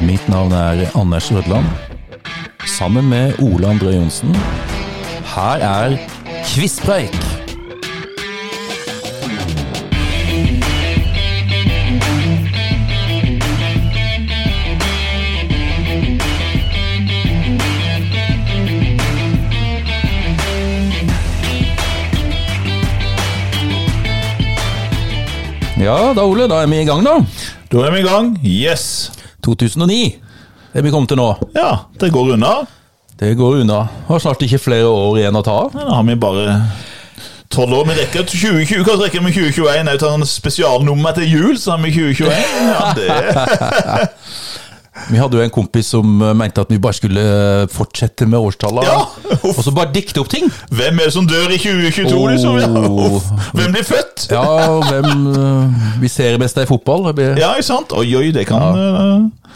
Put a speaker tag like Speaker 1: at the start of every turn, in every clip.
Speaker 1: Mitt navn er Anders Rødland. Sammen med Ole André Johnsen. Her er Kvisspreik! Ja da, Ole. Da er vi i gang, da.
Speaker 2: Da er vi i gang. Yes!
Speaker 1: 2009 er vi kommet til nå.
Speaker 2: Ja, det går unna.
Speaker 1: Det går unna. Har snart ikke flere år igjen å ta av.
Speaker 2: Men Da har vi bare tolv år. Vi rekker til 2020. Hva rekker vi 2021? Jeg tar en spesialnummer til jul, så har vi 2021. Ja, det.
Speaker 1: Vi hadde jo en kompis som eh, mente at vi bare skulle eh, fortsette med årstallene.
Speaker 2: Ja.
Speaker 1: Og så bare dikte opp ting.
Speaker 2: Hvem er det som dør i 2022, liksom? Ja,
Speaker 1: Oh.
Speaker 2: uff. Hvem blir født?
Speaker 1: Ja, og hvem eh, vi ser best i fotball. Det blir-
Speaker 2: Ja, ikke sant? Oi, oi, det kan eh,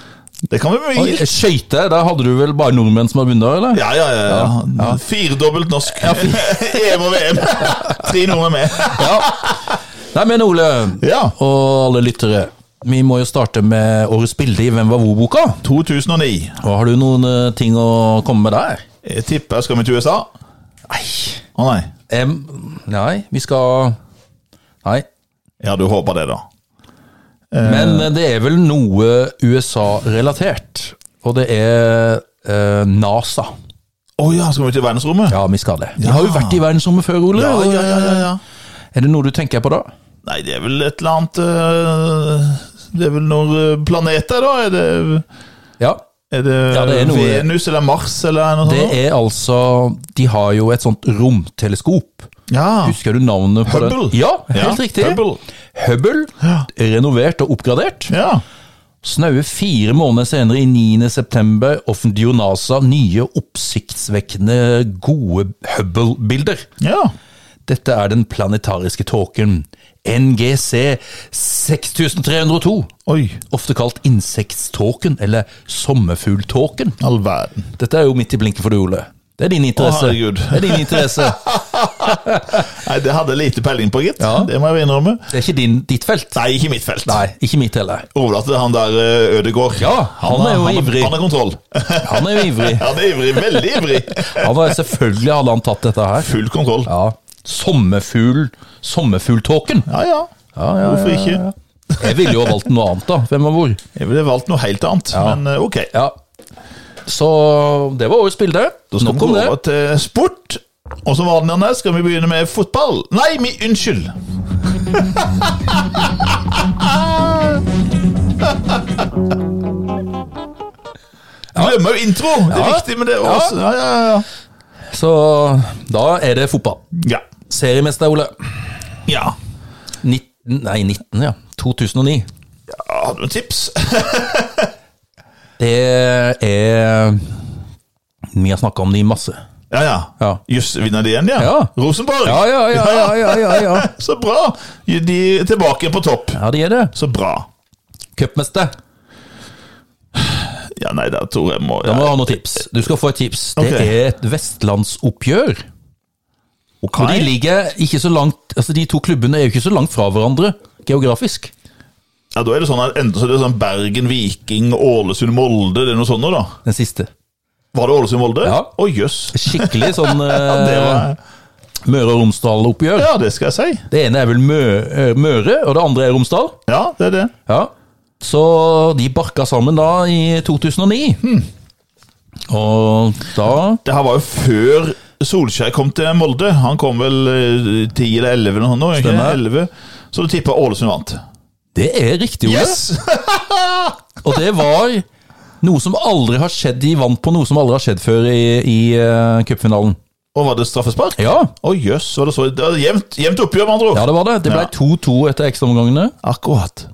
Speaker 2: Det kan være
Speaker 1: Oi,
Speaker 2: mye.
Speaker 1: Skøyter, der hadde du vel bare nordmenn som har vunnet, eller?
Speaker 2: Ja, ja, ja. ja. Firedobbelt norsk. EM og VM. Tre nordmenn med.
Speaker 1: Nei, men Ole,
Speaker 2: Ja.
Speaker 1: og alle lyttere, vi må jo starte med årets bilde i Hvem var hvor-boka.
Speaker 2: 2009.
Speaker 1: Og Har du noen eh, ting å komme med der?
Speaker 2: Jeg tipper skal vi til USA.
Speaker 1: Nei.
Speaker 2: Å nei.
Speaker 1: Em, nei, vi skal Nei.
Speaker 2: Ja, du håper det, da.
Speaker 1: Men eh, det er vel noe USA-relatert. Og det er eh, NASA.
Speaker 2: Å ja, skal vi til verdensrommet?
Speaker 1: Ja, vi skal det. Vi har jo vært i verdensrommet før, Ole.
Speaker 2: Ja,
Speaker 1: og,
Speaker 2: ja, ja, ja, ja.
Speaker 1: Er det noe du tenker på da?
Speaker 2: Nei, det er vel et eller annet eh, Det er vel noen eh, planeter, da? Er det,
Speaker 1: Ja.
Speaker 2: er det,
Speaker 1: Ja, det er noe-
Speaker 2: Venus eller Mars eller noe
Speaker 1: Det
Speaker 2: sånt?
Speaker 1: er altså De har jo et sånt romteleskop.
Speaker 2: Ja.
Speaker 1: Husker du navnet på
Speaker 2: Hubble.
Speaker 1: den? Ah. Ja, helt
Speaker 2: Ja,
Speaker 1: riktig.
Speaker 2: Hubble.
Speaker 1: Hubble, renovert og oppgradert.
Speaker 2: ja.
Speaker 1: Snaue fire måneder senere, i 9. september, offentliggjorde NASA nye oppsiktsvekkende gode Hubble-bilder.
Speaker 2: Ja.
Speaker 1: Dette er den planetariske tåken, NGC 6302.
Speaker 2: Oi.
Speaker 1: Ofte kalt insekttåken, eller sommerfugltåken.
Speaker 2: All verden.
Speaker 1: Dette er jo midt i blinken for du, Ole. Det er din interesse.
Speaker 2: Å, herregud.
Speaker 1: det er din interesse.
Speaker 2: Nei, det hadde jeg lite peiling på, gitt.
Speaker 1: Ja.
Speaker 2: Det må jeg jo innrømme.
Speaker 1: Det er ikke din, ditt felt.
Speaker 2: Nei, ikke mitt felt.
Speaker 1: Nei, ikke mitt heller.
Speaker 2: Overlatt til han der eh, Ødegård.
Speaker 1: Ja, han
Speaker 2: har-
Speaker 1: er jo
Speaker 2: han, har-
Speaker 1: ivrig.
Speaker 2: Han har kontroll.
Speaker 1: Han er jo ivrig.
Speaker 2: Han er ivrig. Veldig ivrig.
Speaker 1: Han var, selvfølgelig hadde han tatt dette her.
Speaker 2: Full kontroll.
Speaker 1: Ja. Sommerfugl, sommerfugltåken.
Speaker 2: Ja, ja.
Speaker 1: Ja, ja,
Speaker 2: Hvorfor
Speaker 1: ja,
Speaker 2: ikke?
Speaker 1: ja. Jeg ville jo ha valgt noe annet, da. Hvem og hvor.
Speaker 2: Jeg ville valgt noe helt annet, men eh, ok.
Speaker 1: Ja. Så det var årets bilde.
Speaker 2: Da skal
Speaker 1: Nok
Speaker 2: vi
Speaker 1: om
Speaker 2: gå
Speaker 1: det.
Speaker 2: over til sport. Og som vanlig Anders, skal vi begynne med fotball. Nei, mi, unnskyld! Glemmer jo intro! Det er
Speaker 1: Ja.
Speaker 2: viktig med det også. Ja, ja, ja.
Speaker 1: Så da er det fotball.
Speaker 2: Ja.
Speaker 1: Seriemester, Ole.
Speaker 2: ja.
Speaker 1: 19, nei, 19, ja. 2009.
Speaker 2: ja har du noen tips?
Speaker 1: Det er Vi har snakka om det i masse.
Speaker 2: Ja,
Speaker 1: Ja.
Speaker 2: ja. Jøss, vinner de igjen, ja?
Speaker 1: Ja.
Speaker 2: Rosenborg!
Speaker 1: Ja, ja, ja, ja, ja, ja, ja.
Speaker 2: Så bra! De er tilbake på topp.
Speaker 1: Ja, det er det.
Speaker 2: Så bra.
Speaker 1: Cupmester.
Speaker 2: Ja, nei, der tror jeg må
Speaker 1: Da
Speaker 2: ja.
Speaker 1: må du ha noen tips. Du skal få et tips. Det
Speaker 2: Ok.
Speaker 1: er et vestlandsoppgjør.
Speaker 2: Ok.
Speaker 1: Og de ligger ikke så langt Altså, de to klubbene er jo ikke så langt fra hverandre geografisk.
Speaker 2: Ja, da er det sånn at enten så er det sånn Bergen, Viking, Ålesund, Molde, det er noe sånt nå da.
Speaker 1: Den siste.
Speaker 2: Var det Ålesund, Molde?
Speaker 1: Ja.
Speaker 2: Å, jøss.
Speaker 1: Skikkelig sånn
Speaker 2: Ja, det var...
Speaker 1: eh, Møre og Romsdal-oppgjør.
Speaker 2: Ja, det skal jeg si.
Speaker 1: Det ene er vel Mø eh, Møre, og det andre er Romsdal.
Speaker 2: Ja, det er det.
Speaker 1: Ja. Så de barka sammen da i 2009. Og da
Speaker 2: Det her var jo før Solskjær kom til Molde. Han kom vel eh, 10 eller 11 eller noe sånt nå, ikke?
Speaker 1: Stemmer.
Speaker 2: 11. Så du tipper Ålesund vant.
Speaker 1: Det er riktig, Ole. Og det var noe som aldri har skjedd. De vant på noe som aldri har skjedd før i, i eh, cupfinalen.
Speaker 2: Og var det straffespark?
Speaker 1: Ja.
Speaker 2: Å, jøss, var det så... Det var jevnt, jevnt oppgjør, med andre ord.
Speaker 1: ja, det var det. Det ble
Speaker 2: Ja.
Speaker 1: 2-2 etter ekstraomgangene.
Speaker 2: Akkurat.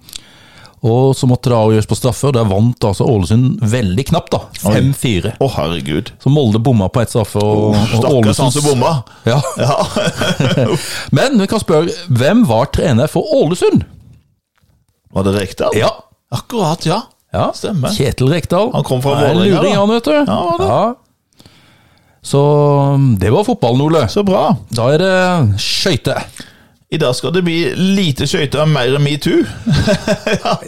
Speaker 1: Og så måtte det avgjøres på straffe, og der vant altså Ålesund veldig knapt, da. 5-4.
Speaker 2: Å, herregud.
Speaker 1: Så Molde bomma på ett straffe, og, og
Speaker 2: Stakkars han
Speaker 1: Ålesunds
Speaker 2: som bomma.
Speaker 1: ja.
Speaker 2: Ja.
Speaker 1: Men vi kan spørre, hvem var trener for Ålesund?
Speaker 2: var det Rekdal?
Speaker 1: Ja.
Speaker 2: Akkurat, ja.
Speaker 1: ja.
Speaker 2: Stemmer.
Speaker 1: Kjetil Rekdal.
Speaker 2: Han kom fra
Speaker 1: Det er en
Speaker 2: Vålerenga,
Speaker 1: Luring,
Speaker 2: da.
Speaker 1: han, vet du.
Speaker 2: Ja, var det.
Speaker 1: Så det var fotballen, Ole.
Speaker 2: Så bra.
Speaker 1: Da er det skøyter.
Speaker 2: I dag skal det bli lite skøyter, mer metoo.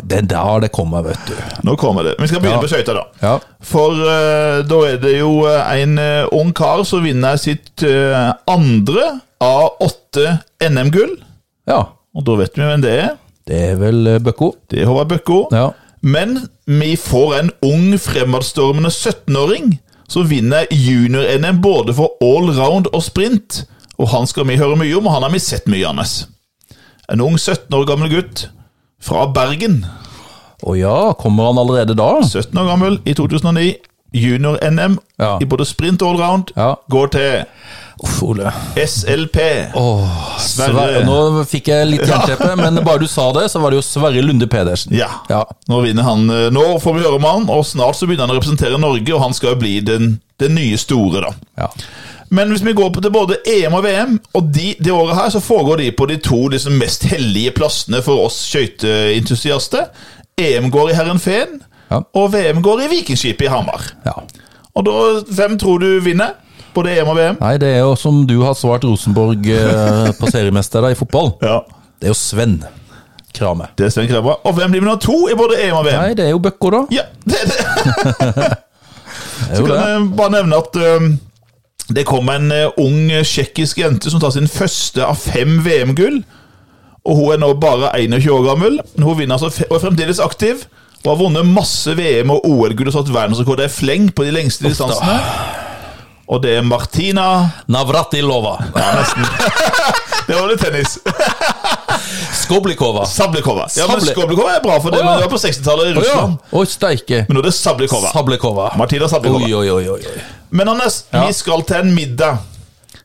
Speaker 1: Det er der det kommer, vet du.
Speaker 2: Nå kommer det. Vi skal begynne
Speaker 1: Ja.
Speaker 2: på skøyter, da.
Speaker 1: Ja.
Speaker 2: For eh, da er det jo eh, en eh, ung kar som vinner sitt eh, andre av åtte NM-gull.
Speaker 1: ja.
Speaker 2: Og da vet vi hvem det er.
Speaker 1: Det er vel eh, Bøkko.
Speaker 2: Det er Håvard Bøkko.
Speaker 1: Ja.
Speaker 2: Men vi får en ung, fremadstormende 17-åring som vinner junior-NM både for allround og sprint. Og han skal vi høre mye om, og han har vi sett mye, Anders. En ung 17 år gammel gutt fra Bergen.
Speaker 1: Å ja, kommer han allerede da?
Speaker 2: 17 år gammel i 2009. Junior-NM
Speaker 1: Ja.
Speaker 2: i både sprint og allround.
Speaker 1: Ja.
Speaker 2: Går til
Speaker 1: Uff, Ole.
Speaker 2: SLP.
Speaker 1: Åh,
Speaker 2: Sverre.
Speaker 1: Sverre. Nå fikk jeg litt jernteppe, men bare du sa det, så var det jo Sverre Lunde Pedersen.
Speaker 2: Ja.
Speaker 1: Ja.
Speaker 2: Nå vinner han. eh, Nå får vi høre om han, og snart så begynner han å representere Norge, og han skal jo bli den, den nye store, da.
Speaker 1: Ja.
Speaker 2: Men hvis vi går på til både EM og VM, og de, det året her, så foregår de på de to liksom, mest hellige plassene for oss skøyteentusiaster. EM går i Herrenfeen,
Speaker 1: Ja.
Speaker 2: og VM går i Vikingskipet i Hamar.
Speaker 1: ja.
Speaker 2: Og da, hvem tror du vinner? Både EM og VM?
Speaker 1: Nei, det er jo som du har svart Rosenborg eh, på seriemester da, i fotball.
Speaker 2: Ja.
Speaker 1: Det er jo Sven Krame.
Speaker 2: Det er Sven Krabba. Og hvem blir nummer to i både EM og VM?
Speaker 1: Nei, det er jo Bøkko, da.
Speaker 2: Ja, det, det.
Speaker 1: Det er jo det.
Speaker 2: kan jeg bare nevne at øhm, det kom en øh, ung øh, tsjekkisk jente som tar sin første av fem VM-gull. Og hun er nå bare 21 år gammel. Men Hun vinner altså fe- og er fremdeles aktiv. Og har vunnet masse VM- og OL-gull og satt verdensrekord i fleng på de lengste distansene. Og det er Martina
Speaker 1: Navratilova.
Speaker 2: Det var litt tennis.
Speaker 1: Skoblikova.
Speaker 2: Sablikova. Ja, men
Speaker 1: Sable-
Speaker 2: Skoblikova er bra for
Speaker 1: Å,
Speaker 2: det,
Speaker 1: ja.
Speaker 2: men det var på 60-tallet i
Speaker 1: Å ja.
Speaker 2: Russland.
Speaker 1: Oi, steike.
Speaker 2: Men nå er det Sablikova.
Speaker 1: Sablikova.
Speaker 2: Martina Sablikova.
Speaker 1: Oi, oi, oi. oi. oi.
Speaker 2: Men Anders,
Speaker 1: Ja.
Speaker 2: vi skal til en middag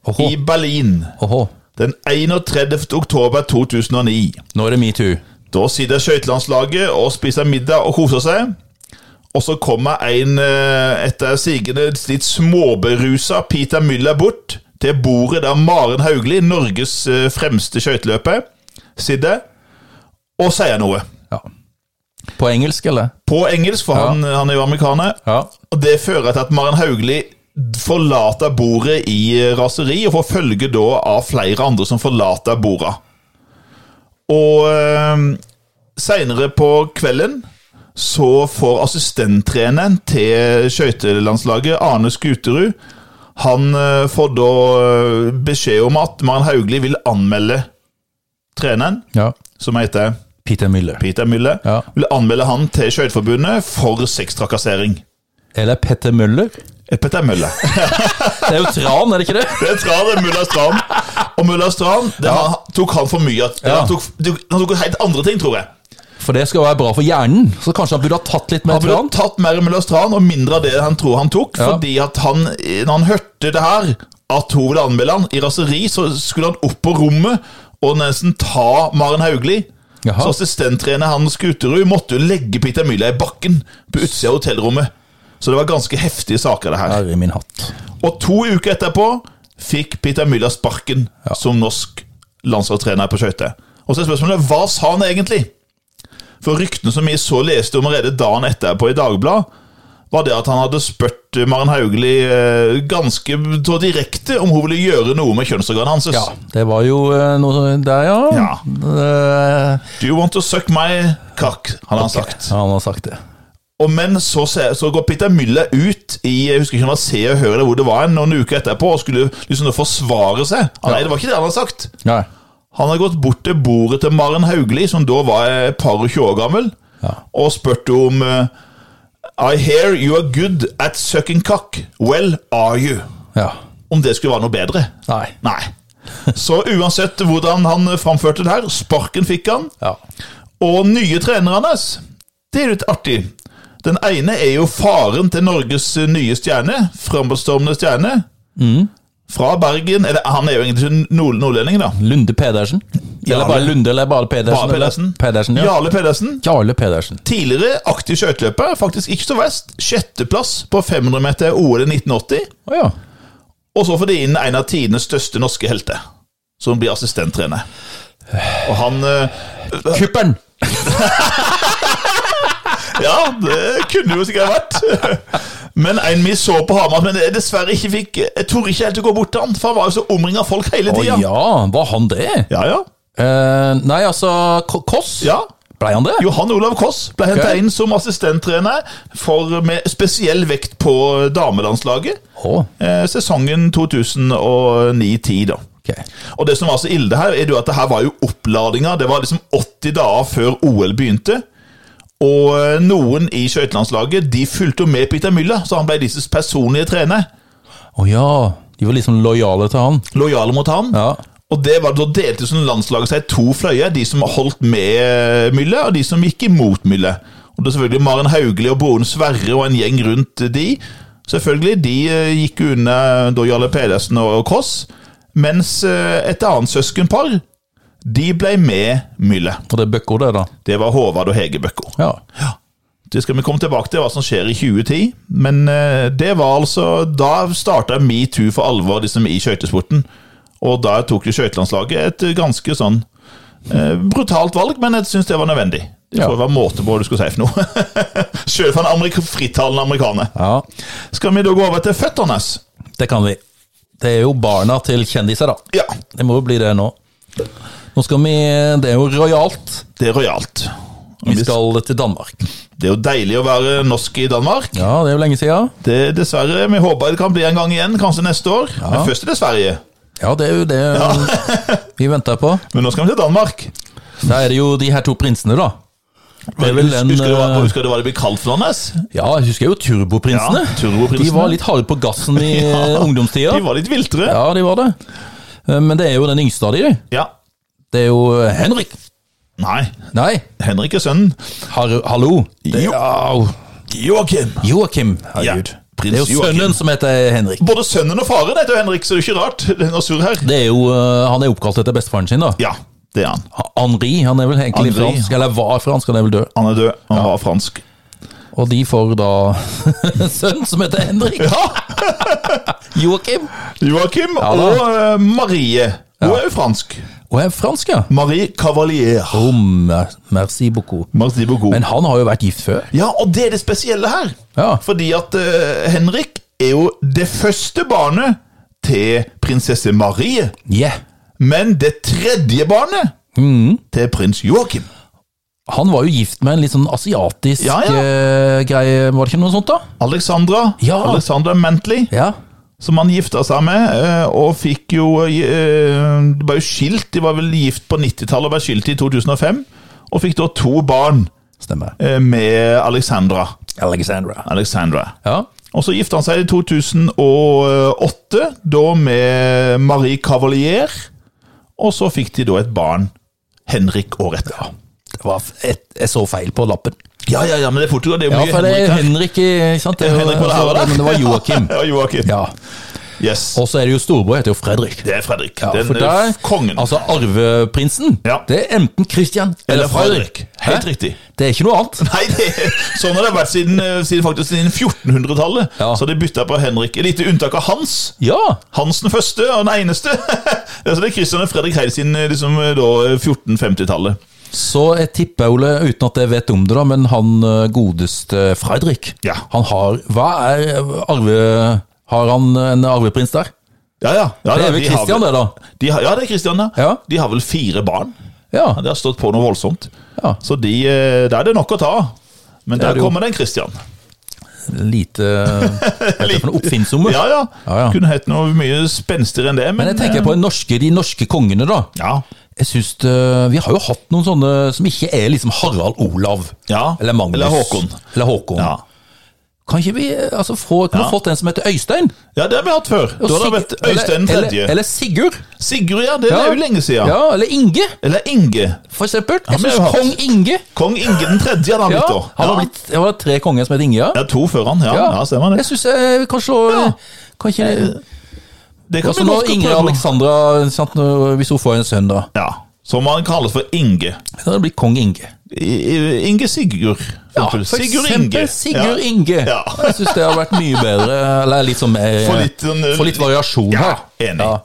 Speaker 1: Åhå,
Speaker 2: i Berlin.
Speaker 1: åhå.
Speaker 2: Den 31. oktober 2009.
Speaker 1: Nå er det metoo.
Speaker 2: Da sitter skøytelandslaget og spiser middag og koser seg. Og så kommer en eh, etter sigende litt småberusa Peter Müller bort til bordet der Maren Hauglie, Norges eh, fremste skøyteløper, sitter og sier noe.
Speaker 1: Ja. På engelsk, eller?
Speaker 2: På engelsk, for han, han er jo amerikaner.
Speaker 1: Ja.
Speaker 2: Og det fører til at Maren Hauglie forlater bordet i eh, raseri, og får følge da av flere andre som forlater bordet. Og eh, seinere på kvelden så får assistenttreneren til skøytelandslaget, Arne Skuterud, han eh, får da eh, beskjed om at Maren Hauglie vil anmelde treneren,
Speaker 1: ja.
Speaker 2: som heter
Speaker 1: Peter Müller.
Speaker 2: Peter Müller,
Speaker 1: Ja.
Speaker 2: vil anmelde han til Skøyteforbundet for sextrakassering.
Speaker 1: Eller Petter Møller.
Speaker 2: Petter Møller.
Speaker 1: Det er jo tran, er det ikke det?
Speaker 2: Det er Tran, det er mulla Stram. Og mulla Stram det har- tok han for mye av.
Speaker 1: Ja.
Speaker 2: Han, tok, han tok helt andre ting, tror jeg.
Speaker 1: For det skal være bra for hjernen, så kanskje han burde ha tatt litt mer
Speaker 2: Han burde
Speaker 1: tran?
Speaker 2: tatt mer mulla Stram og mindre av det han tror han tok.
Speaker 1: Ja.
Speaker 2: Fordi at han, når han hørte det her, at hun ville anmelde han i raseri, så skulle han opp på rommet og nesten ta Maren Hauglie.
Speaker 1: Jaha.
Speaker 2: Så assistenttrener Hans Guterud måtte jo legge Peter Myhla i bakken på utsida av hotellrommet. Så det var ganske heftige saker, det her.
Speaker 1: Herre min hatt.
Speaker 2: Og to uker etterpå fikk Peter Müller sparken som norsk landslagstrener på skøyter. Og så er spørsmålet hva sa han egentlig? For ryktene som vi så leste om allerede dagen etterpå i Dagbladet, var det at han hadde spurt Maren Hauglie eh, ganske så direkte om hun ville gjøre noe med kjønnsorganet hans.
Speaker 1: Ja, det var jo eh, noe der, ja.
Speaker 2: Ja.
Speaker 1: Eh,
Speaker 2: Do you want to suck my cock? hadde han sagt.
Speaker 1: ja han har sagt det.
Speaker 2: Og men så, se- så går Peter Müller ut i jeg husker ikke om det var Se og Hør eller hvor det var, en, noen uker etterpå og skulle liksom da forsvare seg. Ah, nei, det var ikke det han hadde sagt.
Speaker 1: Nei.
Speaker 2: Han har gått bort til bordet til Maren Hauglie, som da var et par og tjue år gammel, og spurt om eh, I hear you are good at sucking cock. Well, are you?
Speaker 1: Ja.
Speaker 2: Om det skulle være noe bedre.
Speaker 1: Nei.
Speaker 2: Nei. Så uansett hvordan han framførte det her, sparken fikk han.
Speaker 1: Ja.
Speaker 2: Og nye trenere hans, det er litt artig. Den ene er jo faren til Norges nye stjerne, fremadstormende stjerne. Fra Bergen. Eller han er jo egentlig nord nordlending, da.
Speaker 1: Lunde Pedersen? Eller bare
Speaker 2: Jarle.
Speaker 1: Lunde, eller bare Pedersen?
Speaker 2: Bare Pedersen.
Speaker 1: Eller? Pedersen ja.
Speaker 2: Jarle Pedersen.
Speaker 1: Jarle Pedersen.
Speaker 2: Tidligere aktiv skøyteløper, faktisk ikke så verst. Sjetteplass på 500 meter OL i 1980.
Speaker 1: Å ja.
Speaker 2: Og så får de inn en av tidenes største norske helter, som blir assistenttrener. Og han eh,
Speaker 1: Kuppern!
Speaker 2: Ja, det kunne jo sikkert vært. Men en vi så på Hamar, men jeg dessverre ikke fikk Jeg torde ikke helt å gå bort til han, for han var jo så omringa av folk
Speaker 1: Å
Speaker 2: hele tida.
Speaker 1: ja, var han det?
Speaker 2: Ja, ja.
Speaker 1: Eh, nei, altså K- Koss?
Speaker 2: Ja.
Speaker 1: Blei han det?
Speaker 2: Johan Olav Koss ble henta
Speaker 1: Ok.
Speaker 2: inn som assistenttrener for, med spesiell vekt på damelandslaget.
Speaker 1: Å,
Speaker 2: Eh, sesongen 2009-10, da.
Speaker 1: ok.
Speaker 2: Og det som var så ille her, er jo at det her var jo oppladinga. Det var liksom 80 dager før OL begynte. Og eh, noen i skøytelandslaget de fulgte jo med Peter Müller, så han ble deres personlige trener.
Speaker 1: Å ja. De var liksom lojale til han.
Speaker 2: Lojale mot ham.
Speaker 1: Ja.
Speaker 2: Og det var, Da delte sånn landslaget seg i to fløyer. De som holdt med eh, Müller, og de som gikk imot Müller. Og det er selvfølgelig Maren Hauglie og Boen Sverre og en gjeng rundt de. Selvfølgelig, De eh, gikk jo unna da Jarle Pedersen og Koss. Mens eh, et annet søskenpar de ble med Müller.
Speaker 1: Og det er Bøkko, det, da.
Speaker 2: Det var Håvard og Hege Bøkko.
Speaker 1: Ja.
Speaker 2: Det skal vi komme tilbake til, hva som skjer i 2010. Men eh, det var altså Da starta metoo for alvor liksom, i skøytesporten. Og da tok jo skøytelandslaget et ganske sånn eh, brutalt valg, men jeg syns det var nødvendig. Jeg
Speaker 1: Ja.
Speaker 2: tror det var måte på hva du skulle si for noe. Sjøl for en amerik frittalende amerikaner.
Speaker 1: ja.
Speaker 2: Skal vi da gå over til føttene hans?
Speaker 1: Det kan vi. Det er jo barna til kjendiser, da.
Speaker 2: Ja,
Speaker 1: Det må jo bli det nå. Nå skal vi Det er jo rojalt.
Speaker 2: det er rojalt.
Speaker 1: Vi skal til Danmark.
Speaker 2: Det er jo deilig å være norsk i Danmark.
Speaker 1: Ja, det er jo lenge siden.
Speaker 2: Det er dessverre, Vi håper det kan bli en gang igjen, kanskje neste år. Men først er det Sverige.
Speaker 1: Ja, det er jo det vi venter på.
Speaker 2: Men nå skal vi til Danmark.
Speaker 1: Da er det jo de her to prinsene, da. Det er vel
Speaker 2: husker,
Speaker 1: den
Speaker 2: husker, du hva,
Speaker 1: eh,
Speaker 2: husker du hva det ble kalt for noe? Nes?
Speaker 1: Ja, jeg husker jo Turboprinsene.
Speaker 2: Ja, Turboprinsene.
Speaker 1: De var litt harde på gassen i eh, ungdomstida.
Speaker 2: De var litt viltre.
Speaker 1: Ja, de var det. Eh, Men det er jo den yngste av de.
Speaker 2: Ja.
Speaker 1: Det er jo eh, Henrik.
Speaker 2: Nei,
Speaker 1: Nei,
Speaker 2: Henrik er sønnen.
Speaker 1: har, hallo.
Speaker 2: Jo. Joakim.
Speaker 1: Joakim. Herregud.
Speaker 2: Ja,
Speaker 1: Det
Speaker 2: prins
Speaker 1: er jo
Speaker 2: Joakim.
Speaker 1: sønnen som heter Henrik.
Speaker 2: Både sønnen og faren heter Henrik, så det er ikke rart. Det er noe surr her.
Speaker 1: Det er jo, eh, han er oppkalt etter bestefaren sin, da.
Speaker 2: Ja, det er han.
Speaker 1: Henri, han er vel egentlig
Speaker 2: Henri.
Speaker 1: fransk, eller var fransk, han er vel død.
Speaker 2: Han er død, og han var fransk.
Speaker 1: Og de får da en sønn som heter Henrik. Joakim.
Speaker 2: Joakim
Speaker 1: Ja, da.
Speaker 2: og eh, Marie. Hun er jo fransk.
Speaker 1: Og er fransk, ja.
Speaker 2: Marie Cavalier.
Speaker 1: Oh, mer- merci beaucoup.
Speaker 2: Merci beaucoup.
Speaker 1: Men han har jo vært gift før.
Speaker 2: Ja, og det er det spesielle her.
Speaker 1: Ja.
Speaker 2: Fordi at eh, Henrik er jo det første barnet til prinsesse Marie.
Speaker 1: Yeah.
Speaker 2: Men det tredje barnet
Speaker 1: Mm.
Speaker 2: til prins Joakim.
Speaker 1: Han var jo gift med en litt sånn asiatisk
Speaker 2: Ja, ja.
Speaker 1: eh, greie, var det ikke noe sånt, da?
Speaker 2: Alexandra
Speaker 1: Ja.
Speaker 2: Alexandra Mentley,
Speaker 1: Ja.
Speaker 2: som han gifta seg med, eh, og fikk jo eh, De var jo skilt, de var vel gift på 90-tallet og ble skilt i 2005. Og fikk da to barn
Speaker 1: Stemmer.
Speaker 2: eh, med Alexandra.
Speaker 1: Alexandra.
Speaker 2: Alexandra.
Speaker 1: Ja.
Speaker 2: Og så gifta han seg i 2008, da med Marie Cavalier. Og så fikk de da et barn, Henrik, året etter.
Speaker 1: Det var f- et, jeg så feil på lappen.
Speaker 2: Ja, ja, ja, men det er fort gjort. Det er
Speaker 1: Ja,
Speaker 2: mye
Speaker 1: for det
Speaker 2: Henrik
Speaker 1: er
Speaker 2: her.
Speaker 1: Henrik, i- ikke sant? Det, er jo-
Speaker 2: Henrik var det
Speaker 1: altså,
Speaker 2: her, da.
Speaker 1: men det var Joakim.
Speaker 2: Ja, Joakim.
Speaker 1: Ja.
Speaker 2: Yes.
Speaker 1: Og så er det jo storebror, heter jo Fredrik.
Speaker 2: Det er Fredrik.
Speaker 1: Ja,
Speaker 2: Den
Speaker 1: for
Speaker 2: er
Speaker 1: der,
Speaker 2: kongen.
Speaker 1: Altså arveprinsen,
Speaker 2: Ja.
Speaker 1: det er enten Christian eller,
Speaker 2: Eller Fredrik.
Speaker 1: Fredrik.
Speaker 2: Helt
Speaker 1: Hæ?
Speaker 2: riktig.
Speaker 1: Det er ikke noe annet.
Speaker 2: Nei, det, sånn har det vært siden, eh, siden, faktisk siden 1400-tallet.
Speaker 1: Ja.
Speaker 2: Så har de bytta på Henrik. Et lite unntak av Hans.
Speaker 1: Ja,
Speaker 2: Hans den første og den eneste. altså det er Christian og Fredrik helt siden eh, liksom, eh, da, eh, 1450-tallet.
Speaker 1: så jeg tipper, Ole, uten at jeg vet om det da, men han eh, godeste Fredrik,
Speaker 2: Ja.
Speaker 1: han har, hva er arve, har han en arveprins der?
Speaker 2: Ja, ja. ja,
Speaker 1: Det
Speaker 2: ja,
Speaker 1: er vel
Speaker 2: de har
Speaker 1: Christian det da?
Speaker 2: De har, ja, det er Christian, ja.
Speaker 1: Ja.
Speaker 2: De har vel fire barn.
Speaker 1: Ja,
Speaker 2: Ja, Det har stått på noe voldsomt.
Speaker 1: ja.
Speaker 2: Så de, eh, der er det nok å ta av. Men
Speaker 1: er
Speaker 2: der
Speaker 1: det jo.
Speaker 2: kommer den Christian.
Speaker 1: lite, hva heter det for noe oppfinnsomme?
Speaker 2: Ja, ja.
Speaker 1: Ja, ja.
Speaker 2: Kunne hett noe mye spenstigere enn det, men, eh,
Speaker 1: Men jeg tenker på de norske, de norske kongene da.
Speaker 2: Ja.
Speaker 1: Jeg synes det, vi har jo hatt noen sånne som ikke er liksom Harald Olav.
Speaker 2: Ja,
Speaker 1: Eller Magnus.
Speaker 2: eller Håkon.
Speaker 1: Eller Håkon.
Speaker 2: ja.
Speaker 1: Kan ikke vi eh, altså, få, kunne
Speaker 2: Ja.
Speaker 1: fått en som heter Øystein?
Speaker 2: Ja, det har vi hatt før. Da har det
Speaker 1: Sig-
Speaker 2: vært Øystein
Speaker 1: eller-
Speaker 2: tredje.
Speaker 1: Eller, eller Sigurd.
Speaker 2: Sigurd, ja. Det er jo lenge siden.
Speaker 1: Ja, Eller Inge,
Speaker 2: Eller Inge.
Speaker 1: for eksempel. Jeg
Speaker 2: men det
Speaker 1: synes
Speaker 2: har vi
Speaker 1: kong Inge
Speaker 2: Kong Inge den tredje han har
Speaker 1: ja,
Speaker 2: blitt da.
Speaker 1: Han har
Speaker 2: Ja.
Speaker 1: blitt, det var tre konger som het Inge, ja.
Speaker 2: Ja, to før han. Ja, ja. stemmer det.
Speaker 1: Jeg syns jeg vi kan slå
Speaker 2: Ja.
Speaker 1: Kan ikke
Speaker 2: Det kan
Speaker 1: altså,
Speaker 2: vi
Speaker 1: Når
Speaker 2: godt
Speaker 1: Ingrid
Speaker 2: prøve.
Speaker 1: Alexandra sant, når- Hvis hun får en sønn, da
Speaker 2: Ja, Som han kalles for Inge.
Speaker 1: Da blir det kong Inge.
Speaker 2: I- I- Inge Sigurd. for
Speaker 1: Ja, for
Speaker 2: eksempel. Sigurd
Speaker 1: eksempel
Speaker 2: Inge.
Speaker 1: Sigurd
Speaker 2: Ja.
Speaker 1: Inge.
Speaker 2: Ja.
Speaker 1: Jeg syns det har vært mye bedre. Eller litt sånn mer
Speaker 2: Få litt sånn-
Speaker 1: få litt variasjon
Speaker 2: Ja,
Speaker 1: her.
Speaker 2: enig.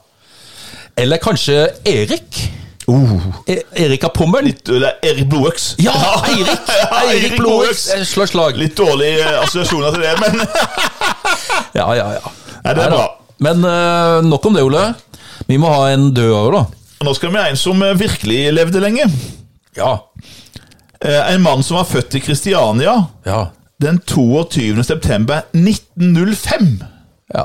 Speaker 1: Eller kanskje Erik. E Erik av Pommern.
Speaker 2: Uh. Litt, eller Erik Blodøks.
Speaker 1: Ja, Eirik!
Speaker 2: Ja,
Speaker 1: Eirik Blodøks. Eh, Slå slag.
Speaker 2: Litt dårlige assosiasjoner til det, men
Speaker 1: Ja, ja, ja.
Speaker 2: Nei, det
Speaker 1: Nei da.
Speaker 2: er bra.
Speaker 1: Men eh, nok om det, Ole. Vi må ha en død òg, da.
Speaker 2: Nå skal vi ha en som eh, virkelig levde lenge.
Speaker 1: Ja.
Speaker 2: Eh, En mann som var født i Kristiania
Speaker 1: Ja.
Speaker 2: den 22. september 1905.
Speaker 1: ja.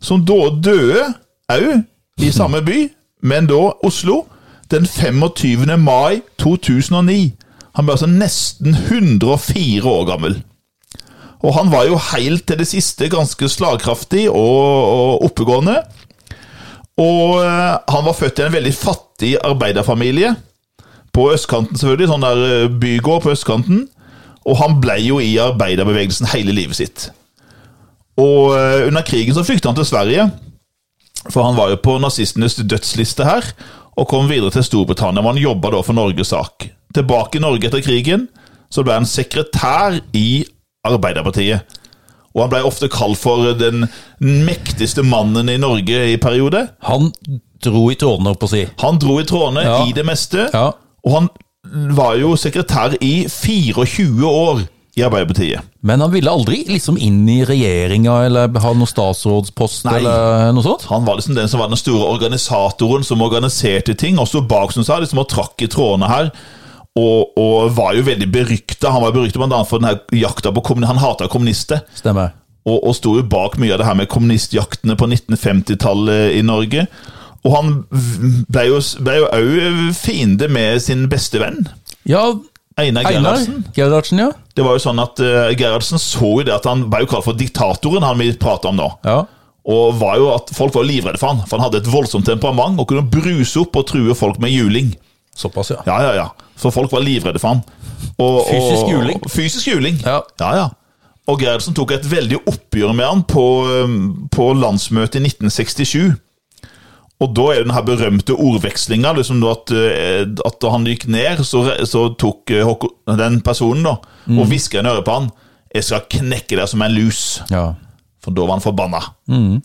Speaker 2: Som da døde òg i samme by, men da Oslo, den 25. mai 2009. Han ble altså nesten 104 år gammel. Og han var jo helt til det siste ganske slagkraftig og, og oppegående. Og eh, han var født i en veldig fattig arbeiderfamilie. På østkanten, selvfølgelig. Sånn der eh, bygård på østkanten. Og han ble jo i arbeiderbevegelsen hele livet sitt. Og eh, under krigen så flykta han til Sverige. For han var jo på nazistenes dødsliste her, og kom videre til Storbritannia, hvor han jobba da for Norges sak. Tilbake i Norge etter krigen så ble han sekretær i Arbeiderpartiet. Og han ble ofte kalt for den mektigste mannen i Norge i periode.
Speaker 1: Han dro i trådene, opp å si.
Speaker 2: Han dro i trådene
Speaker 1: Ja.
Speaker 2: i det meste,
Speaker 1: Ja.
Speaker 2: og han var jo sekretær i 24 år i Arbeiderpartiet.
Speaker 1: Men han ville aldri liksom inn i regjeringa eller ha noen statsrådspost
Speaker 2: Nei.
Speaker 1: eller eh, noe sånt?
Speaker 2: Han var liksom den som var den store organisatoren som organiserte ting, og sto bak som sa, liksom, og trakk i trådene her. Og, og var jo veldig berykta. Han var berykta bl.a. for den her jakta på kommuni- Han hata kommunister,
Speaker 1: Stemmer.
Speaker 2: og, og sto jo bak mye av det her med kommunistjaktene på 1950-tallet i Norge. Og han v- ble jo s- ble jo òg fiende med sin beste venn,
Speaker 1: Ja,
Speaker 2: Einar
Speaker 1: Einar
Speaker 2: Gerhardsen.
Speaker 1: Gerhardsen, ja.
Speaker 2: Det var jo sånn at eh, Gerhardsen så jo det at han ble jo kalt for diktatoren, han vi prater om nå.
Speaker 1: ja.
Speaker 2: Og var jo at Folk var jo livredde for han, for han hadde et voldsomt temperament og kunne bruse opp og true folk med juling.
Speaker 1: Såpass, ja.
Speaker 2: Ja, ja, ja. Så folk var livredde for han. Og, og-
Speaker 1: Fysisk juling.
Speaker 2: Fysisk juling.
Speaker 1: Ja.
Speaker 2: ja, ja. Og Gerhardsen tok et veldig oppgjør med han på, eh, på landsmøtet i 1967. Og da er det den her berømte ordvekslinga. Liksom da at, eh, at da han gikk ned, så, re- så tok eh, Håkon- den personen da,
Speaker 1: Mm.
Speaker 2: og hviska i øret på han 'Jeg skal knekke deg som en lus'.
Speaker 1: ja.
Speaker 2: For da var han forbanna.
Speaker 1: Mm.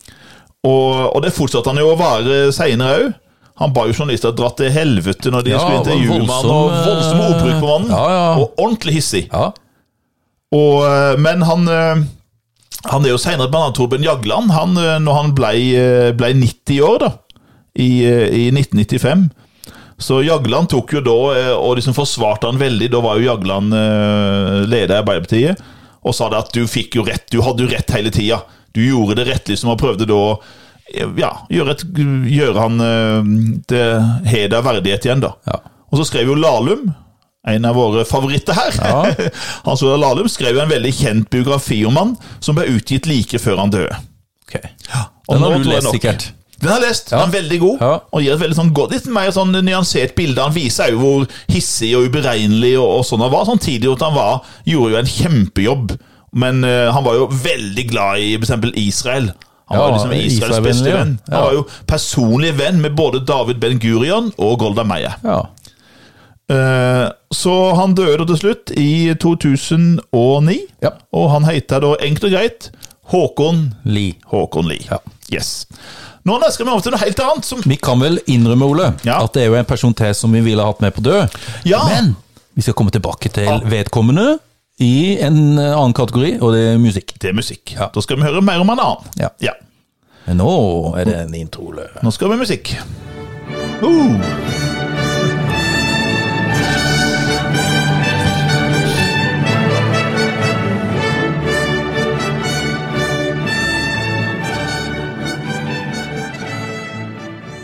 Speaker 2: Og, og det fortsatte han jo å være seinere òg. Han ba jo journalister dra til helvete når de
Speaker 1: Ja,
Speaker 2: skulle
Speaker 1: det var
Speaker 2: intervjue med han, og
Speaker 1: voldsom,
Speaker 2: voldsom
Speaker 1: eh,
Speaker 2: ordbruk på mannen.
Speaker 1: ja, ja.
Speaker 2: Og ordentlig hissig.
Speaker 1: ja.
Speaker 2: Og, eh, men han eh, Han er jo seinere blant annet Torbjørn Jagland. Han, eh, når han ble, eh, ble 90 år, da, i, eh, i 1995 så Jagland tok jo da, eh, og liksom forsvarte han veldig, da var jo Jagland eh, leder i Arbeiderpartiet, og sa det at du fikk jo rett, du hadde jo rett hele tida. Du gjorde det rett, liksom, og prøvde da å eh, ja, gjøre, et, gjøre han eh, til heder og verdighet igjen, da.
Speaker 1: Ja.
Speaker 2: Og så skrev jo Lahlum, en av våre favoritter her,
Speaker 1: Ja.
Speaker 2: han så Lahlum skrev jo en veldig kjent biografi om han, som ble utgitt like før han døde.
Speaker 1: Ok.
Speaker 2: Og
Speaker 1: Den
Speaker 2: nå
Speaker 1: har du
Speaker 2: tror jeg
Speaker 1: lest
Speaker 2: nok-
Speaker 1: sikkert.
Speaker 2: den har jeg lest.
Speaker 1: Ja.
Speaker 2: Den er veldig god.
Speaker 1: Ja.
Speaker 2: Og gir et veldig sånn godt, litt mer sånn nyansert bilde. Han viser jo hvor hissig og uberegnelig og, og sånn han var. Samtidig at han var, gjorde jo en kjempejobb. Men eh, han var jo veldig glad i for eksempel Israel. Han
Speaker 1: Ja,
Speaker 2: var liksom Israels
Speaker 1: Israel-vennlig,
Speaker 2: beste
Speaker 1: ja.
Speaker 2: venn. Han
Speaker 1: Ja.
Speaker 2: var jo personlig venn med både David Ben-Gurion og Golda Meyer.
Speaker 1: Ja.
Speaker 2: Eh, så han døde til slutt i 2009,
Speaker 1: Ja.
Speaker 2: og han heter da enkelt og greit Håkon
Speaker 1: Li.
Speaker 2: Håkon Lie.
Speaker 1: Ja.
Speaker 2: Yes. Nå nå skal vi over til noe helt annet. som...
Speaker 1: Vi kan vel innrømme, Ole,
Speaker 2: Ja.
Speaker 1: at det er jo en person til som vi ville hatt med på død.
Speaker 2: Ja. Ah.
Speaker 1: Men vi skal komme tilbake til vedkommende i en eh, annen kategori, og det er musikk.
Speaker 2: Det er musikk.
Speaker 1: Ja.
Speaker 2: Da skal vi høre mer om en annen.
Speaker 1: Ja. Men nå er det en intro, Ole.
Speaker 2: Nå skal vi ha musikk. Uh.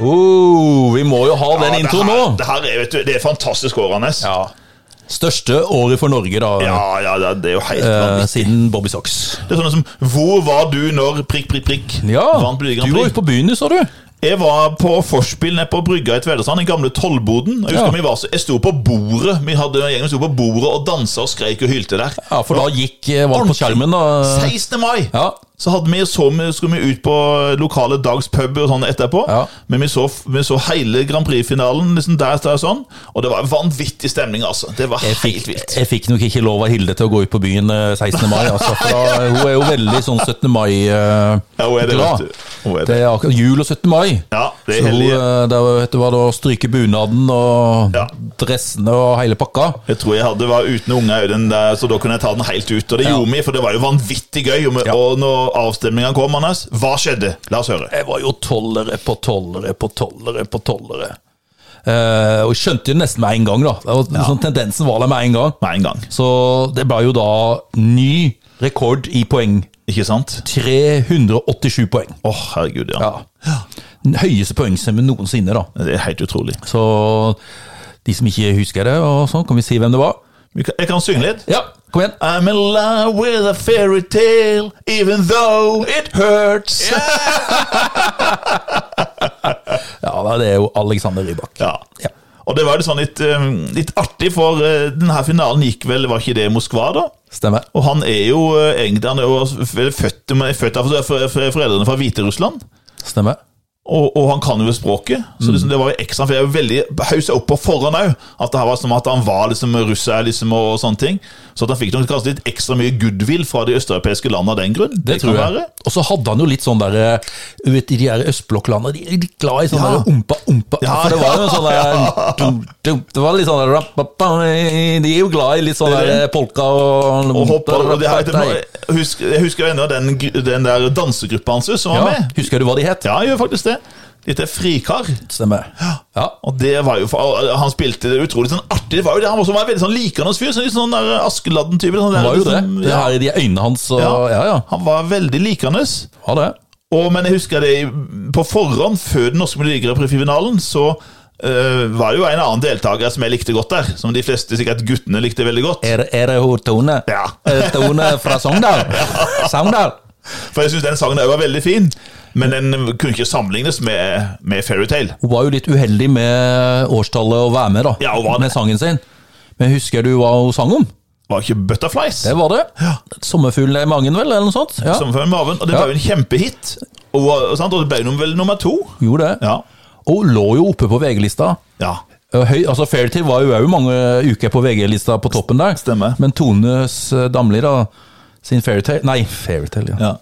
Speaker 1: Oh, vi må jo ha
Speaker 2: Ja,
Speaker 1: den introen
Speaker 2: det
Speaker 1: nå!
Speaker 2: her, Det her er, vet du, det er fantastisk årende. Ja.
Speaker 1: Største året for Norge, da.
Speaker 2: ja, det, det er jo helt
Speaker 1: eh,
Speaker 2: vanvittig.
Speaker 1: siden Bobby Socks.
Speaker 2: Det er sånn som Hvor var du når prikk, prikk, prikk
Speaker 1: Ja,
Speaker 2: vant Bryggeren
Speaker 1: du var ute
Speaker 2: Prix?
Speaker 1: på byen, du, sa du.
Speaker 2: Jeg var på forspill nede på brygga i Tvedestrand, den gamle tollboden. Jeg
Speaker 1: Ja.
Speaker 2: husker vi var så, jeg sto på bordet Vi hadde en gjeng som sto på bordet og dansa og skreik og hylte der.
Speaker 1: Ja, For da gikk eh, var det på skjermen, da.
Speaker 2: 16. mai!
Speaker 1: Ja,
Speaker 2: Så hadde vi så vi- skulle vi ut på lokale dagspub og sånn etterpå.
Speaker 1: Ja.
Speaker 2: Men vi så, vi så hele Grand Prix-finalen liksom der, der og sånn. Og det var en vanvittig stemning, altså. Det var
Speaker 1: jeg fikk,
Speaker 2: helt vilt.
Speaker 1: jeg fikk nok ikke lov av Hilde til å gå ut på byen eh, 16. mai. Altså, for da, hun er jo veldig sånn 17.
Speaker 2: Ja, hun er det,
Speaker 1: mai-glad.
Speaker 2: vet du. Hun er det.
Speaker 1: det er akkurat jul og 17. mai.
Speaker 2: Ja, det
Speaker 1: Så
Speaker 2: er
Speaker 1: hun,
Speaker 2: heldig.
Speaker 1: eh, det var, vet du hva, da stryke bunaden og
Speaker 2: Ja.
Speaker 1: dressene og hele pakka.
Speaker 2: Jeg tror jeg hadde var uten unger, den der, så da kunne jeg ta den helt ut. Og det
Speaker 1: Ja.
Speaker 2: gjorde vi, for det var jo vanvittig gøy. Og, med,
Speaker 1: Ja.
Speaker 2: og når avstemninga kom, Anders, hva skjedde? La oss høre.
Speaker 1: Jeg var jo tollere på tollere på tollere på tollere. Eh, og jeg skjønte det nesten med en gang. da det var, sånn, Tendensen var der med en gang.
Speaker 2: med en gang.
Speaker 1: Så det ble jo da ny rekord i poeng.
Speaker 2: Ikke sant?
Speaker 1: 387 poeng.
Speaker 2: Å, herregud, ja.
Speaker 1: Ja. Den høyeste poengsummen noensinne, da.
Speaker 2: Det er helt utrolig.
Speaker 1: Så de som ikke husker det, og sånn, kan vi si hvem det var?
Speaker 2: Vi kan- Jeg kan synge litt.
Speaker 1: Ja, kom igjen.
Speaker 2: I'm in love with a fairy tale, even though it hurts.
Speaker 1: Ja, da, Det er jo Alexander Rybak.
Speaker 2: Ja.
Speaker 1: Ja.
Speaker 2: Og det var jo sånn litt, eh, litt artig, for eh, denne finalen gikk vel, var ikke det i Moskva, da?
Speaker 1: Stemmer.
Speaker 2: Og han er jo eh, egentlig han er jo vel født, men er født av for- for- foreldrene fra Hviterussland.
Speaker 1: Stemmer.
Speaker 2: Og, og han kan jo språket,
Speaker 1: Mm.
Speaker 2: så liksom, det var jo ekstra For jeg er jo veldig hausa opp på forhånd òg. At det her var som at han var liksom russer liksom, og, og sånne ting. Så at han fikk nok kanskje litt ekstra mye goodwill fra de østeuropeiske landene av den grunn.
Speaker 1: Det,
Speaker 2: kan
Speaker 1: tror jeg.
Speaker 2: være.
Speaker 1: Og så hadde han jo litt sånn der eh, du vet, I de her østblokklandene de er litt glad i sånn
Speaker 2: Ja.
Speaker 1: der ompa, ompa.
Speaker 2: Ja,
Speaker 1: for det var jo en sånn der dum, dum, Det var litt sånn der rap, rap, rap, De er jo glad i litt sånn
Speaker 2: Det er
Speaker 1: der eh, polka og
Speaker 2: Og hopper, og det her, det,
Speaker 1: Nei.
Speaker 2: jeg husker- jeg husker jo ennå den, gr- den der dansegruppa hans som var
Speaker 1: ja,
Speaker 2: med.
Speaker 1: Husker du hva de het?
Speaker 2: Ja, jeg gjør faktisk det. Litt frikar.
Speaker 1: Stemmer. Ja.
Speaker 2: Og det var jo for, Han spilte det utrolig sånn artig. Det var jo det, Han var også en veldig sånn likende fyr. Sånn, litt sånn der Askeladden-type. Sånn, der,
Speaker 1: Det var jo det.
Speaker 2: liksom,
Speaker 1: Det
Speaker 2: ja.
Speaker 1: her i de øynene hans og Ja, ja. ja.
Speaker 2: Han var veldig likende.
Speaker 1: Ha det.
Speaker 2: Og, men jeg husker det i- på forhånd, før den norske Melodi Grand Prix-finalen, så eh, var det jo en annen deltaker som jeg likte godt der. Som de fleste, sikkert guttene, likte veldig godt.
Speaker 1: Er, er det hun Tone?
Speaker 2: Ja.
Speaker 1: Eh, Tone fra Sogndal? Sogndal?
Speaker 2: For jeg syns den sangen òg var veldig fin, men den kunne ikke sammenlignes med, med Fairytale.
Speaker 1: Hun var jo litt uheldig med årstallet å være med, da.
Speaker 2: Ja, hun var det.
Speaker 1: Med sangen sin. Men husker du hva hun sang om?
Speaker 2: Var ikke Butterflies.
Speaker 1: Det var det. Sommerfuglen i magen, vel, eller noe sånt? Ja,
Speaker 2: Som for Marvin, og det
Speaker 1: Ja.
Speaker 2: ble jo en kjempehit. Og, og, sant, og det ble jo vel nummer to.
Speaker 1: gjorde det.
Speaker 2: Ja.
Speaker 1: Og hun lå jo oppe på VG-lista.
Speaker 2: ja.
Speaker 1: Eh, Høy, altså Fairtale var jo òg mange uker på VG-lista på toppen der.
Speaker 2: Stemmer.
Speaker 1: Men Tones eh, Damli, da, sin Fairtale Nei, Fairtale, ja.
Speaker 2: Ja.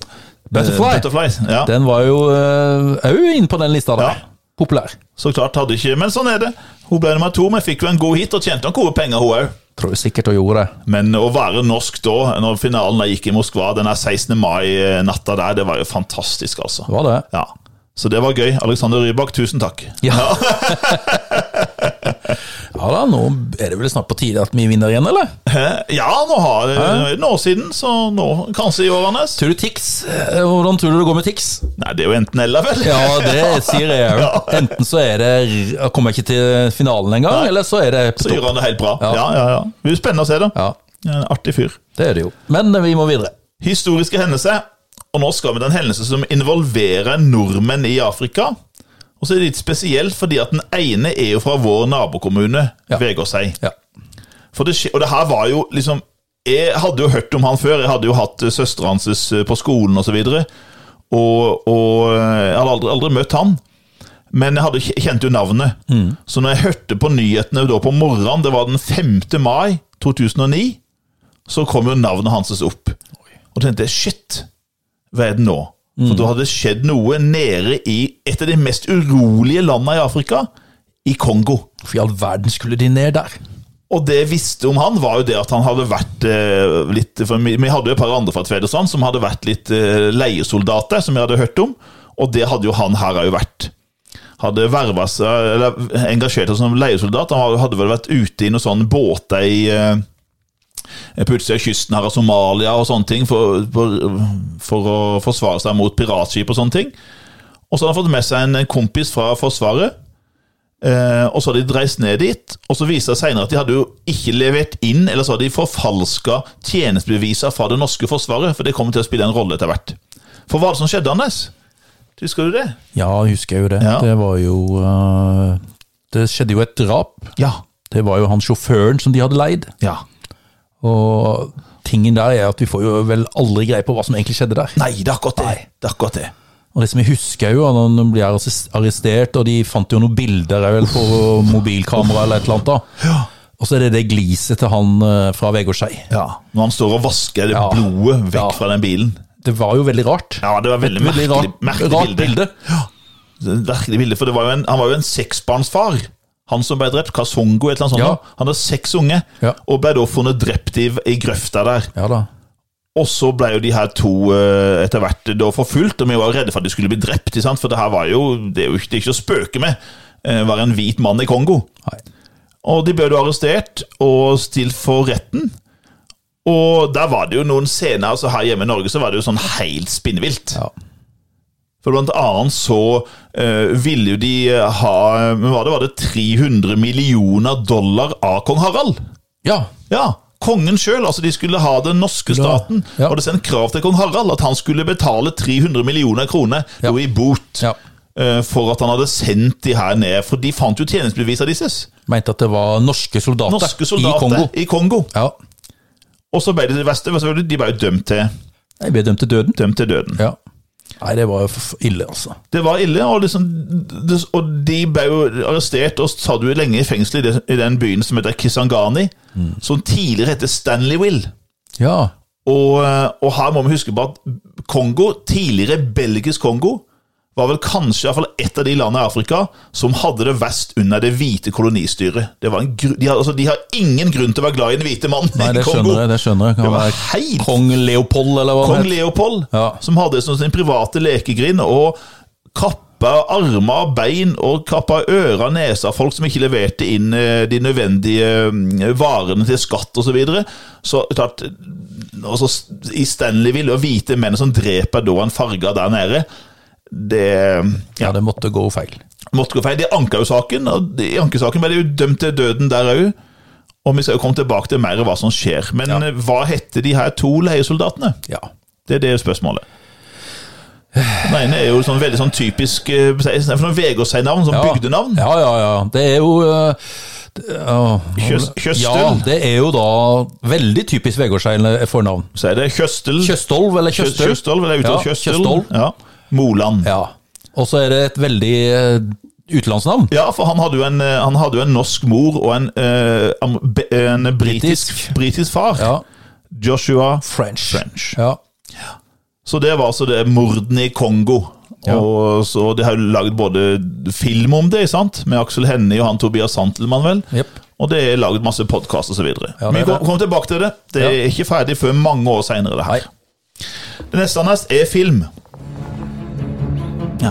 Speaker 1: Butterfly.
Speaker 2: Eh, Butterflies, ja.
Speaker 1: Den var jo òg inne på den lista der.
Speaker 2: Ja.
Speaker 1: Populær.
Speaker 2: Så klart hadde ikke Men sånn er det. Hun ble nummer to, men fikk jo en god hit og tjente nok gode penger, hun òg.
Speaker 1: Tror jeg sikkert hun gjorde det.
Speaker 2: Men å være norsk da, når finalen da gikk i Moskva, den her 16. mai-natta eh, der, det var jo fantastisk, altså.
Speaker 1: Det var det.
Speaker 2: Ja. Så det var gøy. Alexander Rybak, tusen takk.
Speaker 1: Ja. ja da, nå er det vel snart på tide at vi vinner igjen, eller?
Speaker 2: Eh, Ja, nå har det er noen år siden, så nå kanskje i årene.
Speaker 1: Tror du Tix? eh, Hvordan tror du det går med Tix?
Speaker 2: Nei, det er jo enten eller, vel.
Speaker 1: Ja, det sier jeg òg. Enten så er det r- kommer jeg ikke til finalen engang, eller så er det på
Speaker 2: Så
Speaker 1: topp.
Speaker 2: gjør han det helt bra.
Speaker 1: Ja.
Speaker 2: Ja, ja, ja. Det blir spennende å se, da.
Speaker 1: Ja,
Speaker 2: En artig fyr.
Speaker 1: det er det jo. Men eh, vi må videre.
Speaker 2: Historiske hendelser. Og nå skal vi til en hendelse som involverer nordmenn i Afrika. Og så er det litt spesielt fordi at den ene er jo fra vår nabokommune,
Speaker 1: Ja.
Speaker 2: Vegårshei.
Speaker 1: Ja.
Speaker 2: For det, skje- og det her var jo liksom Jeg hadde jo hørt om han før. Jeg hadde jo hatt eh, søsteren hans eh, på skolen osv. Og, så videre. og, og eh, jeg hadde aldri, aldri møtt han. Men jeg hadde, kj- kjente jo navnet.
Speaker 1: Mm.
Speaker 2: Så når jeg hørte på nyhetene da på morgenen, det var den 5. mai 2009, så kom jo navnet hans opp. Og da tenkte jeg shit, hva er det nå? For da hadde det skjedd noe nede i et av de mest urolige landene i Afrika, i Kongo.
Speaker 1: Hvorfor i all verden skulle de ned der?
Speaker 2: Og det jeg visste om han, var jo det at han hadde vært eh, litt For vi, vi hadde jo et par andre fra Tvedestrand sånn, som hadde vært litt eh, leiesoldater, som jeg hadde hørt om, og det hadde jo han her òg vært. Hadde verva seg, eller engasjert seg som leiesoldat. Han hadde vel vært ute i noen sånne båter i eh, på utsida av kysten her av Somalia og sånne ting, for, for, for å forsvare seg mot piratskip og sånne ting. Og så hadde han fått med seg en kompis fra Forsvaret. Eh, og så hadde de dreist ned dit, og så viste det seg senere at de hadde jo ikke levert inn, eller så hadde de forfalska tjenestebeviser fra det norske forsvaret, for det kommer til å spille en rolle etter hvert. For hva er det som skjedde, Anders? Husker du det?
Speaker 1: Ja, husker jeg jo det.
Speaker 2: Ja.
Speaker 1: Det var jo eh, Det skjedde jo et drap.
Speaker 2: Ja.
Speaker 1: Det var jo han sjåføren som de hadde leid.
Speaker 2: ja.
Speaker 1: Og tingen der er at vi får jo vel aldri greie på hva som egentlig skjedde der.
Speaker 2: Nei, det er akkurat det. Det er akkurat det.
Speaker 1: Og det som jeg husker er jo, at han blir arres- arrestert, og de fant jo noen bilder her vel på mobilkamera eller et eller annet da. Og så er det det gliset til han eh, fra Vegårshei.
Speaker 2: Ja. Når han står og vasker det
Speaker 1: Ja.
Speaker 2: blodet vekk
Speaker 1: Ja.
Speaker 2: fra den bilen.
Speaker 1: Det var jo veldig rart.
Speaker 2: Ja, det var veldig merkelig,
Speaker 1: rart,
Speaker 2: merkelig
Speaker 1: rart
Speaker 2: bilde.
Speaker 1: bilde.
Speaker 2: Merkelig bilde, for det var jo en, Han var jo en seksbarnsfar. Han som ble drept, Kasongo, et eller annet sånt.
Speaker 1: Ja.
Speaker 2: da. Han hadde seks unge,
Speaker 1: Ja.
Speaker 2: og ble da funnet drept i, i grøfta der.
Speaker 1: Ja da.
Speaker 2: Og så ble jo de her to eh, etter hvert da forfulgt, og vi var redde for at de skulle bli drept. ikke Sant? For det her var jo det er jo ikke, det er ikke å spøke med. Eh, eh, være en hvit mann i Kongo.
Speaker 1: Nei.
Speaker 2: Og de ble jo arrestert og stilt for retten. Og der var det jo noen scener altså Her hjemme i Norge så var det jo sånn helt spinnvilt.
Speaker 1: Ja.
Speaker 2: For blant annet så eh, ville jo de ha men var det, var det 300 millioner dollar av kong Harald?
Speaker 1: ja.
Speaker 2: Ja, kongen sjøl. Altså de skulle ha den norske
Speaker 1: Ja,
Speaker 2: staten.
Speaker 1: ja.
Speaker 2: Og det sendt krav til kong Harald at han skulle betale 300 millioner kroner
Speaker 1: Ja.
Speaker 2: jo i bot
Speaker 1: ja.
Speaker 2: eh, for at han hadde sendt de her ned. For de fant jo tjenestebevisene deres.
Speaker 1: Mente at det var norske soldater,
Speaker 2: Norske soldater
Speaker 1: i Kongo.
Speaker 2: I Kongo.
Speaker 1: Ja.
Speaker 2: Og så ble det det verste, selvfølgelig, de ble jo dømt til,
Speaker 1: Jeg ble dømt til døden.
Speaker 2: dømt til døden.
Speaker 1: Ja. Nei, det var jo for ille, altså.
Speaker 2: Det var ille, og, liksom, det, og de ble jo arrestert og satt jo lenge i fengsel i, det, i den byen som heter Kisangani,
Speaker 1: Mm.
Speaker 2: som tidligere heter Stanleyville.
Speaker 1: Ja.
Speaker 2: Og, eh, og her må vi huske på at Kongo, tidligere belgisk Kongo, var vel kanskje i hvert fall et av de landene i Afrika som hadde det verst under det hvite kolonistyret. Det var en gru, de, har, altså, de har ingen grunn til å være glad i den hvite mannen
Speaker 1: Nei,
Speaker 2: i
Speaker 1: det
Speaker 2: Kongo.
Speaker 1: skjønner jeg. det skjønner jeg.
Speaker 2: Det
Speaker 1: Kan
Speaker 2: var
Speaker 1: være
Speaker 2: helt
Speaker 1: Kong Leopold, eller hva
Speaker 2: Kong
Speaker 1: han het.
Speaker 2: Leopold,
Speaker 1: Ja.
Speaker 2: som hadde som sin private lekegrind, og kappa armer og bein og kappa ører og neser av folk som ikke leverte inn eh, de nødvendige eh, varene til skatt osv. Så videre. så klart, også s- i Stanleyville og hvite menn som dreper da en farga der nede det ja,
Speaker 1: Ja, det måtte gå feil.
Speaker 2: måtte gå feil. De anka jo saken, og de- i ankesaken ble de jo dømt til døden der òg. Og vi skal jo komme tilbake til mer av hva som skjer. Men
Speaker 1: Ja.
Speaker 2: eh, hva heter de her to leiesoldatene?
Speaker 1: Ja.
Speaker 2: Det er det spørsmålet. Den ene er jo sånn veldig sånn typisk eh, for noen Vegårshei-navn, sånn
Speaker 1: Ja.
Speaker 2: bygdenavn.
Speaker 1: Ja, ja, ja. Det er jo eh, det- ja,
Speaker 2: Kjøs- Kjøstøl.
Speaker 1: Ja, det er jo da veldig typisk Vegårshei fornavn.
Speaker 2: Så er det Kjøstel.
Speaker 1: Kjøstolv eller
Speaker 2: Kjø-
Speaker 1: Kjøstøl.
Speaker 2: Kjøstolv, eller uttalt
Speaker 1: Ja,
Speaker 2: Kjøstel.
Speaker 1: Kjøstolv.
Speaker 2: Ja. Moland. Ja.
Speaker 1: Ja. Og så er det et veldig eh, utenlandsnavn.
Speaker 2: for han hadde, jo en, eh, han hadde jo en norsk mor og en, eh, am- be- en britisk,
Speaker 1: Britisk.
Speaker 2: britisk far.
Speaker 1: Ja.
Speaker 2: Joshua
Speaker 1: French.
Speaker 2: French.
Speaker 1: Ja.
Speaker 2: Så det var altså det mordene i Kongo.
Speaker 1: Ja.
Speaker 2: Og så De har jo lagd både film om det, sant? med Aksel Hennie og han Tobias Santelmann, vel.
Speaker 1: Jepp.
Speaker 2: Og det er laget masse podkast osv. videre
Speaker 1: Ja, det
Speaker 2: Vi
Speaker 1: er
Speaker 2: kom-
Speaker 1: det.
Speaker 2: kommer tilbake til det. Det er
Speaker 1: Ja.
Speaker 2: ikke ferdig før mange år seinere. Det, her.
Speaker 1: Nei.
Speaker 2: det neste hans er film. Ja.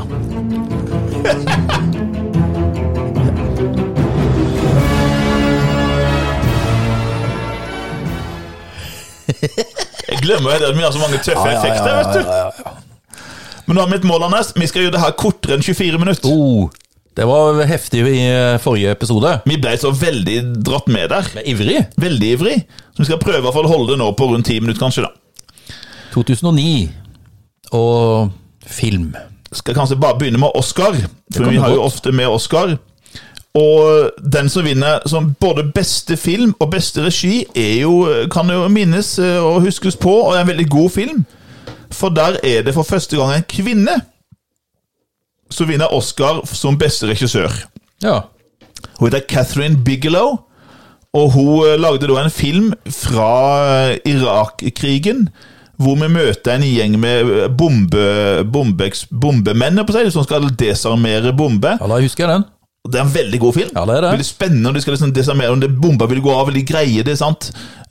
Speaker 2: Jeg glemmer jo det, vi har så mange tøffe effekter, vet
Speaker 1: ja, ja.
Speaker 2: du. Men nå har vi et mål, Anders. Vi skal gjøre det her kortere enn 24 minutter.
Speaker 1: Oh, det var heftig i eh, forrige episode.
Speaker 2: Vi ble så veldig dratt med der.
Speaker 1: Jeg er Ivrig.
Speaker 2: Veldig ivrig. Så vi skal prøve i hvert fall å holde det nå på rundt 10 minutter, kanskje. da.
Speaker 1: 2009 og film.
Speaker 2: skal kanskje bare begynne med Oscar, for
Speaker 1: kan
Speaker 2: vi
Speaker 1: du
Speaker 2: har jo
Speaker 1: godt.
Speaker 2: ofte med Oscar. Og den som vinner som både beste film og beste regi, er jo, kan jo minnes eh, og huskes på, og er en veldig god film. For der er det for første gang en kvinne som vinner Oscar som beste regissør.
Speaker 1: Ja.
Speaker 2: Hun heter Catherine Bigelow, og hun eh, lagde da en film fra eh, Irak-krigen, hvor vi møter en gjeng med eh, bombe, bombeks- bombemenn, på seg, som skal desarmere bombe.
Speaker 1: ja, da husker jeg den.
Speaker 2: Og Det er en veldig god film.
Speaker 1: Ja, det er det.
Speaker 2: Veldig spennende, og de skal liksom desarmere, om det bomba vil gå av, vil de greie det, sant?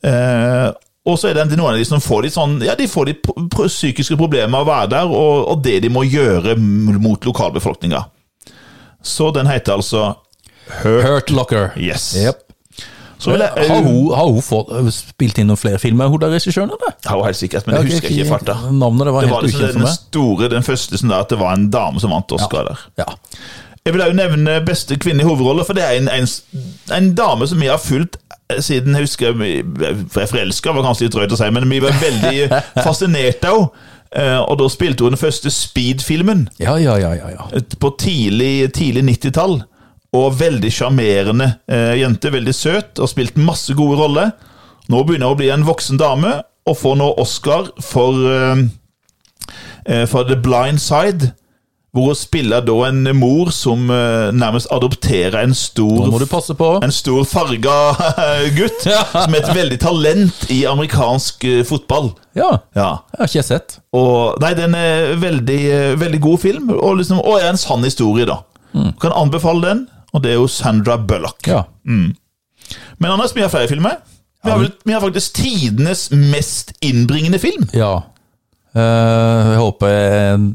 Speaker 2: Eh, og så er det noen av de som får litt sånn, ja, de får litt pro- pro- psykiske problemer av å være der, og, og det de må gjøre mot lokalbefolkninga. Så den heter altså Her
Speaker 1: Hurt Locker.
Speaker 2: Yes.
Speaker 1: Jep.
Speaker 2: Så vil jeg,
Speaker 1: Har hun, har hun fått, eh, spilt inn noen flere filmer, hun der regissøren, eller?
Speaker 2: Ja, hun er helt sikkert, men jeg husker ikke i farta.
Speaker 1: Navnet det var
Speaker 2: Det var
Speaker 1: helt
Speaker 2: liksom
Speaker 1: ukjent
Speaker 2: den
Speaker 1: for meg.
Speaker 2: store, den første som da, at det var en dame som vant Oscar der.
Speaker 1: Ja.
Speaker 2: Jeg vil også nevne beste kvinne i hovedrolle, for det er en, en, en dame som jeg har fulgt eh, siden jeg husker vi- For jeg forelska, var kanskje litt drøyt å si, men vi var veldig fascinert av henne. Eh, Og da spilte hun den første Speed-filmen
Speaker 1: Ja, ja, ja, ja, ja.
Speaker 2: et- på tidlig, tidlig 90-tall. Og veldig sjarmerende eh, jente. Veldig søt og spilt masse gode roller. Nå begynner hun å bli en voksen dame og får nå Oscar for, eh, eh, for The Blind Side. Hvor hun spiller da en mor som eh, nærmest adopterer en
Speaker 1: Nå
Speaker 2: stor,
Speaker 1: må du passe på.
Speaker 2: en stor farga gutt.
Speaker 1: Ja.
Speaker 2: Som er et veldig talent i amerikansk eh, fotball.
Speaker 1: Ja,
Speaker 2: Ja.
Speaker 1: jeg har ikke jeg sett.
Speaker 2: Og, nei, den er veldig, eh, veldig god film, og, liksom, og er en sann historie, da. Kan anbefale den, og det er jo Sandra Bullock.
Speaker 1: Mm. Ja.
Speaker 2: Men Anders, vi har flere filmer. Vi har, vel, vi har faktisk tidenes mest innbringende film.
Speaker 1: ja. Eh, jeg håper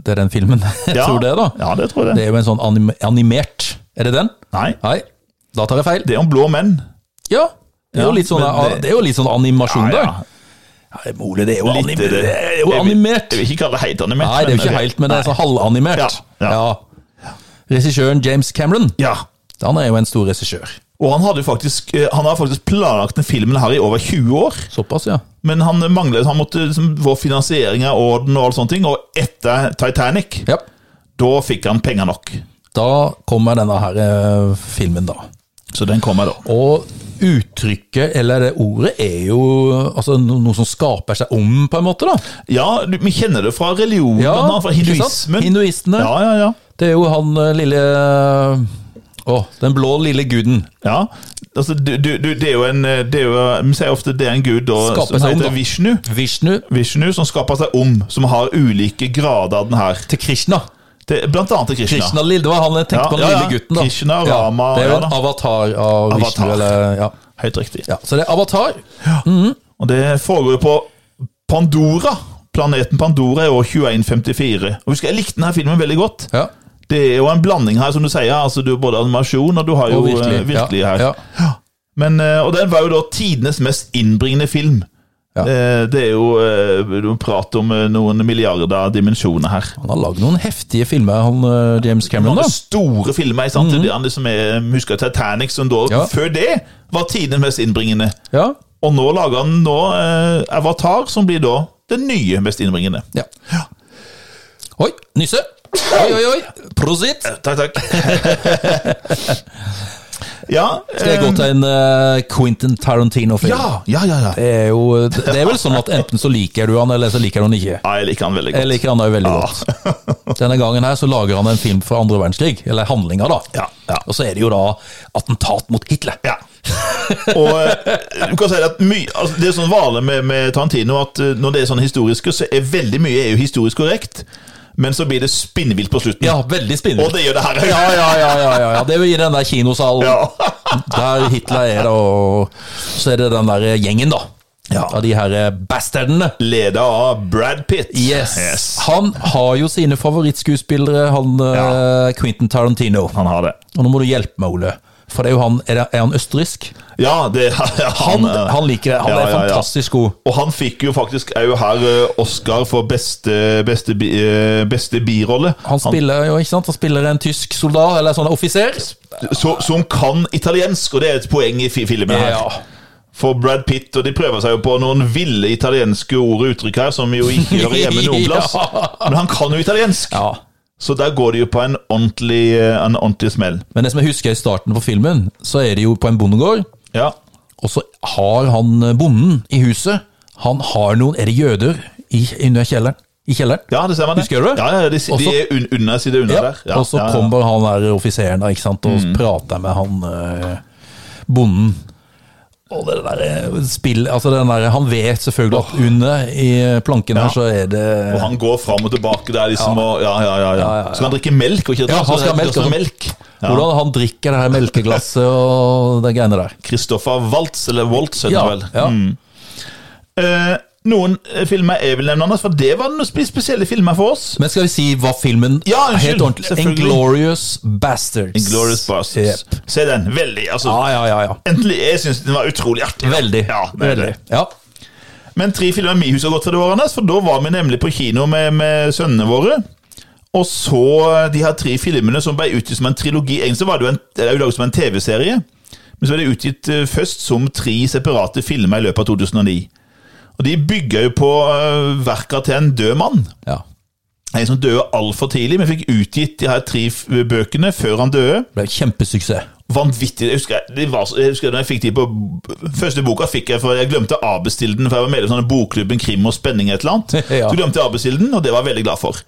Speaker 1: det er den filmen. Jeg tror det, da.
Speaker 2: Ja, det tror jeg.
Speaker 1: Det er jo en sånn anim animert Er det den?
Speaker 2: Nei,
Speaker 1: Nei, da tar jeg feil.
Speaker 2: det er om blå menn.
Speaker 1: Ja, det er jo
Speaker 2: Ja,
Speaker 1: litt sånn,
Speaker 2: men det-
Speaker 1: det er jo litt sånn animasjon
Speaker 2: Ja, ja.
Speaker 1: der. Ja, det er mulig, det er jo,
Speaker 2: Litt
Speaker 1: anime,
Speaker 2: er det.
Speaker 1: det er jo animert.
Speaker 2: Jeg vil ikke kalle det helt animert.
Speaker 1: Nei, det er jo
Speaker 2: men-
Speaker 1: ikke helt, men det er så halvanimert.
Speaker 2: Ja, ja.
Speaker 1: Regissøren James Cameron,
Speaker 2: Ja.
Speaker 1: han er jo en stor regissør.
Speaker 2: Og han, hadde jo faktisk, eh, han har faktisk planlagt den filmen her i over 20 år,
Speaker 1: Såpass, ja.
Speaker 2: men han manglet, han måtte liksom, få finansieringa og den og alle sånne ting, og etter Titanic,
Speaker 1: Ja.
Speaker 2: da fikk han penger nok.
Speaker 1: Da kommer denne her eh, filmen, da.
Speaker 2: Så den kommer da.
Speaker 1: Og uttrykket, eller det ordet, er jo altså, no- noe som skaper seg om, på en måte. da.
Speaker 2: Ja, du, vi kjenner det fra religionen,
Speaker 1: Ja,
Speaker 2: blant annet fra
Speaker 1: ikke sant?
Speaker 2: hinduismen.
Speaker 1: Hinduistene.
Speaker 2: Ja, ja, ja.
Speaker 1: Det er jo han eh, lille eh, Å, den blå lille guden.
Speaker 2: ja. Altså, du, du, du, det er jo en eh, det er jo, Vi sier ofte det er en gud da,
Speaker 1: Skaper
Speaker 2: som
Speaker 1: seg om,
Speaker 2: heter
Speaker 1: da.
Speaker 2: Vishnu.
Speaker 1: Vishnu
Speaker 2: Vishnu som skaper seg om, som har ulike grader av den her.
Speaker 1: til Krishna.
Speaker 2: Det, blant annet til Krishna.
Speaker 1: Krishna lille, det var han jeg tenkte
Speaker 2: Ja,
Speaker 1: på den
Speaker 2: ja, ja.
Speaker 1: lille gutten. da.
Speaker 2: Krishna, Rama,
Speaker 1: det er jo
Speaker 2: ja
Speaker 1: en
Speaker 2: da.
Speaker 1: avatar av Vishnu.
Speaker 2: Avatar.
Speaker 1: eller... Ja.
Speaker 2: Helt riktig.
Speaker 1: Ja, så det er avatar.
Speaker 2: Og det foregår jo på Pandora. Planeten Pandora i år 2154. Og husker Jeg likte denne filmen veldig godt.
Speaker 1: Ja.
Speaker 2: Det er jo en blanding her, som du sier. altså Du har både animasjon og du har jo
Speaker 1: Og
Speaker 2: virkelig,
Speaker 1: eh, virkelig.
Speaker 2: virkelig
Speaker 1: ja.
Speaker 2: her.
Speaker 1: Ja.
Speaker 2: Men, eh, og den var jo da tidenes mest innbringende film.
Speaker 1: Ja.
Speaker 2: Eh, Det er jo eh, du prat om eh, noen milliarder dimensjoner her.
Speaker 1: Han har lagd noen heftige filmer, han eh, James Cameron.
Speaker 2: Mange
Speaker 1: da.
Speaker 2: store filmer. sant? Det er han liksom er, vi Husker Titanic, som da
Speaker 1: Mhm. Ja.
Speaker 2: før det var tidenes mest innbringende.
Speaker 1: Ja.
Speaker 2: Og nå lager han nå eh, Avatar, som blir da den nye mest innbringende.
Speaker 1: ja. Oi, nysse. Oi, oi, oi. Prosit.
Speaker 2: Takk, takk. ja eh,
Speaker 1: Skal jeg gå til en eh, Quentin Tarantino-film?
Speaker 2: Ja, ja, ja. ja.
Speaker 1: Det er jo Det er vel sånn at enten så liker du han, eller så liker du han ikke.
Speaker 2: ja jeg liker han veldig godt.
Speaker 1: Jeg liker han jo veldig godt. Denne gangen her så lager han en film fra andre verdenskrig, eller handlinger, da.
Speaker 2: Ja, ja.
Speaker 1: Og så er det jo da attentat mot Hitler.
Speaker 2: Ja. Og eh, du kan si at mye, altså Det er sånn vanlig med, med Tarantino at eh, når det er sånn historiske, så er veldig mye er jo historisk korrekt, men så blir det spinnvilt på slutten.
Speaker 1: Ja, veldig
Speaker 2: Og
Speaker 1: spinnvilt.
Speaker 2: det gjør det her.
Speaker 1: Ja, ja, ja, ja, ja, ja. Det er jo i den der kinosalen
Speaker 2: Ja.
Speaker 1: der Hitler er, da. Og så er det den der gjengen, da.
Speaker 2: Ja.
Speaker 1: Av de her bastardene.
Speaker 2: Leda av Brad Pitt.
Speaker 1: Yes. Han har jo sine favorittskuespillere, han eh, Quentin Tarantino.
Speaker 2: Han har det.
Speaker 1: Og nå må du hjelpe meg, Ole. For det er jo han Er, det, er han østerriksk?
Speaker 2: Ja, det ja,
Speaker 1: Han,
Speaker 2: eh,
Speaker 1: han liker det. Han
Speaker 2: ja,
Speaker 1: er
Speaker 2: ja, ja.
Speaker 1: fantastisk god.
Speaker 2: Og han fikk jo faktisk òg her eh, Oscar for beste, beste, bi- eh, beste birolle.
Speaker 1: Han spiller jo, ikke sant? Han spiller en tysk soldat, eller sånn offiser.
Speaker 2: så, som kan italiensk, og det er et poeng i fi- filmen her.
Speaker 1: Ja.
Speaker 2: For Brad Pitt, og de prøver seg jo på noen ville italienske ord og uttrykk her, som jo ikke hører hjemme noen plass.
Speaker 1: Ja.
Speaker 2: Men han kan jo italiensk,
Speaker 1: ja.
Speaker 2: så der går det jo på en ordentlig, eh, en ordentlig smell.
Speaker 1: Men det som jeg husker i starten på filmen, så er det jo på en bondegård,
Speaker 2: Ja.
Speaker 1: og så har han eh, bonden i huset Han har noen Er det jøder i, under kjelleren? I kjelleren?
Speaker 2: ja, det ser man. det.
Speaker 1: Husker du det?
Speaker 2: Ja, ja de, si- de
Speaker 1: Også-
Speaker 2: er un under side under der. Ja,
Speaker 1: og så
Speaker 2: ja, Mm. ja.
Speaker 1: kommer han der offiseren da, ikke sant? og prater med han eh, bonden. Og det der eh, spill, altså den der, Han vet selvfølgelig at under i planken her, så er det
Speaker 2: Og han går fram og tilbake der liksom og Ja, ja, ja. ja.
Speaker 1: ja, ja.
Speaker 2: Så kan han drikke melk, og ikke
Speaker 1: Ja, han skal ha melk,
Speaker 2: Også
Speaker 1: altså.
Speaker 2: melk. Ja.
Speaker 1: Hvordan han drikker det her melkeglasset og de greiene der.
Speaker 2: Christopher Waltz, eller Waltz, heter
Speaker 1: Ja,
Speaker 2: han vel. Mm.
Speaker 1: ja.
Speaker 2: Eh, noen eh, filmer jeg vil nevne, Anders, for det var noen spe- spesielle filmer for oss.
Speaker 1: Men skal vi si hva filmen
Speaker 2: Ja, unnskyld,
Speaker 1: het ordentlig?
Speaker 2: selvfølgelig.
Speaker 1: Inglorious Bastards.
Speaker 2: Glorious Bastards.
Speaker 1: Yep.
Speaker 2: Se den. Veldig. altså
Speaker 1: Ja, ja, ja, ja.
Speaker 2: Endelig, Jeg syns den var utrolig artig.
Speaker 1: Veldig.
Speaker 2: Ja, det er
Speaker 1: veldig.
Speaker 2: det.
Speaker 1: Ja.
Speaker 2: Men tre filmer mi husker godt fra det året, Anders, for da var vi nemlig på kino med, med sønnene våre. Og så eh, de her tre filmene som ble utgitt som en trilogi. Egentlig så var det jo en, det er jo laget som en TV-serie, men så ble det utgitt eh, først som tre separate filmer i løpet av 2009. Og de bygger jo på uh, verka til en død mann.
Speaker 1: ja.
Speaker 2: En som døde altfor tidlig, men fikk utgitt de her tre f- bøkene før han døde.
Speaker 1: Det ble kjempesuksess.
Speaker 2: Vanvittig. Jeg husker, jeg, de var, så- jeg husker når jeg fikk de på Første boka fikk jeg, for jeg glemte å avbestille den, for jeg var medlem av sånne bokklubben Krim og Spenning et eller annet.
Speaker 1: Ja.
Speaker 2: Så glemte jeg å avbestille den, og det var jeg veldig glad for.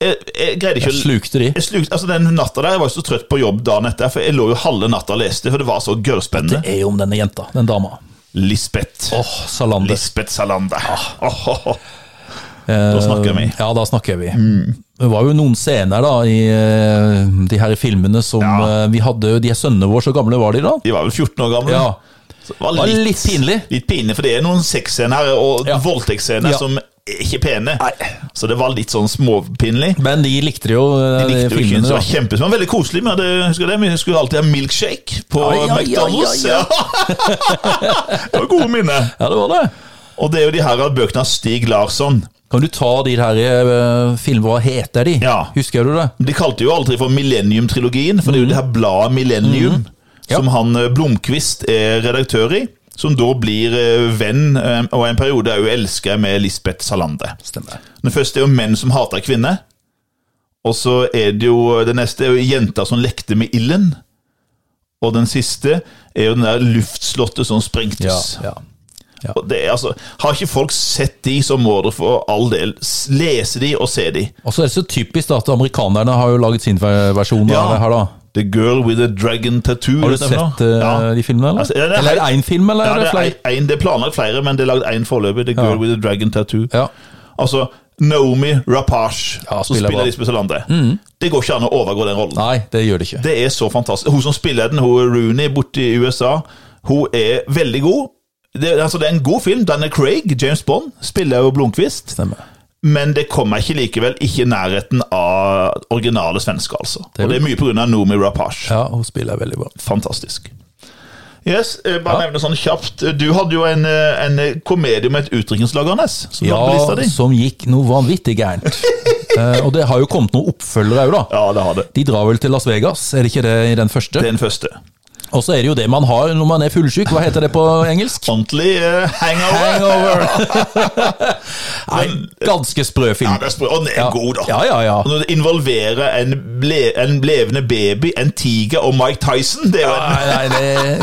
Speaker 2: Jeg, jeg greide ikke å-
Speaker 1: Slukte de.
Speaker 2: jeg slukte, altså Den natta der, jeg var så trøtt på jobb dagen etter, for jeg lå jo halve natta og leste, for det var så gørrspennende.
Speaker 1: Er jo om denne jenta, den dama.
Speaker 2: Lisbeth.
Speaker 1: Åh, Ah. Salander.
Speaker 2: Lisbeth Salander. Åh, åh, åh.
Speaker 1: Da
Speaker 2: snakker vi.
Speaker 1: Eh,
Speaker 2: Mm.
Speaker 1: Ja, da snakker vi. Det var jo noen scener da i eh, de her filmene som
Speaker 2: Ja.
Speaker 1: eh, vi hadde. De er sønnene våre, så gamle var de da?
Speaker 2: De var vel 14 år gamle.
Speaker 1: Ja.
Speaker 2: Så det var
Speaker 1: Det var
Speaker 2: litt,
Speaker 1: litt pinlig.
Speaker 2: litt pinlig, for det er noen sexscener og
Speaker 1: Ja.
Speaker 2: voldtektsscener
Speaker 1: Ja.
Speaker 2: som er ikke pene. Så det var litt sånn småpinlig.
Speaker 1: Men de likte det jo, eh,
Speaker 2: De likte jo ikke,
Speaker 1: filmene. da.
Speaker 2: så det var kjempesmart. Det var Veldig koselig. Vi hadde, husker du det? Vi skulle alltid ha milkshake på
Speaker 1: Ai, ai, ai,
Speaker 2: McDonald's.
Speaker 1: ai, ai.
Speaker 2: det var gode minner.
Speaker 1: Ja, det var det.
Speaker 2: Og det er jo de her av bøkene av Stig Larsson.
Speaker 1: Kan du ta de der eh, filmene, hva heter de?
Speaker 2: Ja.
Speaker 1: Husker du det?
Speaker 2: De kalte jo aldri for Millennium-trilogien, for det er jo det her bladet Millennium,
Speaker 1: Mhm. Ja.
Speaker 2: som han eh, Blomkvist er redaktør i. Som da blir eh, venn, eh, og en periode er jo elsker med Lisbeth Salander.
Speaker 1: Stemmer.
Speaker 2: Den første er jo menn som hater kvinner. Og så er det jo Det neste er jo jenter som lekte med ilden. Og den siste er jo den der luftslottet som
Speaker 1: Ja,
Speaker 2: sprengtes.
Speaker 1: ja.
Speaker 2: Og det er altså, Har ikke folk sett de, så må dere for all del s- lese de og se de.
Speaker 1: Og så er det så typisk da, at amerikanerne har jo laget sin ver- versjon
Speaker 2: Ja.
Speaker 1: av det her, da.
Speaker 2: The Girl with a Dragon Tattoo.
Speaker 1: Har du
Speaker 2: heter den for
Speaker 1: sett
Speaker 2: noe?
Speaker 1: eh, de filmene, eller?
Speaker 2: Altså, ja, det er
Speaker 1: eller er det
Speaker 2: helt-
Speaker 1: én film, eller
Speaker 2: Ja,
Speaker 1: er det flere?
Speaker 2: det, er en, det er planlagt flere, men det er lagd én foreløpig. The
Speaker 1: Ja.
Speaker 2: Girl with a Dragon Tattoo.
Speaker 1: Ja.
Speaker 2: Altså Naomi Rapace,
Speaker 1: Ja,
Speaker 2: som
Speaker 1: spiller
Speaker 2: spiller
Speaker 1: bra. Mm.
Speaker 2: Lisbeth Salander. Det går ikke an å overgå den rollen.
Speaker 1: Nei, det gjør det ikke.
Speaker 2: Det er så fantastisk. Hun som spiller den, hun Rooney borte i USA, hun er veldig god. Det, altså, det er en god film. Denne Craig, James Bond, spiller jo Blomkvist.
Speaker 1: Stemmer.
Speaker 2: Men det kommer ikke likevel ikke i nærheten av originale svensker, altså.
Speaker 1: Det er
Speaker 2: og det er mye pga. Noomi Rapace.
Speaker 1: Ja, hun spiller veldig bra.
Speaker 2: Fantastisk. Yes, eh, bare nevne sånn kjapt. Du hadde jo en, eh, en komedie med et utdrikningslag, Anders. Som ja,
Speaker 1: Ja,
Speaker 2: på lista di.
Speaker 1: som gikk noe vanvittig gærent. Eh, og det har jo kommet noen oppfølgere òg, da.
Speaker 2: Ja, det har det.
Speaker 1: De drar vel til Las Vegas, er det ikke det i den første?
Speaker 2: Det er den første.
Speaker 1: Og så er det jo det man har når man er fullsyk, hva heter det på engelsk?
Speaker 2: Ordentlig eh, hangover.
Speaker 1: Hangover! Nei, ganske sprø
Speaker 2: Ja,
Speaker 1: film.
Speaker 2: det er sprø. Og den er god, da.
Speaker 1: Ja, ja, ja.
Speaker 2: Og når det involverer en, ble, en levende baby, en tiger og Mike Tyson det er jo en,
Speaker 1: Nei, nei,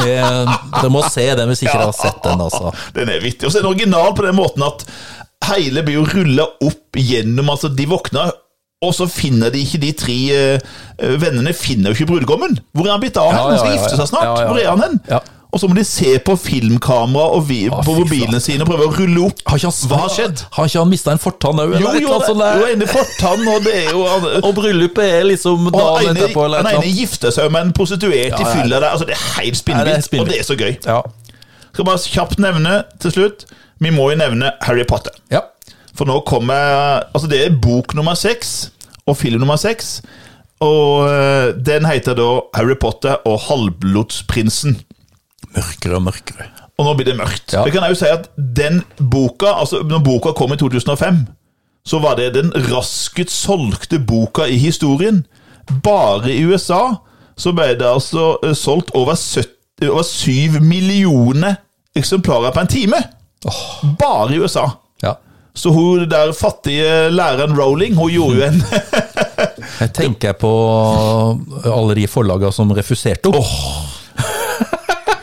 Speaker 1: det er, Dere må se den hvis ikke dere har sett den, altså.
Speaker 2: Den er vittig. Og så er den original på den måten at hele blir jo rulla opp gjennom altså De våkner, og så finner de ikke de tre eh, eh, vennene finner jo ikke brudgommen. Hvor er han blitt av?
Speaker 1: Ja,
Speaker 2: hen? han skal
Speaker 1: ja, ja,
Speaker 2: gifte
Speaker 1: ja.
Speaker 2: seg snart.
Speaker 1: Ja, ja,
Speaker 2: Hvor er han hen?
Speaker 1: ja.
Speaker 2: Og så må de se på filmkamera og vi, på
Speaker 1: fy
Speaker 2: mobilene sine og prøve å rulle opp
Speaker 1: Har ikke han,
Speaker 2: hva har skjedd.
Speaker 1: Har ikke han mista en fortann òg,
Speaker 2: Jo,
Speaker 1: eller et
Speaker 2: jo,
Speaker 1: eller annet sånt? sånn der?
Speaker 2: det- jo, inne i fortann, og det er jo
Speaker 1: Og bryllupet er liksom
Speaker 2: Og
Speaker 1: dagen
Speaker 2: den ene,
Speaker 1: etterpå, eller
Speaker 2: den
Speaker 1: et eller
Speaker 2: ene
Speaker 1: annet.
Speaker 2: gifter seg med en prostituert
Speaker 1: ja.
Speaker 2: i fylla der. Altså, det er helt
Speaker 1: Ja, det er
Speaker 2: spinnvilt,
Speaker 1: spinnvilt.
Speaker 2: og det er så gøy.
Speaker 1: Ja.
Speaker 2: Skal bare kjapt nevne til slutt Vi må jo nevne Harry Potter.
Speaker 1: ja.
Speaker 2: For nå kommer Altså, det er bok nummer seks og film nummer seks. Og eh, den heter da Harry Potter og halvblodsprinsen.
Speaker 1: Mørkere og mørkere.
Speaker 2: Og nå blir det mørkt.
Speaker 1: Ja.
Speaker 2: Det kan jeg jo si at den boka, altså når boka kom i 2005, så var det den raskest solgte boka i historien. Bare i USA så ble det altså eh, solgt over, 70, over 7 millioner eksemplarer på en time. Bare i USA.
Speaker 1: Ja.
Speaker 2: Så hun der fattige læreren Rowling, hun gjorde jo en
Speaker 1: Jeg tenker på eh, alle de forlagene som refuserte henne.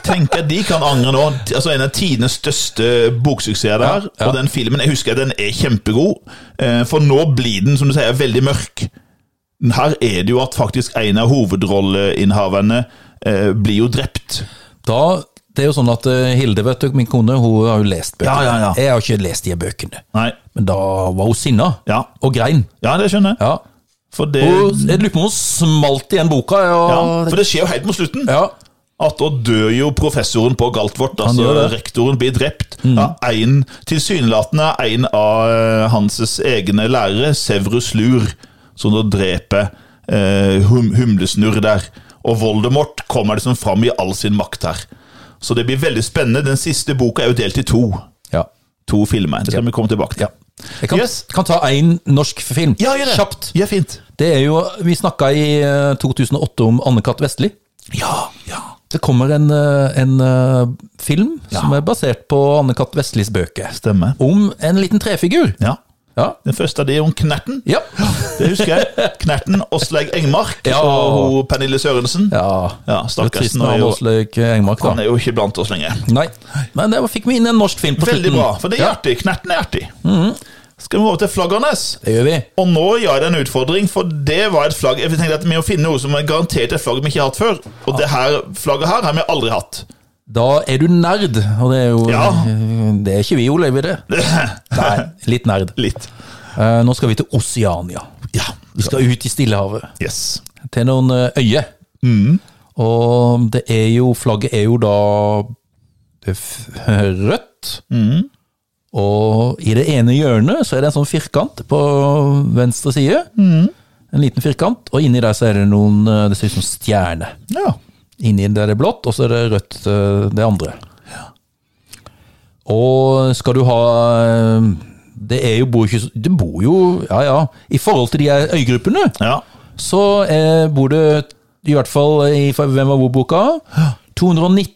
Speaker 2: Tenk at de kan angre nå. Altså En av tidenes største boksuksesser der.
Speaker 1: Ja, ja.
Speaker 2: Og den filmen, jeg husker at den er kjempegod. eh, For nå blir den, som du sier, veldig mørk. Her er det jo at faktisk en av hovedrolleinnehaverne eh, blir jo drept.
Speaker 1: Da, det er jo sånn at eh, Hilde, vet du, min kone, hun har jo lest bøkene.
Speaker 2: Ja, ja, ja.
Speaker 1: Jeg har ikke lest de bøkene.
Speaker 2: Nei.
Speaker 1: Men da var hun sinna,
Speaker 2: Ja,
Speaker 1: og grein.
Speaker 2: ja det skjønner jeg.
Speaker 1: Ja.
Speaker 2: For det,
Speaker 1: Hun, jeg lurer på om hun smalt igjen boka. Og,
Speaker 2: ja, for det skjer jo helt mot slutten.
Speaker 1: ja.
Speaker 2: At da dør jo professoren på Galtvort, altså
Speaker 1: gjør det.
Speaker 2: rektoren blir drept. av en, tilsynelatende av en av eh, hans egne lærere, Severus Lur, som da dreper eh, hum, Humlesnurr der. Og Voldemort kommer liksom fram i all sin makt her. Så det blir veldig spennende. Den siste boka er jo delt i to.
Speaker 1: ja.
Speaker 2: To filmer. Det skal vi komme tilbake til. Ja,
Speaker 1: Jeg kan,
Speaker 2: Yes.
Speaker 1: kan ta én norsk film
Speaker 2: gjør det.
Speaker 1: kjapt.
Speaker 2: Ja, fint.
Speaker 1: Det er jo, Vi snakka i eh, 2008 om Anne-Cath. Vestli.
Speaker 2: Ja, ja.
Speaker 1: Det kommer en, eh, en eh, film som er basert på Anne-Cath. Vestlis bøker.
Speaker 2: Stemmer.
Speaker 1: Om en liten trefigur.
Speaker 2: Ja.
Speaker 1: Ja.
Speaker 2: Den første av de er om Knerten.
Speaker 1: Ja.
Speaker 2: Det husker jeg. Knerten, Åslaug Engmark
Speaker 1: Ja.
Speaker 2: og hun Pernille Sørensen.
Speaker 1: ja.
Speaker 2: Ja, stakkars.
Speaker 1: Trist
Speaker 2: Nå
Speaker 1: med
Speaker 2: er
Speaker 1: han
Speaker 2: jo,
Speaker 1: Åslaug Engmark,
Speaker 2: han
Speaker 1: da.
Speaker 2: er jo ikke blant oss lenger.
Speaker 1: Nei. Men det var- fikk vi inn en norsk film på
Speaker 2: Veldig
Speaker 1: slutten.
Speaker 2: bra, for det er
Speaker 1: ja, Mhm.
Speaker 2: artig. Knerten er artig. Skal vi gå over til flaggernes?
Speaker 1: det gjør vi.
Speaker 2: Og nå gjør jeg det en utfordring, for det var et flagg Jeg tenkte at Vi må finne noe som er garantert et flagg vi ikke har hatt før. Og det her flagget her har vi aldri hatt.
Speaker 1: Da er du nerd, og det er jo
Speaker 2: Ja.
Speaker 1: Det er ikke vi, Ole, vi det. Nei, litt nerd.
Speaker 2: Litt.
Speaker 1: Eh, Nå skal vi til Oseania.
Speaker 2: Ja.
Speaker 1: Vi skal ut i Stillehavet,
Speaker 2: Yes. Mm.
Speaker 1: til noen eh, øyer. Og det er jo Flagget er jo da det er f- rødt. Og i det ene hjørnet så er det en sånn firkant på venstre side. En liten firkant, og inni der så er det noen eh, Det ser ut som stjerne.
Speaker 2: Ja.
Speaker 1: Inni der er det blått, og så er det rødt, eh, det andre. Og skal du ha eh, Det er jo bor ikke så- Det bor jo Ja, ja. I forhold til de her øygruppene,
Speaker 2: ja.
Speaker 1: så eh, bor det I hvert fall i Hvem var hvor-boka 219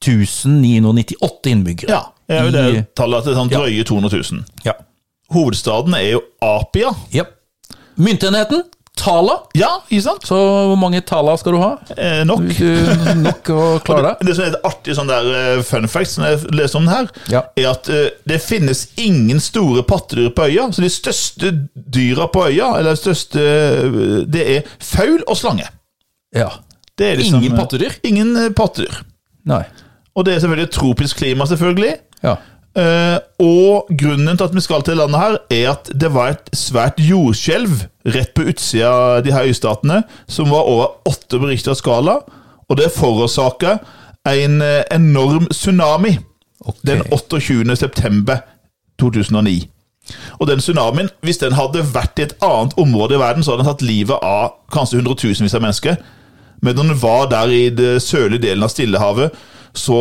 Speaker 1: 998 innbyggere.
Speaker 2: Ja, det er jo det
Speaker 1: I-
Speaker 2: tallet til sånn drøye 200 000.
Speaker 1: Ja.
Speaker 2: Hovedstaden er jo Apia.
Speaker 1: ja. Myntenheten, Tala.
Speaker 2: Ja, ikke sant?
Speaker 1: Så hvor mange Tala skal du ha?
Speaker 2: Eh, nok.
Speaker 1: Hvis du nok å klare deg?
Speaker 2: Det som er et artig sånn der eh, fun fact som jeg leste om den her,
Speaker 1: Ja.
Speaker 2: er at eh, det finnes ingen store pattedyr på øya. Så de største dyra på øya, eller de største eh, Det er faul og slange.
Speaker 1: Ja.
Speaker 2: Det er liksom, eh,
Speaker 1: Ingen pattedyr?
Speaker 2: Ingen eh, pattedyr.
Speaker 1: Nei.
Speaker 2: Og det er selvfølgelig et tropisk klima, selvfølgelig.
Speaker 1: Ja.
Speaker 2: Eh, og grunnen til at vi skal til landet her, er at det var et svært jordskjelv rett på utsida av de her øystatene, som var over åtte på Richters skala, og det forårsaka en eh, enorm tsunami
Speaker 1: Ok.
Speaker 2: den 28. september 2009. Og den tsunamien, hvis den hadde vært i et annet område i verden, så hadde den tatt livet av kanskje hundretusenvis av mennesker. Men når den var der i det sørlige delen av Stillehavet, så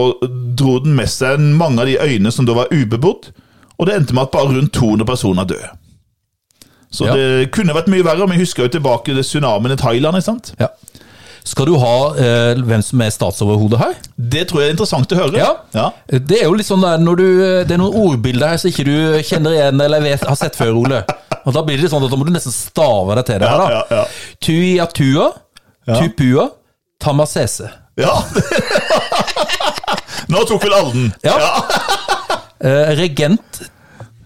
Speaker 2: dro den med seg mange av de øyene som da var ubebodd, og det endte med at bare rundt 200 personer døde. Så
Speaker 1: Ja.
Speaker 2: det kunne vært mye verre, og vi husker jo tilbake til tsunamien i Thailand. ikke sant?
Speaker 1: ja. Skal du ha eh, hvem som er statsoverhodet her?
Speaker 2: Det tror jeg er interessant å høre.
Speaker 1: Ja.
Speaker 2: ja.
Speaker 1: Det er jo litt sånn der når du Det er noen ordbilder her som ikke du kjenner igjen eller vet, har sett før, Ole. Og da blir det litt sånn at da må du nesten stave deg til det her, da.
Speaker 2: Ja, ja, ja.
Speaker 1: Tuiatua, Tupua, Tamasese.
Speaker 2: ja. Nå tok vel alle den.
Speaker 1: Ja. Eh, regent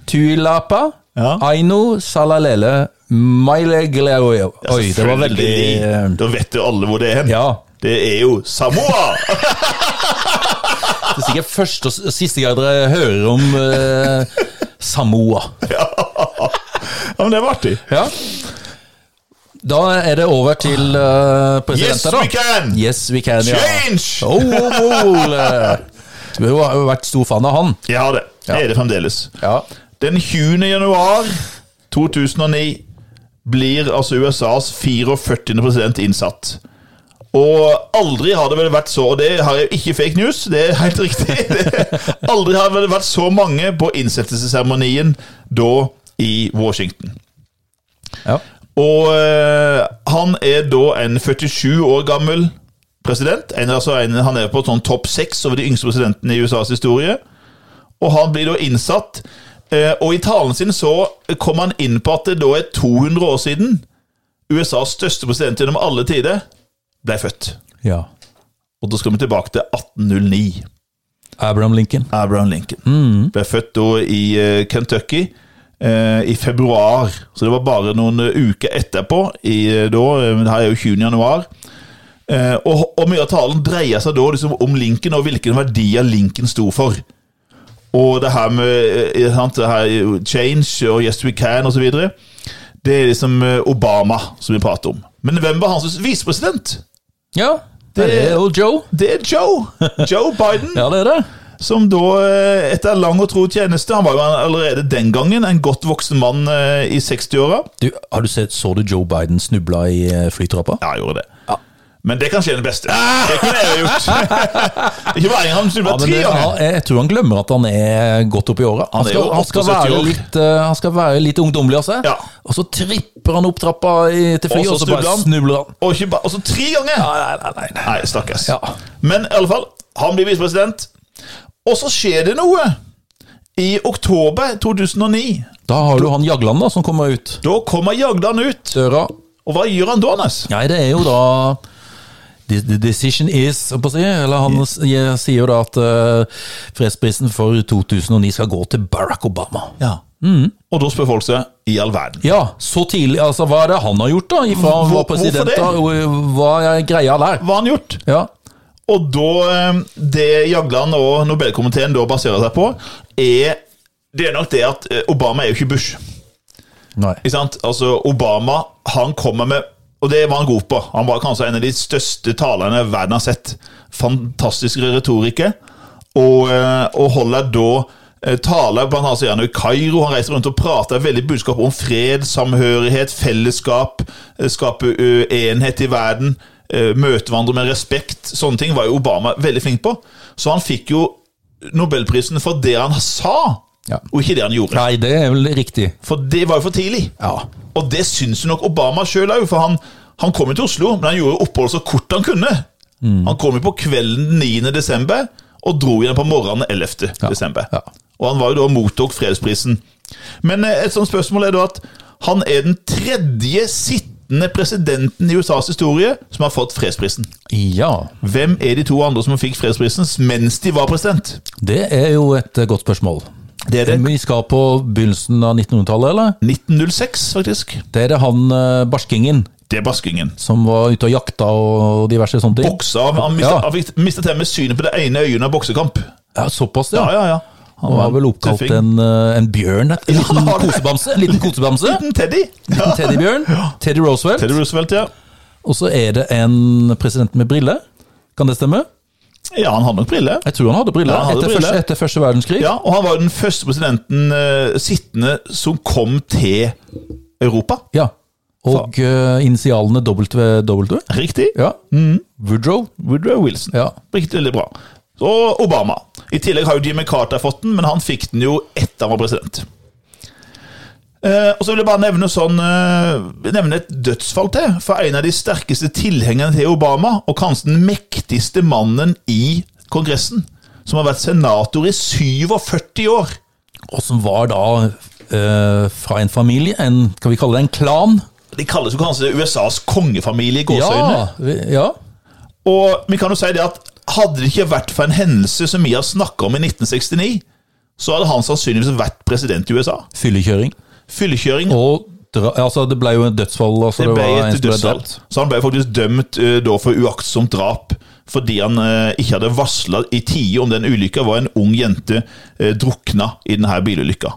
Speaker 1: Tuilapa,
Speaker 2: Ja.
Speaker 1: Aino Salalele, Maile Gleoyo. Oi, det var veldig eh,
Speaker 2: Selvfølgelig. Da vet jo alle hvor det er hen.
Speaker 1: Ja.
Speaker 2: Det er jo Samoa!
Speaker 1: Det er sikkert første og s- siste gang dere hører om eh, Samoa.
Speaker 2: Ja, men det var artig.
Speaker 1: Ja. Da er det over til eh, presidenten,
Speaker 2: Yes,
Speaker 1: da.
Speaker 2: we can!
Speaker 1: Yes, we can! Ja.
Speaker 2: Change!
Speaker 1: Oh, oh, Ole! Du har jo vært stor fan av han.
Speaker 2: Ja, det Det er det fremdeles.
Speaker 1: Ja.
Speaker 2: Den 20. januar 2009 blir altså USAs 44. president innsatt. Og aldri har det vel vært så Og det har jeg ikke fake news, det er helt riktig. aldri har det vel vært så mange på innsettelsesseremonien da i Washington.
Speaker 1: ja.
Speaker 2: Og eh, han er da en 47 år gammel president. En, altså en, han er på sånn topp seks over de yngste presidentene i USAs historie. Og han blir da innsatt. Eh, og i talen sin så kom han inn på at det da er 200 år siden USAs største president gjennom alle tider ble født.
Speaker 1: ja.
Speaker 2: Og da skal vi tilbake til 1809.
Speaker 1: Abraham Lincoln.
Speaker 2: Abraham Lincoln. Ble født da i eh, Kentucky eh, i februar, så det var bare noen eh, uker etterpå. I, eh, da, eh, det her er jo 20. januar. Eh, og, og mye av talen dreier seg da liksom om Lincoln og hvilke verdier Lincoln sto for. Og det her med eh, ikke sant, det her, change og Yes We Can osv. Det er liksom eh, Obama som vi prater om. Men hvem var hans visepresident?
Speaker 1: Ja, det
Speaker 2: Det-
Speaker 1: er jo Joe.
Speaker 2: Det er Joe. Joe Biden.
Speaker 1: Ja, det er det.
Speaker 2: Som da, eh, etter lang og tro tjeneste Han var jo allerede den gangen en godt voksen mann eh, i 60-åra.
Speaker 1: Du, har du sett, Så du Joe Biden snubla i eh, flytrappa?
Speaker 2: Ja, jeg gjorde det. Men det kan skje den beste. Det kunne jeg jo gjort. Ikke bare en gang, men
Speaker 1: Ja, men
Speaker 2: tre
Speaker 1: det, ja,
Speaker 2: ganger.
Speaker 1: jeg tror han glemmer at han er godt oppi året. Han
Speaker 2: er
Speaker 1: skal,
Speaker 2: jo
Speaker 1: han skal,
Speaker 2: 78
Speaker 1: være,
Speaker 2: år.
Speaker 1: litt, eh, han skal være litt ungdommelig av seg,
Speaker 2: Ja.
Speaker 1: og så tripper han opp trappa i, til flyet,
Speaker 2: Og så
Speaker 1: og så bare
Speaker 2: snubler han.
Speaker 1: snubler han.
Speaker 2: Og ikke bare, altså tre ganger!
Speaker 1: Nei, nei, nei, nei.
Speaker 2: Nei, stakkars.
Speaker 1: Ja.
Speaker 2: Men i alle fall, han blir visepresident. Og så skjer det noe. I oktober 2009.
Speaker 1: Da har du han Jagland da, som kommer ut
Speaker 2: Da kommer Jagland ut.
Speaker 1: døra.
Speaker 2: Og hva gjør han da, Nes?
Speaker 1: Nei, det er jo da The the decision is, holdt på å si. Eller han s- jeg sier jo da at eh, fredsprisen for 2009 skal gå til Barack Obama.
Speaker 2: Og da spør folk seg i all verden.
Speaker 1: Ja, så tidlig. Altså, hva er det han har gjort, da? Ifra han var
Speaker 2: Hvor- hvorfor
Speaker 1: president,
Speaker 2: det?
Speaker 1: da? og Hva er greia der?
Speaker 2: Hva har han gjort?
Speaker 1: Ja.
Speaker 2: Og da, eh, det Jagland og Nobelkomiteen da baserer seg på, er det er nok det at eh, Obama er jo ikke Bush.
Speaker 1: Nei.
Speaker 2: Ikke sant? Altså, Obama, han kommer med Og det var han god på. Han var kanskje en av de største talerne verden har sett. Fantastisk retoriker. Og, eh, og holder da eh, taler blant annet så gjerne i Kairo. Han reiser rundt og prater veldig budskap om fred, samhørighet, fellesskap, eh, skape ø, enhet i verden, eh, møte hverandre med respekt. Sånne ting var jo Obama veldig flink på. Så han fikk jo Nobelprisen for det han sa,
Speaker 1: Ja.
Speaker 2: og ikke det han gjorde.
Speaker 1: Nei, det er vel riktig.
Speaker 2: For det var jo for tidlig.
Speaker 1: Ja.
Speaker 2: Og det syns jo nok Obama sjøl òg, for han, han kom jo til Oslo, men han gjorde oppholdet så kort han kunne.
Speaker 1: Mm.
Speaker 2: Han kom jo på kvelden den 9. desember, og dro igjen på morgenen den 11. desember.
Speaker 1: ja.
Speaker 2: Og han var jo da og mottok fredsprisen. Men eh, et sånt spørsmål er da at han er den tredje sittende presidenten i USAs historie som har fått fredsprisen.
Speaker 1: Ja,
Speaker 2: Hvem er de to andre som fikk fredsprisen mens de var president?
Speaker 1: det er jo et eh, godt spørsmål.
Speaker 2: Det er det.
Speaker 1: Vi skal på begynnelsen av 1900-tallet, eller?
Speaker 2: 1906, faktisk.
Speaker 1: Det er det han eh, barskingen
Speaker 2: Det er baskingen.
Speaker 1: som var ute og jakta og diverse sånne ting.
Speaker 2: Boksa, han mistet,
Speaker 1: Ja.
Speaker 2: han fikk- mistet til og med synet på det ene øyet under boksekamp.
Speaker 1: Ja, såpass,
Speaker 2: Ja, ja, ja.
Speaker 1: Han var vel oppkalt
Speaker 2: tøffing.
Speaker 1: en, eh, en bjørn, en liten
Speaker 2: han var det.
Speaker 1: kosebamse. En liten kosebamse.
Speaker 2: Liten Teddy.
Speaker 1: En teddybjørn. Teddy Roosevelt.
Speaker 2: Teddy Roosevelt, ja.
Speaker 1: Og så er det en president med briller. Kan det stemme?
Speaker 2: Ja, han hadde nok briller.
Speaker 1: Jeg tror han hadde briller
Speaker 2: Ja, han hadde
Speaker 1: etter,
Speaker 2: briller.
Speaker 1: Første, etter første verdenskrig.
Speaker 2: Ja, og han var jo den første presidenten eh, sittende som kom til Europa.
Speaker 1: Ja. Og eh, initialene WW.
Speaker 2: Riktig.
Speaker 1: Ja.
Speaker 2: Mm.
Speaker 1: Woodrow.
Speaker 2: Woodrow Wilson.
Speaker 1: Ja.
Speaker 2: Riktig, veldig bra. Og Obama. I tillegg har jo Jimmy Carter fått den, men han fikk den jo etter han var president. Eh, og så vil jeg bare nevne, sånn, eh, nevne et dødsfall til. For en av de sterkeste tilhengerne til Obama, og kanskje den mektigste mannen i Kongressen, som har vært senator i 47 år
Speaker 1: Og som var da eh, fra en familie, en, skal vi kalle det en klan?
Speaker 2: De kalles jo kanskje USAs kongefamilie i gåseøynene.
Speaker 1: Ja, vi- ja.
Speaker 2: Og vi kan jo si det at hadde det ikke vært for en hendelse som vi har snakka om i 1969, så hadde han sannsynligvis vært president i USA.
Speaker 1: Fyllekjøring.
Speaker 2: Fyllekjøring
Speaker 1: Og dra, altså, det ble jo et dødsfall. Altså,
Speaker 2: det
Speaker 1: det
Speaker 2: ble
Speaker 1: var en
Speaker 2: et
Speaker 1: som ble
Speaker 2: dødsfall.
Speaker 1: drept.
Speaker 2: Så han ble faktisk dømt eh, da for uaktsomt drap fordi han eh, ikke hadde varsla i tide om den ulykka var en ung jente eh, drukna i denne bilulykka.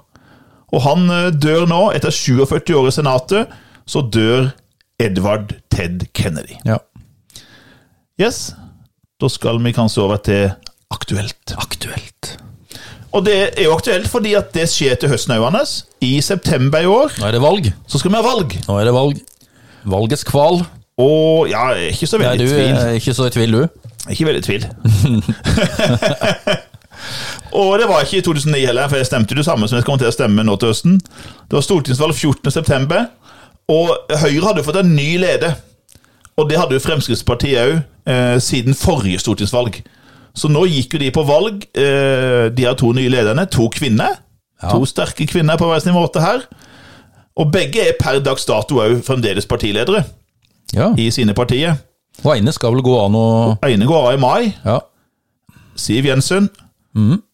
Speaker 2: Og han eh, dør nå, etter 47 år i Senatet, så dør Edvard Ted Kennedy.
Speaker 1: Ja.
Speaker 2: Yes, Da skal vi kanskje over til aktuelt.
Speaker 1: Aktuelt.
Speaker 2: Og det er jo aktuelt fordi at det skjer til høsten òg, Anders. I september i år
Speaker 1: Nå er det valg.
Speaker 2: så skal vi ha valg.
Speaker 1: Nå er det valg. Valgets kval.
Speaker 2: Og ja, jeg er ikke så
Speaker 1: Nei,
Speaker 2: veldig
Speaker 1: du eh,
Speaker 2: i tvil.
Speaker 1: er ikke så i tvil, du.
Speaker 2: Jeg er Ikke veldig i tvil. og det var ikke i 2009 heller, for jeg stemte jo det samme som jeg kommer til å stemme nå til høsten. Det var stortingsvalg 14.9., og Høyre hadde jo fått en ny leder. Og det hadde jo Fremskrittspartiet òg, eh, siden forrige stortingsvalg. Så nå gikk jo de på valg, eh, de her to nye lederne. To kvinner. To sterke kvinner på hver sin måte her. Og begge er per dags dato òg fremdeles partiledere
Speaker 1: Ja.
Speaker 2: i sine partier.
Speaker 1: Og Eine skal vel gå an å
Speaker 2: Ene går av i mai,
Speaker 1: Ja.
Speaker 2: Siv Jensen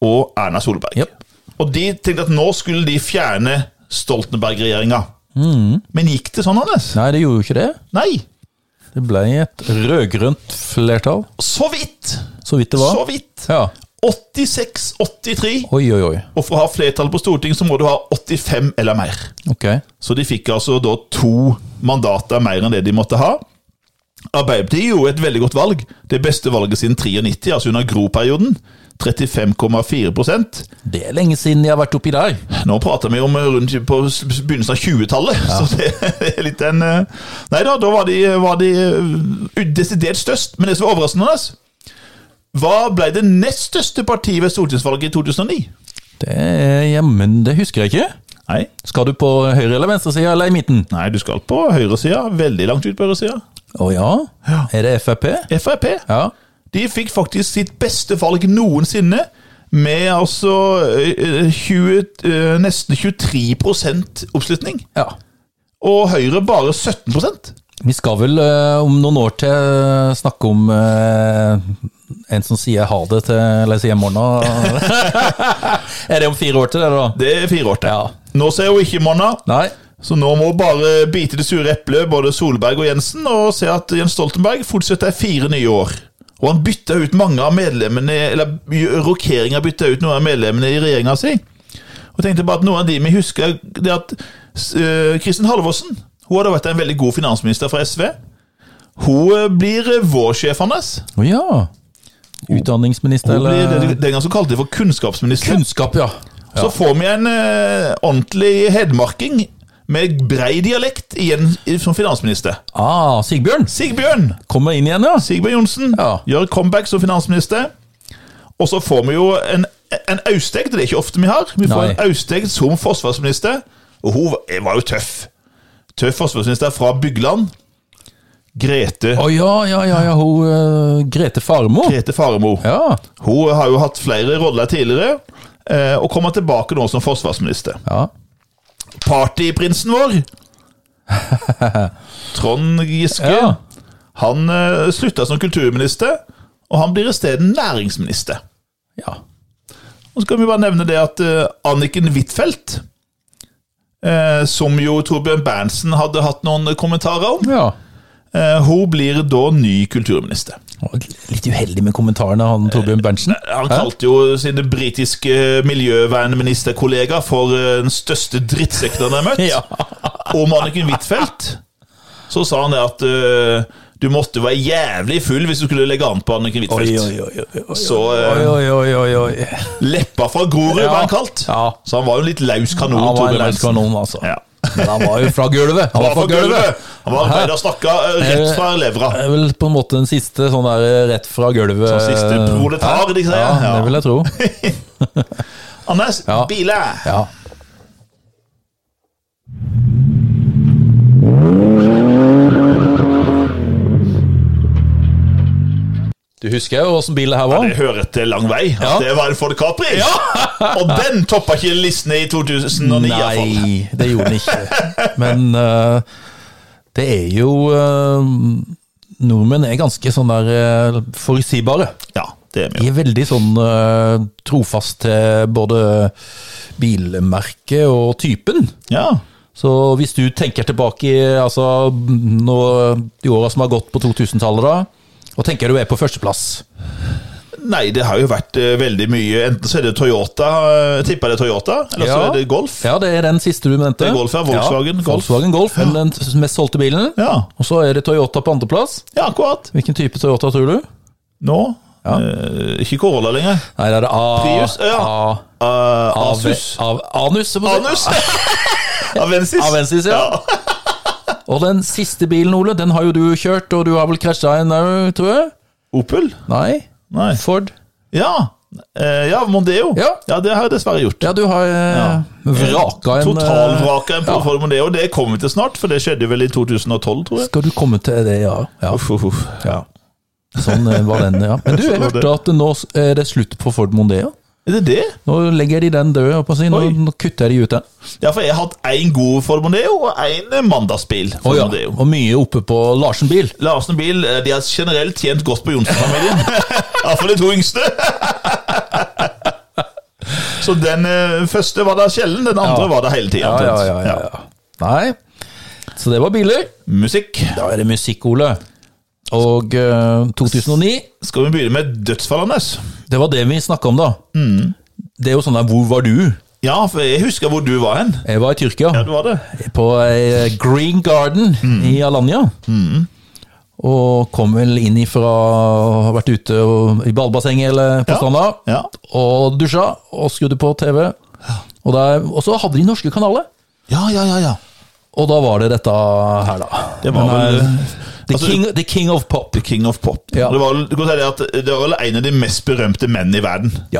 Speaker 2: og Erna Solberg.
Speaker 1: Mm. Jep.
Speaker 2: Og de tenkte at nå skulle de fjerne Stoltenberg-regjeringa.
Speaker 1: Mm.
Speaker 2: Men gikk det sånn, Anders?
Speaker 1: Nei, det gjorde jo ikke det.
Speaker 2: Nei.
Speaker 1: Det ble et rød-grønt flertall,
Speaker 2: Så vidt!
Speaker 1: så vidt det var.
Speaker 2: Så vidt.
Speaker 1: Ja.
Speaker 2: 86-83.
Speaker 1: Oi, oi, oi.
Speaker 2: Og for å ha flertallet på Stortinget så må du ha 85 eller mer.
Speaker 1: Ok.
Speaker 2: Så de fikk altså da to mandater mer enn det de måtte ha. Arbeiderpartiet gjorde et veldig godt valg. Det beste valget siden 93, altså under Gro-perioden. 35,4
Speaker 1: Det er lenge siden jeg har vært oppi der.
Speaker 2: Nå prater vi om eh, rundt på s- s- begynnelsen av 20-tallet, så det er litt en eh, Nei da, da var de, var de eh, desidert størst. Men det som var overraskende, Anders, hva ble det nest største partiet ved stortingsvalget i 2009?
Speaker 1: Det er Jammen, det husker jeg ikke.
Speaker 2: Nei,
Speaker 1: Skal du på høyre- eller venstresida eller i midten?
Speaker 2: nei du skal på høyresida. Veldig langt ut på høyresida.
Speaker 1: Å ja? Er det Frp?
Speaker 2: Frp.
Speaker 1: Ja.
Speaker 2: De fikk faktisk sitt beste valg noensinne. Med altså eh, eh, 20, eh, nesten 23 oppslutning.
Speaker 1: ja.
Speaker 2: Og Høyre bare 17
Speaker 1: Vi skal vel eh, om noen år til eh, snakke om eh, en som sier ha det til Eller sier morgenen. er det om fire år til det, da?
Speaker 2: Det er fire år til.
Speaker 1: Ja.
Speaker 2: Nå ser hun ikke Monna,
Speaker 1: Nei?
Speaker 2: så nå må hun bare bite det sure eplet, både Solberg og Jensen, og se at Jens Stoltenberg fortsetter i fire nye år. Og han bytta ut mange av medlemmene, eller rokeringa bytta ut noen av medlemmene i regjeringa si. Og tenkte bare at noen av de vi husker, det er at eh, Kristin Halvorsen Hun hadde vært en veldig god finansminister fra SV. Hun eh, blir eh, vår sjef hans.
Speaker 1: Å ja. Utdanningsminister,
Speaker 2: Hun blir, eh,
Speaker 1: eller
Speaker 2: den gangen så kalte de for kunnskapsminister.
Speaker 1: Kunnskap, ja.
Speaker 2: Så får vi en eh, ordentlig hedmarking med brei dialekt igjen i- som finansminister.
Speaker 1: Ah, Sigbjørn
Speaker 2: Sigbjørn
Speaker 1: kommer inn igjen, ja.
Speaker 2: Sigbjørn Johnsen
Speaker 1: Ja.
Speaker 2: gjør comeback som finansminister. Og så får vi jo en, en Austeg, det er ikke ofte vi har. Vi får
Speaker 1: Nei.
Speaker 2: en Austeg som forsvarsminister, og hun var- var jo tøff. Tøff forsvarsminister fra Bygland. Grete,
Speaker 1: Å ja, ja, ja, ja, hun eh, Grete Farmo.
Speaker 2: Grete Faremo.
Speaker 1: Ja.
Speaker 2: Hun har jo hatt flere roller tidligere, eh, og kommer tilbake nå som forsvarsminister.
Speaker 1: ja.
Speaker 2: Partyprinsen vår, Trond Giske,
Speaker 1: Ja.
Speaker 2: han eh, slutta som kulturminister, og han blir isteden næringsminister.
Speaker 1: ja.
Speaker 2: Og så kan vi bare nevne det at eh, Anniken Huitfeldt, eh, som jo Torbjørn Berntsen hadde hatt noen kommentarer om,
Speaker 1: ja.
Speaker 2: eh, hun blir da ny kulturminister.
Speaker 1: Han var Litt uheldig med kommentarene, han Torbjørn Berntsen.
Speaker 2: Han kalte jo sine britiske miljøvernministerkollegaer for eh, den største drittsekken han har møtt.
Speaker 1: Ja.
Speaker 2: Om Anniken Huitfeldt så sa han det at eh, du måtte være jævlig full hvis du skulle legge an på Annikken
Speaker 1: Oi,
Speaker 2: Huitfeldt.
Speaker 1: oi, oi, oi, oi.
Speaker 2: Så eh,
Speaker 1: Oi, oi, oi, oi, oi.
Speaker 2: leppa fra Grorud
Speaker 1: Ja.
Speaker 2: var han kalt.
Speaker 1: Ja.
Speaker 2: Så han var jo en litt laus kanon.
Speaker 1: Han var en
Speaker 2: Torbjørn
Speaker 1: løs
Speaker 2: Berntsen.
Speaker 1: kanon, altså.
Speaker 2: Ja.
Speaker 1: Men han var jo fra gulvet.
Speaker 2: Han var fra gulvet! Han var arbeider og snakka eh, rett fra levra.
Speaker 1: Det er vel på en måte den siste sånn der eh, rett fra gulvet
Speaker 2: Sånn siste
Speaker 1: eh,
Speaker 2: proletar, de sier.
Speaker 1: Ja,
Speaker 2: Ja.
Speaker 1: det vil jeg tro.
Speaker 2: Anders,
Speaker 1: Ja.
Speaker 2: bile!
Speaker 1: Ja. Du husker jo åssen bil det her var?
Speaker 2: Det hører til lang vei.
Speaker 1: Ja.
Speaker 2: Det var en Ford Capri! og den toppa ikke listene i 2009, iallfall.
Speaker 1: Nei, det gjorde den ikke. Men eh, det er jo eh, Nordmenn er ganske sånn der eh, forutsigbare.
Speaker 2: Ja, det er vi
Speaker 1: De
Speaker 2: jo.
Speaker 1: er veldig sånn eh, trofast til både bilmerket og typen.
Speaker 2: Ja.
Speaker 1: Så hvis du tenker tilbake i, altså, nå, de åra som har gått på 2000-tallet, da, og tenker du er på førsteplass
Speaker 2: Nei, det har jo vært eh, veldig mye Enten så er det Toyota, uh, tipper det er Toyota, eller så
Speaker 1: Ja.
Speaker 2: er det Golf.
Speaker 1: Ja, det er den siste du mente.
Speaker 2: Det er Golf, ja. Volkswagen Golf.
Speaker 1: Volkswagen Golf, den mest solgte bilen.
Speaker 2: Ja,
Speaker 1: Og så er det Toyota på andreplass.
Speaker 2: ja akkurat.
Speaker 1: Hvilken type Toyota tror du?
Speaker 2: Nå eh, Ikke Corolla lenger.
Speaker 1: Nei, det er det A...
Speaker 2: Prius, ja.
Speaker 1: A,
Speaker 2: Eh,
Speaker 1: av,
Speaker 2: Asus.
Speaker 1: Av, anus, jeg må si.
Speaker 2: Anus! Avensis.
Speaker 1: Avensis, ja. Og den siste bilen, Ole, den har jo du kjørt, og du har vel krasja en òg, tror jeg?
Speaker 2: Opel?
Speaker 1: Nei?
Speaker 2: Nei.
Speaker 1: Ford?
Speaker 2: Ja. Eh, ja, Mondeo.
Speaker 1: Ja.
Speaker 2: det har jeg dessverre gjort.
Speaker 1: Ja, du har eh, vraka en eh,
Speaker 2: Totalvraka en Ford Mondeo. Det kommer vi til snart, for det skjedde vel i 2012, tror jeg.
Speaker 1: Skal du komme til det, ja. ja.
Speaker 2: Uff, uff, uff.
Speaker 1: ja. Sånn eh, var den, ja. Men du, jeg
Speaker 2: Sånn var det.
Speaker 1: hørte at nå er det slutt på Ford Mondeo.
Speaker 2: Er det det?
Speaker 1: Nå legger de den død, holdt på å si. Nå,
Speaker 2: Oi.
Speaker 1: nå kutter de ut den.
Speaker 2: Ja, for jeg har hatt én god Ford Mondeo og én mandagsbil. Ford
Speaker 1: Å ja.
Speaker 2: Mondeo.
Speaker 1: Og mye oppe på Larsen bil.
Speaker 2: Larsen Bil eh, de har generelt tjent godt på Johnsen-familien. Iallfall de to yngste. Så den eh, første var der sjelden, den
Speaker 1: Ja.
Speaker 2: andre var der hele tida.
Speaker 1: Ja, ja, ja, ja, ja. Nei. Så det var biler.
Speaker 2: Musikk.
Speaker 1: Da er det musikk, Ole. Og eh, 2009,
Speaker 2: Skal vi begynne med dødsfall, Anders?
Speaker 1: det var det vi snakka om da. Det er jo sånn der, hvor var du?
Speaker 2: Ja, for jeg husker hvor du var hen.
Speaker 1: Jeg var i Tyrkia,
Speaker 2: Ja, du var det.
Speaker 1: på eh, Green Garden i Alanya. Og kom vel inn ifra Har vært ute og, i ballbassenget eller på
Speaker 2: Ja.
Speaker 1: stranda.
Speaker 2: Ja.
Speaker 1: Og dusja, og skrudde på TV. Og, der, og så hadde de norske kanaler.
Speaker 2: Ja, ja, ja, ja.
Speaker 1: Og da var det dette her, da.
Speaker 2: Det var
Speaker 1: Den
Speaker 2: vel
Speaker 1: her- the,
Speaker 2: altså-
Speaker 1: king, the King of Pop.
Speaker 2: The King of Pop.
Speaker 1: Ja.
Speaker 2: Det var vel- du kan si det at det var vel en av de mest berømte mennene i verden.
Speaker 1: Ja.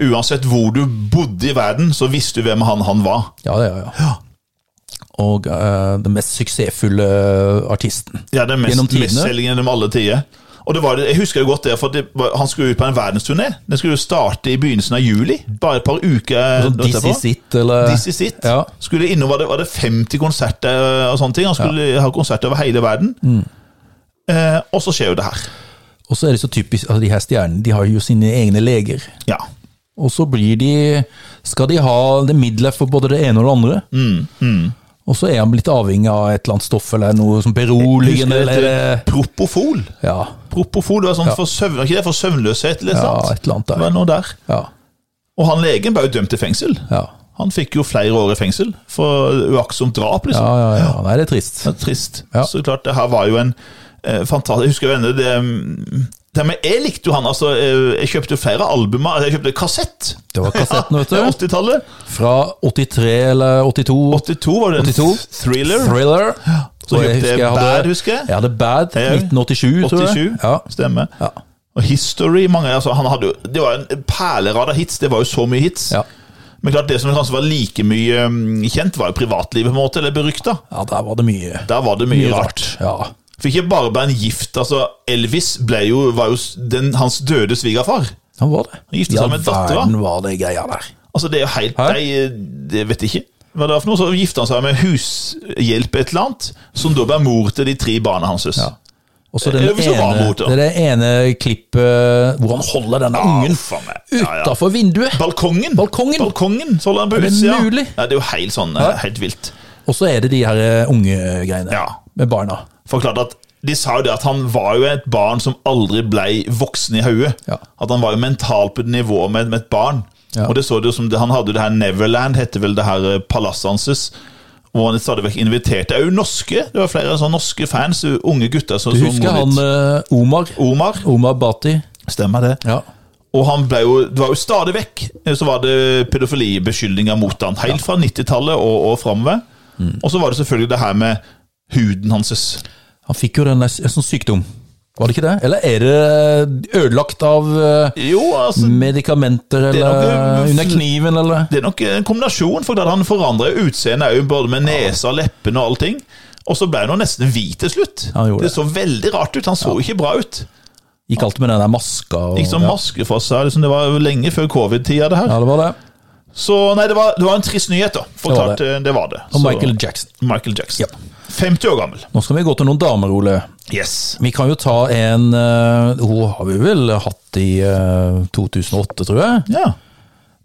Speaker 2: Uansett hvor du bodde i verden, så visste du hvem han han var.
Speaker 1: Ja, ja, ja. Og eh, den mest suksessfulle artisten.
Speaker 2: Ja, den mest,
Speaker 1: Gjennom tidene.
Speaker 2: mestselgende gjennom alle tider. Og det var, det- jeg husker jo godt det, for det var, han skulle ut på en verdensturné. Den skulle jo starte i begynnelsen av juli. Bare et par uker
Speaker 1: Sånn This
Speaker 2: etterpå.
Speaker 1: Is It, eller
Speaker 2: This Is It.
Speaker 1: Ja.
Speaker 2: Skulle innom, var det, var det 50 konserter eh, og sånne ting. Han skulle ha konserter over hele verden.
Speaker 1: Mm.
Speaker 2: Eh, og så skjer jo det her.
Speaker 1: Og så er det så typisk altså, de her stjernene de har jo sine egne leger.
Speaker 2: Ja.
Speaker 1: Og så blir de Skal de ha det midler for både det ene og det andre?
Speaker 2: Mm,
Speaker 1: Og så er han blitt avhengig av et eller annet stoff eller noe som beroligende
Speaker 2: Husker du
Speaker 1: eller
Speaker 2: dette? Propofol.
Speaker 1: ja,
Speaker 2: eh, Propofol, det var sånn for, søvn, ikke det, for søvnløshet, eller
Speaker 1: ja,
Speaker 2: sant?
Speaker 1: et eller annet
Speaker 2: Det var
Speaker 1: der.
Speaker 2: noe der.
Speaker 1: Ja,
Speaker 2: Og han legen ble jo dømt til fengsel.
Speaker 1: ja.
Speaker 2: Han fikk jo flere år i fengsel for uaktsomt drap,
Speaker 1: Ja,
Speaker 2: liksom.
Speaker 1: ja, ja. Nei, det er trist.
Speaker 2: Det er trist.
Speaker 1: Ja.
Speaker 2: Så klart, det her var jo en eh, fantastisk Jeg husker jo ennå det mm, Nei, men jeg likte jo han, altså, eh, jeg kjøpte jo flere albumer, altså, jeg kjøpte kassett.
Speaker 1: Det var kassetten, vet
Speaker 2: Ja,
Speaker 1: du.
Speaker 2: 80-tallet.
Speaker 1: Fra 83 eller 82.
Speaker 2: 82 var det en
Speaker 1: 82.
Speaker 2: thriller.
Speaker 1: Thriller.
Speaker 2: Så
Speaker 1: Og
Speaker 2: kjøpte jeg
Speaker 1: hadde-
Speaker 2: Bad, husker jeg.
Speaker 1: Ja, det er Bad.
Speaker 2: Ja.
Speaker 1: 1987, tror jeg.
Speaker 2: 87,
Speaker 1: Ja.
Speaker 2: stemmer.
Speaker 1: Ja.
Speaker 2: Og History mange, altså, han hadde, jo- Det var en perlerad av hits, det var jo så mye hits.
Speaker 1: Ja.
Speaker 2: Men klart det som kanskje var like mye mm, kjent, var jo privatlivet, på en måte, eller berykta.
Speaker 1: ja, der var det mye,
Speaker 2: Der var det mye,
Speaker 1: mye
Speaker 2: rart.
Speaker 1: rart. Ja.
Speaker 2: For ikke bare ble han gift, altså Elvis ble jo, var jo s- den, hans døde svigerfar.
Speaker 1: Han var det.
Speaker 2: Han giftet seg med dattera.
Speaker 1: verden var det greia der.
Speaker 2: Altså det er jo helt,
Speaker 1: Hæ?
Speaker 2: nei, det vet jeg ikke. Hva det var for noe, så gifta han seg med hushjelp et eller annet, som da ble mor til de tre barna hans. Ja.
Speaker 1: Og så den
Speaker 2: Eller hvis han var
Speaker 1: ene,
Speaker 2: mot, da.
Speaker 1: det er det ene klippet hvor han holder denne ungen
Speaker 2: faen meg. Ja, ja.
Speaker 1: utafor vinduet.
Speaker 2: Balkongen!
Speaker 1: Balkongen.
Speaker 2: Balkongen, Så holder han på
Speaker 1: Er det
Speaker 2: utsida.
Speaker 1: mulig?
Speaker 2: Ja, det er jo helt sånn, eh, helt vilt.
Speaker 1: Og så er det de her eh, unge-greiene
Speaker 2: Ja.
Speaker 1: med barna.
Speaker 2: Forklart at De sa jo det at han var jo et barn som aldri ble voksen i hodet.
Speaker 1: Ja.
Speaker 2: At han var jo mentalt på et nivå med, med et barn.
Speaker 1: Ja.
Speaker 2: Og det så det jo som det, Han hadde jo det her Neverland, heter vel det her eh, palasset hans. Hvor han stadig vekk inviterte òg norske. Det var flere sånne norske fans, unge gutter. som
Speaker 1: Du
Speaker 2: så
Speaker 1: husker
Speaker 2: mot
Speaker 1: han
Speaker 2: litt.
Speaker 1: eh, Omar?
Speaker 2: Omar.
Speaker 1: Omar Bati.
Speaker 2: Stemmer det.
Speaker 1: Ja.
Speaker 2: Og han ble jo, det var jo stadig vekk eh, så var det pedofilibeskyldninger mot han, helt fra 90-tallet og, og framover.
Speaker 1: Mm.
Speaker 2: Og så var det selvfølgelig det her med huden hans.
Speaker 1: Han fikk jo den der s- en sånn sykdom. Var det ikke det? Eller er det ødelagt av eh,
Speaker 2: Jo, altså
Speaker 1: medikamenter
Speaker 2: er
Speaker 1: eller eh,
Speaker 2: nok- eh,
Speaker 1: under kniven eller
Speaker 2: Det er nok en kombinasjon, for at han forandra utseendet òg, både med nesa, leppene og allting. Og så ble han jo nesten hvit til slutt.
Speaker 1: Ja, han gjorde
Speaker 2: det så veldig rart ut. Han så ikke bra ut.
Speaker 1: Gikk alltid med den der maska og
Speaker 2: Gikk som
Speaker 1: ja.
Speaker 2: maske for seg. Liksom, det var jo lenge før covid-tida, det her.
Speaker 1: ja, det var det.
Speaker 2: Så nei, det var, det var en trist nyhet, da.
Speaker 1: Det
Speaker 2: Forklart,
Speaker 1: var
Speaker 2: det var det. var det.
Speaker 1: Og
Speaker 2: Så-
Speaker 1: Michael Jackson.
Speaker 2: Michael Jackson.
Speaker 1: Ja.
Speaker 2: 50 år gammel.
Speaker 1: Nå skal vi gå til noen damer, Ole.
Speaker 2: Yes.
Speaker 1: Vi kan jo ta en eh, Hun har vi vel hatt i eh, 2008, tror jeg.
Speaker 2: Ja.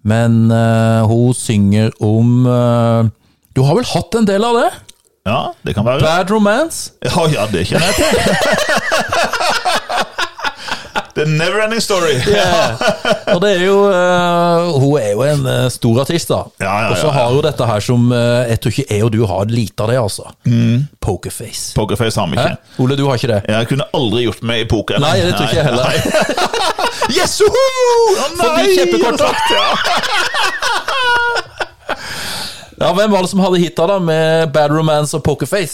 Speaker 1: Men eh, hun synger om eh, Du har vel hatt en del av det?
Speaker 2: Ja, det kan være.
Speaker 1: Bad Romance?
Speaker 2: Ja, ja, det kjenner jeg til. The Neverending Story.
Speaker 1: Og det er jo eh, Hun er jo en eh, stor artist, da.
Speaker 2: Ja, ja,
Speaker 1: og så
Speaker 2: ja, ja.
Speaker 1: har hun dette her som eh, Jeg tror ikke jeg og du har lite av det, altså.
Speaker 2: Mm.
Speaker 1: Pokerface.
Speaker 2: Pokerface har vi
Speaker 1: Hæ?
Speaker 2: ikke.
Speaker 1: Ole, du har ikke det?
Speaker 2: Jeg kunne aldri gjort meg i poker.
Speaker 1: Nei, det tror ikke jeg heller.
Speaker 2: Nei. yes, uhu! Å, nei!
Speaker 1: Forbi kjempekontrakt.
Speaker 2: Ja.
Speaker 1: Ja, Hvem var det som hadde hita da med Bad Romance og Pokerface?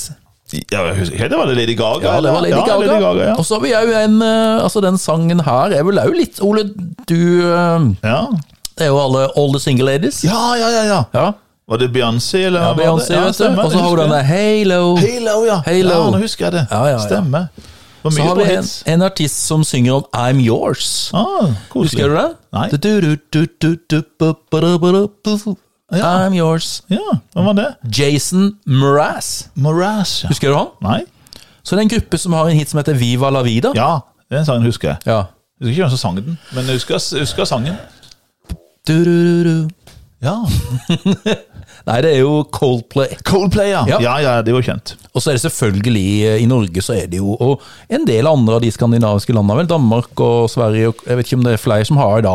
Speaker 2: Ja, jeg husker ikke, det var det Lady Gaga.
Speaker 1: Ja, det var Lady
Speaker 2: eller?
Speaker 1: Gaga.
Speaker 2: Ja, Lady Gaga ja.
Speaker 1: Og så har vi jo en eh, Altså, den sangen her er vel òg litt Ole, du eh,
Speaker 2: Ja.
Speaker 1: Det er jo alle All the Single Ladies.
Speaker 2: ja, ja, ja, ja.
Speaker 1: Ja,
Speaker 2: Var det Beyoncé, eller?
Speaker 1: ja
Speaker 2: hva var det?
Speaker 1: Beyoncé, vet du.
Speaker 2: stemmer,
Speaker 1: Og så har
Speaker 2: det
Speaker 1: hun
Speaker 2: husker
Speaker 1: denne
Speaker 2: jeg.
Speaker 1: Halo.
Speaker 2: Halo, ja.
Speaker 1: Halo.
Speaker 2: Ja, nå husker jeg det.
Speaker 1: Ja, ja, ja.
Speaker 2: Stemmer. Det var
Speaker 1: Så
Speaker 2: mye
Speaker 1: har
Speaker 2: bra
Speaker 1: vi en,
Speaker 2: hits.
Speaker 1: en artist som synger om I'm Yours.
Speaker 2: Ah, koselig.
Speaker 1: Husker du den?
Speaker 2: Nei.
Speaker 1: Du-du-du-du-du-du-bu-bu-du-bu-du-bu. I'm Yours.
Speaker 2: Ja, hvem var det?
Speaker 1: Jason Mraz.
Speaker 2: Morass, ja.
Speaker 1: Husker du han?
Speaker 2: Nei?
Speaker 1: Så det er en gruppe som har en hit som heter Viva la vida.
Speaker 2: Ja, den sangen husker jeg.
Speaker 1: Ja.
Speaker 2: Jeg husker ikke hvem som sang den, men jeg husker, jeg husker sangen.
Speaker 1: Du-du-du-du.
Speaker 2: Ja.
Speaker 1: Nei, det er jo Coldplay.
Speaker 2: Coldplay, ja.
Speaker 1: Ja.
Speaker 2: ja. Ja, det var kjent.
Speaker 1: Og så er det selvfølgelig, eh, i Norge så er det jo, og en del andre av de skandinaviske landene, vel, Danmark og Sverige, og jeg vet ikke om det er flere som har da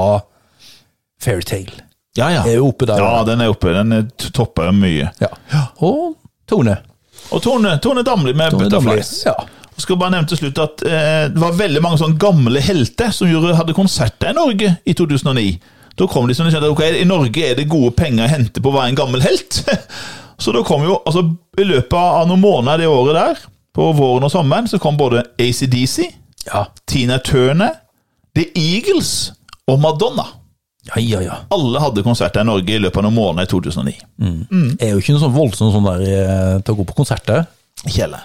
Speaker 1: Fairytale.
Speaker 2: Ja, ja.
Speaker 1: Er jo oppe der,
Speaker 2: Ja,
Speaker 1: ja.
Speaker 2: den er oppe. Den er t- topper jo mye.
Speaker 1: Ja. Og Tone.
Speaker 2: Og Tone, Tone Damli med
Speaker 1: Tone
Speaker 2: Butterflies.
Speaker 1: Damli, ja.
Speaker 2: Og skal bare nevne til slutt at eh, det var veldig mange sånne gamle helter som gjorde, hadde konserter i Norge i 2009. Da kom de som de kjente at ok, i Norge er det gode penger å hente på å være en gammel helt. Så da kom jo, altså i løpet av noen måneder det året der, på våren og sommeren, så kom både ACDC,
Speaker 1: Ja,
Speaker 2: Tina Turner, The Eagles og Madonna.
Speaker 1: ja, ja. ja.
Speaker 2: Alle hadde konserter i Norge i løpet av noen måneder i 2009.
Speaker 1: Det er jo ikke noe sånn voldsomt sånn der eh, til å gå på konserter,
Speaker 2: Kjelle.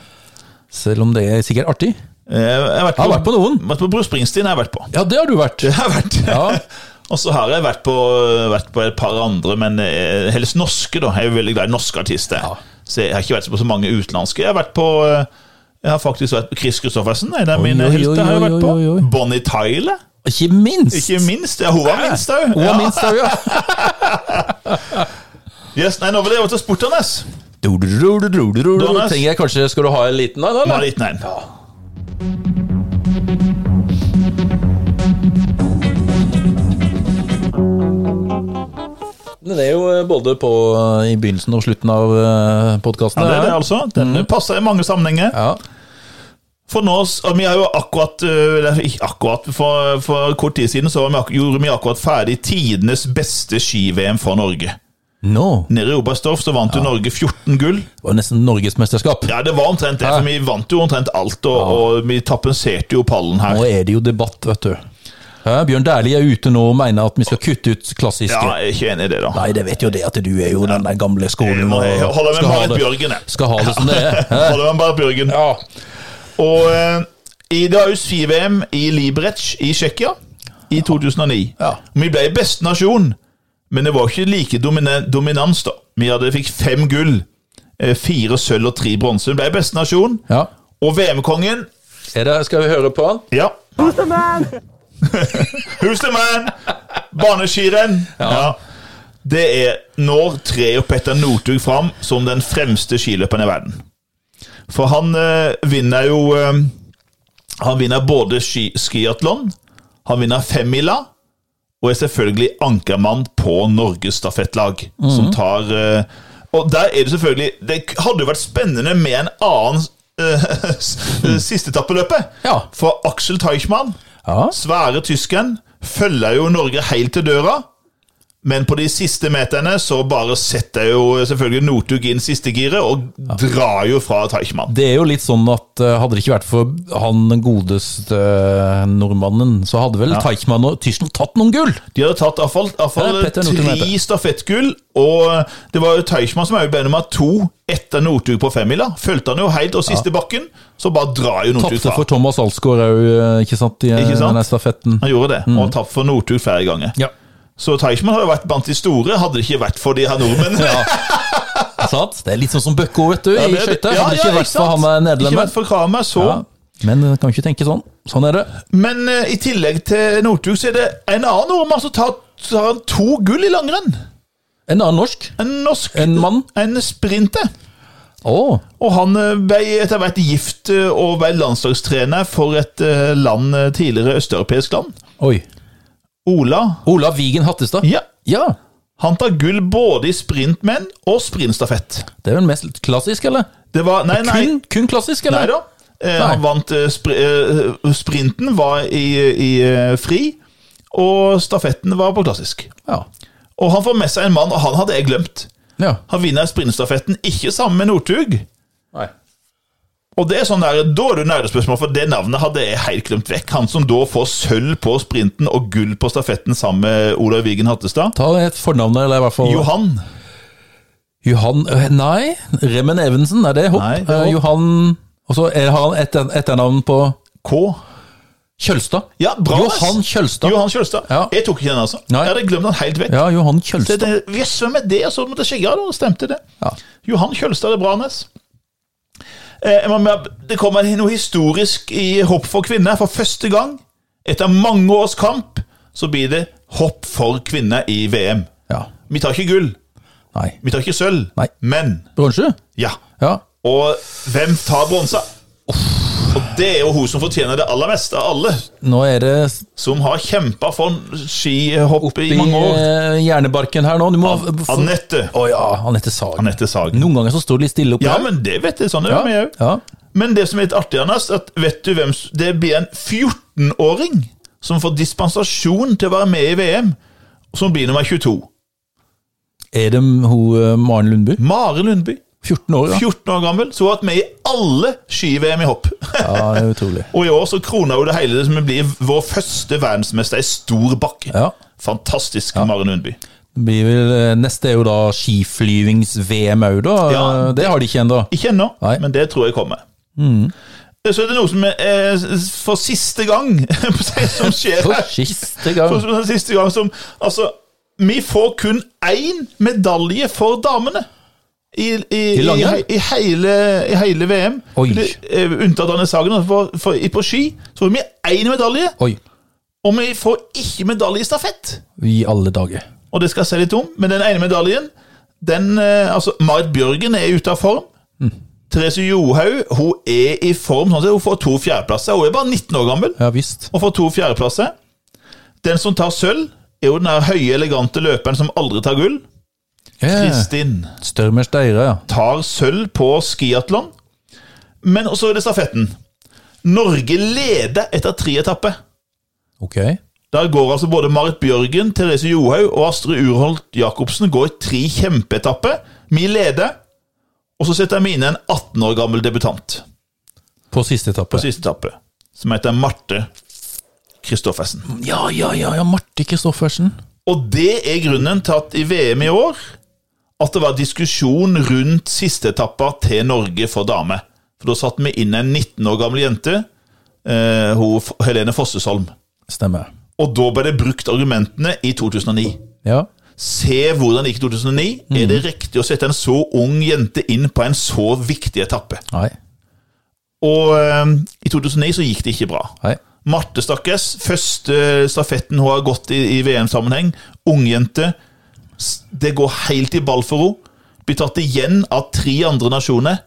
Speaker 1: selv om det er sikkert artig.
Speaker 2: Eh, Jeg har vært på,
Speaker 1: Jeg har vært på noen.
Speaker 2: vært på Bruce Springsteen. Jeg har vært på.
Speaker 1: Ja, det har du vært.
Speaker 2: Jeg har vært.
Speaker 1: Ja.
Speaker 2: Og så har jeg vært på, vært på et par andre, men eh, helst norske, da. Jeg er jo veldig glad i norske artister.
Speaker 1: Ja.
Speaker 2: Så jeg har ikke vært på så mange utenlandske. Jeg har vært på eh, jeg har faktisk vært på Chris Christoffersen, en av
Speaker 1: Oi,
Speaker 2: mine
Speaker 1: oi,
Speaker 2: helter. har jeg
Speaker 1: oi,
Speaker 2: vært
Speaker 1: oi, oi, oi.
Speaker 2: på Bonnie Tyler,
Speaker 1: Ikke minst.
Speaker 2: ikke minst. Ja, hun var minst òg.
Speaker 1: Hun var minst, ja.
Speaker 2: Yes, nei, nå vil jeg over til sportene.
Speaker 1: Du, du, du, du, du, du, du.
Speaker 2: Jonas.
Speaker 1: Tenker jeg kanskje, skal du ha en liten da?
Speaker 2: Nå er
Speaker 1: eller?
Speaker 2: det liten en.
Speaker 1: Den er jo eh, både på eh, i begynnelsen og slutten av eh, podkasten. Mm.
Speaker 2: Ja, det er det, altså. Den passer i mange sammenhenger.
Speaker 1: Ja.
Speaker 2: For nå, s- og vi har jo akkurat øh, eller Ikke akkurat, for, for kort tid siden så var vi, ak- gjorde vi akkurat ferdig tidenes beste ski-VM for Norge.
Speaker 1: Nå!
Speaker 2: Nede i Oberstdorf så vant jo Norge 14 gull.
Speaker 1: Det var nesten norgesmesterskap.
Speaker 2: Ja, det var omtrent det,
Speaker 1: Ja.
Speaker 2: for vi vant jo omtrent alt, og, og vi tapenserte jo pallen her.
Speaker 1: Nå er det jo debatt, vet du. Hæ? Bjørn Dæhlie er ute nå og mener at vi skal kutte ut klassiske.
Speaker 2: Ja, jeg er ikke enig i det, da.
Speaker 1: Nei, det vet jo det at du er jo den der gamle skolen.
Speaker 2: Jeg må- jeg
Speaker 1: og
Speaker 2: holder med
Speaker 1: skal ha
Speaker 2: Marit
Speaker 1: det-
Speaker 2: Bjørgen, jeg.
Speaker 1: Skal ha det som det er. Hæ?
Speaker 2: Holder man bare Bjørgen.
Speaker 1: Ja.
Speaker 2: Og eh, i- det var jo ski-VM i Liberec i Tsjekkia i 2009.
Speaker 1: Ja.
Speaker 2: Vi ble beste nasjon, men det var ikke like domina dominans, da. Vi hadde, fikk fem gull, eh, fire sølv og tre bronse. Vi ble beste nasjon.
Speaker 1: ja.
Speaker 2: Og VM-kongen
Speaker 1: Er det, skal vi høre på han?
Speaker 2: Ja. Who's the man? Baneskirenn. Ja. Det er når trer Petter Northug fram som den fremste skiløperen i verden. For han eh, vinner jo eh, Han vinner både ski- skiatlon, han vinner femmila, og er selvfølgelig ankermann på Norges stafettlag,
Speaker 1: Mhm.
Speaker 2: som tar eh, Og der er det selvfølgelig Det k- hadde jo vært spennende med en annen eh, s- sisteetappeløpet.
Speaker 1: Mm. Ja.
Speaker 2: For Aksel Teichmann,
Speaker 1: Ja.
Speaker 2: svære tyskeren, følger jo Norge helt til døra. Men på de siste meterne så bare setter jo selvfølgelig Northug inn siste giret og drar jo fra Teichmann.
Speaker 1: Det er jo litt sånn at eh, hadde det ikke vært for han den godeste eh, nordmannen, så hadde vel Teichmann og Tyskland tatt noen gull!
Speaker 2: De hadde tatt iallfall
Speaker 1: Ja, Petter Northug heter
Speaker 2: tre
Speaker 1: det.
Speaker 2: stafettgull, og det var jo Teichmann som òg ble nummer to etter Northug på femmila. Fulgte han jo helt, og siste bakken, så bare drar jo Northug
Speaker 1: Tapte
Speaker 2: fra.
Speaker 1: for Thomas Alsgaard òg, ikke sant, i eh,
Speaker 2: Ikke sant?
Speaker 1: denne stafetten.
Speaker 2: Han gjorde det, og tapt for Northug flere ganger.
Speaker 1: Mm. Ja.
Speaker 2: Så Teichmann har jo vært blant de store, hadde det ikke vært for de her nordmennene.
Speaker 1: Sant? Det er litt sånn som Bøkko, vet du,
Speaker 2: Ja,
Speaker 1: i
Speaker 2: det-
Speaker 1: skøyter.
Speaker 2: ja,
Speaker 1: Hadde det ikke
Speaker 2: ja,
Speaker 1: vært for
Speaker 2: sant?
Speaker 1: han er
Speaker 2: Ikke
Speaker 1: nederlender.
Speaker 2: vært for Kramer, så.
Speaker 1: Ja. Men eh, kan ikke tenke sånn. Sånn er det.
Speaker 2: Men eh, i tillegg til Northug, så er det en annen nordmann som tar, tar han to gull i langrenn.
Speaker 1: En annen norsk.
Speaker 2: En norsk
Speaker 1: En mann.
Speaker 2: En sprinter.
Speaker 1: Å,
Speaker 2: Og han eh, ble etter hvert gift eh, og ble landslagstrener for et eh, land eh, tidligere østeuropeisk land.
Speaker 1: oi.
Speaker 2: Ola.
Speaker 1: Olav Vigen Hattestad.
Speaker 2: Ja.
Speaker 1: Ja.
Speaker 2: Han tar gull både i sprintmenn og sprintstafett.
Speaker 1: Det er vel mest klassisk, eller?
Speaker 2: Det var Nei, nei.
Speaker 1: Kun, kun klassisk,
Speaker 2: Nei
Speaker 1: eller?
Speaker 2: da. Eh,
Speaker 1: Nei.
Speaker 2: Han vant eh, spr eh, Sprinten var i, i eh, fri, og stafetten var på klassisk.
Speaker 1: Ja.
Speaker 2: Og han får med seg en mann, og han hadde jeg glemt.
Speaker 1: ja.
Speaker 2: Han vinner sprintstafetten ikke sammen med Northug.
Speaker 1: Nei.
Speaker 2: Og det er sånn der, Da er det nerdespørsmål, for det navnet hadde jeg helt glemt vekk. Han som da får sølv på sprinten og gull på stafetten sammen med Olav Vigen Hattestad.
Speaker 1: Ta et fornavn, eller i hvert fall
Speaker 2: Johan.
Speaker 1: Johan øh, Nei, Remmen Evensen, er det hopp?
Speaker 2: Nei, det er hopp.
Speaker 1: Eh, Johan Og så er- har han et etternavn på
Speaker 2: K.
Speaker 1: Kjølstad.
Speaker 2: Ja, bra, ass.
Speaker 1: Johan Kjølstad.
Speaker 2: Johan Kjølstad.
Speaker 1: Ja.
Speaker 2: Jeg tok ikke den, altså.
Speaker 1: Nei.
Speaker 2: Jeg hadde glemt den helt vekk.
Speaker 1: Ja, Johan
Speaker 2: Så jeg
Speaker 1: Kjølstad.
Speaker 2: tenkte, Jøss, hvem er det? Og så måtte jeg sjekke, ja, da stemte det.
Speaker 1: Ja.
Speaker 2: Johan Kjølstad det er bra, Nes. Eh, jeg må med- det kommer noe historisk i hopp for kvinner. For første gang, etter mange års kamp, så blir det hopp for kvinner i VM.
Speaker 1: ja.
Speaker 2: Vi tar ikke gull,
Speaker 1: Nei.
Speaker 2: vi tar ikke sølv,
Speaker 1: Nei.
Speaker 2: men
Speaker 1: Bronse?
Speaker 2: ja.
Speaker 1: Ja.
Speaker 2: Og hvem tar bronsa? Og det er jo hun som fortjener det aller meste av alle,
Speaker 1: Nå er det
Speaker 2: som har kjempa for skihopp i
Speaker 1: i
Speaker 2: mange år.
Speaker 1: eh, hjernebarken her nå. Du må Å
Speaker 2: Anette.
Speaker 1: ja, Anette Sagen.
Speaker 2: Anette Sagen.
Speaker 1: Noen ganger så står det litt stille opp
Speaker 2: Ja,
Speaker 1: her.
Speaker 2: men det vet jeg. Sånn er det med jeg òg.
Speaker 1: ja.
Speaker 2: Men det som er litt artig, Anders, at vet du hvem s- Det blir en 14-åring som får dispensasjon til å være med i VM, som blir nummer 22.
Speaker 1: Er det hun eh, Maren Lundby?
Speaker 2: Mari Lundby.
Speaker 1: 14 år, ja.
Speaker 2: 14 år gammel. Så hun har vært med i alle ski-VM i hopp.
Speaker 1: ja det er utrolig.
Speaker 2: Og i år så krona hun det hele som blir vår første verdensmester i stor bakke.
Speaker 1: Ja.
Speaker 2: Fantastisk, Mari Lundby.
Speaker 1: Det Blir vel, eh, neste er jo da skiflyvings-VM òg, da.
Speaker 2: Ja.
Speaker 1: Eh, Det har de ikke ennå.
Speaker 2: Ikke ennå,
Speaker 1: Nei. Mm.
Speaker 2: men det tror jeg kommer. Så er det noe som er, eh, for siste gang som skjer
Speaker 1: For
Speaker 2: her.
Speaker 1: siste gang.
Speaker 2: For den siste gang som Altså, vi får kun én medalje for damene. I, i, i,
Speaker 1: langrenn?
Speaker 2: i, hele, I hele VM.
Speaker 1: Oi.
Speaker 2: Det- eh, Unntatt Anne Sagen. altså, For, for, i- på ski så får vi én medalje,
Speaker 1: Oi,
Speaker 2: og vi får ikke medalje i stafett.
Speaker 1: i alle dager.
Speaker 2: Og det skal jeg si litt om, men den ene medaljen den, eh, altså, Marit Bjørgen er ute av form. Therese Johaug hun er i form. Sånn at hun får to fjerdeplasser. Hun er bare 19 år gammel
Speaker 1: Ja visst.
Speaker 2: og får to fjerdeplasser. Den som tar sølv, er jo den der høye, elegante løperen som aldri tar gull.
Speaker 1: Yeah.
Speaker 2: Kristin
Speaker 1: Størmer Steire, ja.
Speaker 2: tar sølv på skiatlon. Men også er det stafetten. Norge leder etter tre etapper.
Speaker 1: Ok.
Speaker 2: Der går altså både Marit Bjørgen, Therese Johaug og Astrid Urholt Jacobsen går i tre kjempeetapper. Vi leder, og så setter vi inn en 18 år gammel debutant
Speaker 1: På siste etappe.
Speaker 2: på siste etappe, som heter Marte Kristoffersen.
Speaker 1: Ja, ja, ja, ja, Marte Kristoffersen.
Speaker 2: Og det er grunnen til at i VM i år at det var diskusjon rundt sisteetappa til Norge for damer. For da satte vi inn en 19 år gammel jente, eh, hun, F- Helene Fossesholm.
Speaker 1: Stemmer.
Speaker 2: Og da ble det brukt argumentene i 2009.
Speaker 1: Ja.
Speaker 2: Se hvordan det gikk i 2009. Er det riktig å sette en så ung jente inn på en så viktig etappe?
Speaker 1: Nei.
Speaker 2: Og eh, i 2009 så gikk det ikke bra.
Speaker 1: Nei.
Speaker 2: Marte, stakkars. Første eh, stafetten hun har gått i, i VM-sammenheng. Ungjente. S- Det går helt i ball for henne. Blir tatt igjen av tre andre nasjoner.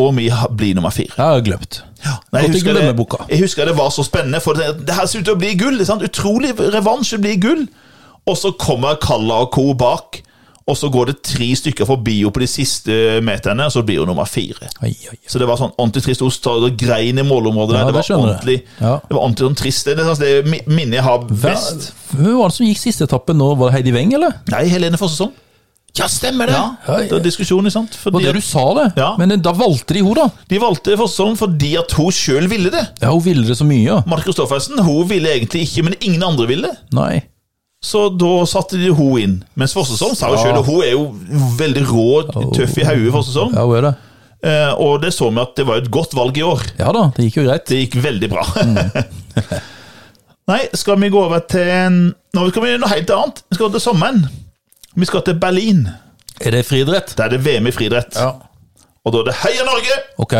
Speaker 2: Og vi ha- blir nummer fire.
Speaker 1: Jeg har glemt.
Speaker 2: Nei,
Speaker 1: Godt i
Speaker 2: husker det,
Speaker 1: glemmeboka.
Speaker 2: jeg husker det var så spennende, for det, det her ser ut til å bli gull. det er Sant? Utrolig revansj det blir gull. Og så kommer Kalla og co. bak. Og så går det tre stykker forbi henne på de siste meterne, og så blir hun nummer fire.
Speaker 1: Ai, ai, ai.
Speaker 2: Så det var sånn ordentlig trist ost og grein i målområdet. der.
Speaker 1: Ja,
Speaker 2: det,
Speaker 1: det
Speaker 2: var
Speaker 1: skjønner jeg.
Speaker 2: ordentlig,
Speaker 1: Ja.
Speaker 2: det var ordentlig sånn trist. Det er nesten det mi- minnet jeg har
Speaker 1: Hva,
Speaker 2: best.
Speaker 1: hvem var det som gikk siste etappe nå? Var det Heidi Weng, eller?
Speaker 2: Nei, Helene Fossesson. Ja, stemmer det!
Speaker 1: Ja, ja.
Speaker 2: Det var diskusjon, ikke sant?
Speaker 1: Det var
Speaker 2: Fordi
Speaker 1: det du
Speaker 2: at,
Speaker 1: sa, det.
Speaker 2: Ja.
Speaker 1: Men eh, da valgte de henne, da.
Speaker 2: de valgte Fossesson fordi at hun sjøl ville det.
Speaker 1: Ja, hun ville det så mye, ja.
Speaker 2: Marte Kristoffersen hun ville egentlig ikke, men ingen andre ville.
Speaker 1: Nei.
Speaker 2: Så da satte de hun inn. Mens Fossesson sa jo
Speaker 1: Ja.
Speaker 2: sjøl, og hun er jo veldig rå,
Speaker 1: Oh.
Speaker 2: tøff i hodet, Fossesson.
Speaker 1: Ja, hun er det.
Speaker 2: Eh, og det så vi at det var et godt valg i år.
Speaker 1: Ja da, det gikk jo greit.
Speaker 2: Det gikk veldig bra.
Speaker 1: Mm.
Speaker 2: Nei, skal vi gå over til en- Nå skal vi gjøre noe helt annet. Vi skal til sommeren. Vi skal til Berlin.
Speaker 1: Er det friidrett?
Speaker 2: Der er det VM i friidrett.
Speaker 1: Ja.
Speaker 2: Og da er det heia Norge!
Speaker 1: Ok.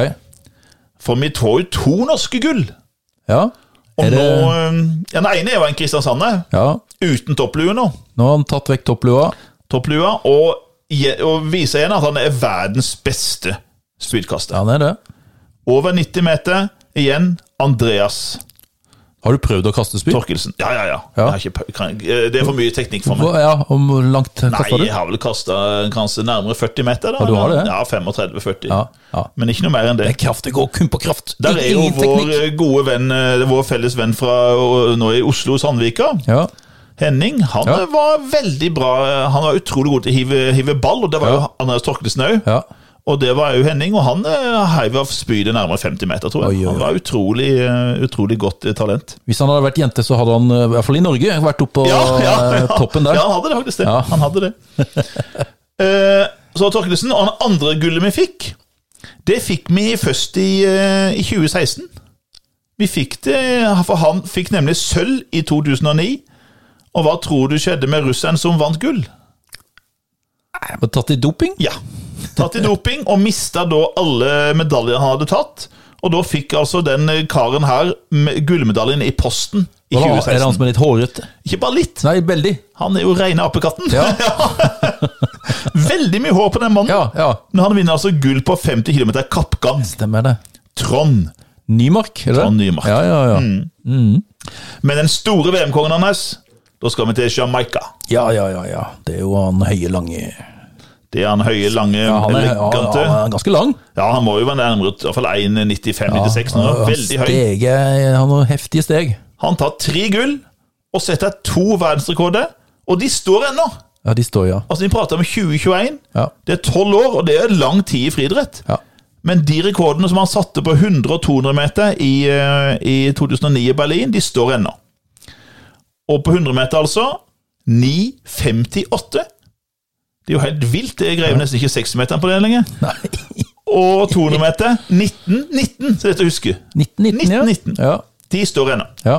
Speaker 2: For vi får jo to norske gull.
Speaker 1: Ja.
Speaker 2: Og
Speaker 1: Er det
Speaker 2: nå, eh, ja, Den ene er jo en Kristiansand, eh,
Speaker 1: Ja.
Speaker 2: uten topplue nå.
Speaker 1: Nå har han tatt vekk topplua.
Speaker 2: Topplua, og, je- og viser igjen at han er verdens beste spydkaster.
Speaker 1: Ja, han er det.
Speaker 2: Over 90 meter igjen. Andreas
Speaker 1: Har du prøvd å kaste spyd?
Speaker 2: Torkelsen. Ja, ja, ja.
Speaker 1: Ja.
Speaker 2: Jeg har ikke, pe- kan, eh, det er for mye teknikk for meg.
Speaker 1: Hva- Ja, om hvor langt kasta
Speaker 2: Nei,
Speaker 1: du?
Speaker 2: jeg har vel kasta kanskje nærmere 40 meter. Da.
Speaker 1: Ja, du har det.
Speaker 2: Ja, 35-40.
Speaker 1: Ja, ja.
Speaker 2: Men ikke noe mer enn det.
Speaker 1: Men kraft, det går kun på kraft.
Speaker 2: Der er jo
Speaker 1: Ingen
Speaker 2: vår
Speaker 1: teknikk.
Speaker 2: eh, gode venn, eh, det er vår felles venn fra eh, nå i Oslo, Sandvika.
Speaker 1: Ja.
Speaker 2: Henning. Han
Speaker 1: Ja.
Speaker 2: eh, var veldig bra. eh, Han var utrolig god til å hive, hive ball, og det var
Speaker 1: Ja.
Speaker 2: jo Andreas Torkelsen òg.
Speaker 1: ja.
Speaker 2: Og det var jo Henning, og han eh, heiv av spydet nærmere 50 meter, tror jeg.
Speaker 1: Oi, oi, oi.
Speaker 2: Han var utrolig, eh, utrolig godt eh, talent.
Speaker 1: Hvis han hadde vært jente, så hadde han, eh, i hvert fall i Norge, vært oppe på eh, toppen der.
Speaker 2: Ja, han hadde det faktisk det.
Speaker 1: Ja.
Speaker 2: Han hadde det. Eh, så Torkelsen, og det andre gullet vi fikk, det fikk vi først i, eh, i 2016. Vi fikk det, for han fikk nemlig sølv i 2009. Og hva tror du skjedde med russeren som vant gull?
Speaker 1: Nei, men Tatt i doping?
Speaker 2: Ja, tatt i doping og mista da alle medaljene han hadde tatt. Og da fikk altså den karen her med- gullmedaljen i posten i
Speaker 1: Hva da? er det han
Speaker 2: 2016.
Speaker 1: som er litt hårete?
Speaker 2: Ikke bare litt.
Speaker 1: Nei, veldig.
Speaker 2: Han er jo reine apekatten.
Speaker 1: Ja.
Speaker 2: Veldig mye hår på den mannen.
Speaker 1: Ja, ja.
Speaker 2: Men han vinner altså gull på 50 km kappgang.
Speaker 1: Stemmer det.
Speaker 2: Trond.
Speaker 1: Nymark, Mm. er det?
Speaker 2: Trond Nymark.
Speaker 1: Ja, ja, ja.
Speaker 2: Men den store VM-kongen hans, da skal vi til Jamaica.
Speaker 1: ja, ja, ja, ja. Det er jo han høye, lange ja,
Speaker 2: Det er han høye, lange,
Speaker 1: han, er, ja,
Speaker 2: elegante.
Speaker 1: han er ganske lang.
Speaker 2: Ja, han må jo være nærmere i hvert fall 1,95-96 nå.
Speaker 1: Han
Speaker 2: Veldig høy.
Speaker 1: steget- han har heftige steg.
Speaker 2: Han tar tre gull og setter to verdensrekorder, og de står ennå.
Speaker 1: Ja, de står, ja.
Speaker 2: Altså, Vi prater om 2021.
Speaker 1: Ja.
Speaker 2: Det er tolv år, og det er lang tid i friidrett.
Speaker 1: Ja.
Speaker 2: Men de rekordene som han satte på 100 og 200 meter i, eh, i 2009 i Berlin, de står ennå. Og på 100 meter, altså 9,58. Det er jo helt vilt. Jeg greier nesten ikke 60-meteren på det lenger.
Speaker 1: Nei,
Speaker 2: Og 200 meter 19,19, så dette husker jeg.
Speaker 1: 1919, ja.
Speaker 2: 19.
Speaker 1: Ja,
Speaker 2: De står ennå.
Speaker 1: ja.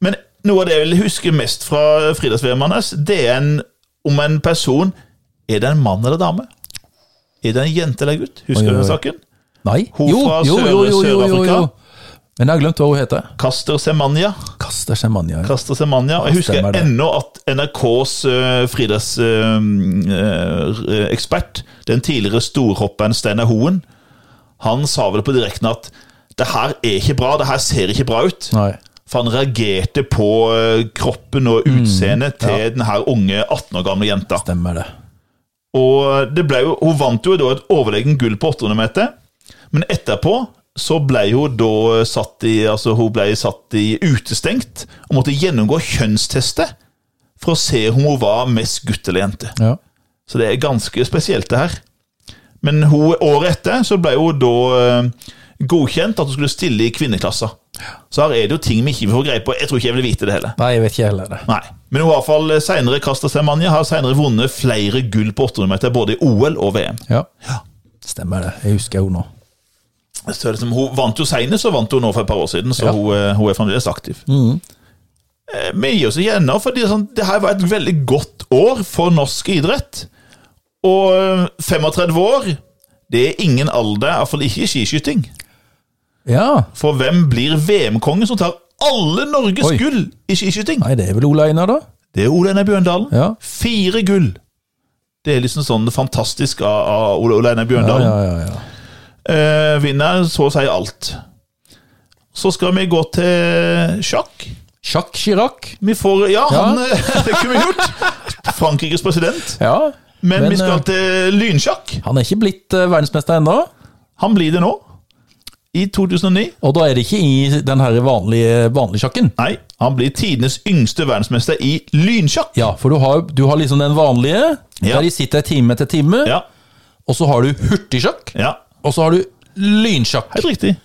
Speaker 2: Men noe av det jeg vil huske mest fra friidretts-VM hans, det er en, om en person Er det en mann eller dame? Er det en jente eller gutt? Husker
Speaker 1: Oi,
Speaker 2: du
Speaker 1: oi,
Speaker 2: den
Speaker 1: oi.
Speaker 2: saken?
Speaker 1: Nei.
Speaker 2: Hun fra Sør- Sør-Afrika.
Speaker 1: Men jeg har glemt hva hun heter.
Speaker 2: Caster Semanya.
Speaker 1: Kaster seg manja.
Speaker 2: Caster Semanya. Og Jeg husker
Speaker 1: stemmer det.
Speaker 2: ennå at NRKs uh, friidrettsekspert, eh, den tidligere storhopperen Steinar Hoen, han sa vel på direkten at det her er ikke bra, det her ser ikke bra ut.
Speaker 1: Nei.
Speaker 2: For han reagerte på eh, kroppen og
Speaker 1: Mm,
Speaker 2: utseendet til den her unge 18 år gamle jenta.
Speaker 1: Stemmer det.
Speaker 2: Og det ble jo, Hun vant jo da et overlegen gull på 800 meter, men etterpå så ble hun da satt i, altså hun ble satt i utestengt og måtte gjennomgå kjønnstester for å se om hun var mest gutt eller jente.
Speaker 1: Ja.
Speaker 2: Så det er ganske spesielt, det her. Men hun, året etter så ble hun da eh, godkjent at hun skulle stille i kvinneklasser. Så her er det jo ting vi ikke får greie på. Jeg tror ikke jeg vil vite det heller.
Speaker 1: Nei, jeg vet ikke heller det.
Speaker 2: Nei. Men hun har i hvert fall eh, senere Kasta Semanya har senere vunnet flere gull på 800 meter, både i OL og VM.
Speaker 1: Ja. Stemmer det. Jeg husker henne nå.
Speaker 2: Så er det som, hun vant jo senest, og vant hun nå for et par år siden, så
Speaker 1: Ja. Mm.
Speaker 2: hun, eh, hun er fremdeles aktiv. Eh, Vi gir oss igjennom, for det, er sånn, det her var et veldig godt år for norsk idrett. Og eh, 35 år, det er ingen alder, iallfall ikke i skiskyting.
Speaker 1: Ja.
Speaker 2: For hvem blir VM-kongen som tar alle Norges
Speaker 1: Oi.
Speaker 2: gull i skiskyting?
Speaker 1: Nei, det er vel Ola Einar, da?
Speaker 2: Det er Ole Einar Bjørndalen.
Speaker 1: Ja.
Speaker 2: Fire gull! Det er liksom sånn fantastisk av, av Ole- Ole Einar
Speaker 1: Ja,
Speaker 2: Bjørndalen.
Speaker 1: ja, ja, ja.
Speaker 2: Eh, vinner så å si alt. Så skal vi gå til sjakk.
Speaker 1: Jacques Chirac.
Speaker 2: Vi får Ja,
Speaker 1: Ja.
Speaker 2: han eh, Det kunne vi gjort! Frankrikes president.
Speaker 1: Ja.
Speaker 2: Men, vi skal
Speaker 1: eh,
Speaker 2: til lynsjakk.
Speaker 1: Han er ikke blitt eh, verdensmester ennå.
Speaker 2: Han blir det nå. I 2009.
Speaker 1: Og da er det ikke i den her vanlige, vanlige sjakken.
Speaker 2: Nei, han blir tidenes yngste verdensmester i lynsjakk.
Speaker 1: Ja, for du har, du har liksom den vanlige,
Speaker 2: Ja.
Speaker 1: der de sitter time etter time.
Speaker 2: Ja,
Speaker 1: Og så har du hurtigsjakk,
Speaker 2: ja,
Speaker 1: og så har du lynsjakk.
Speaker 2: helt riktig.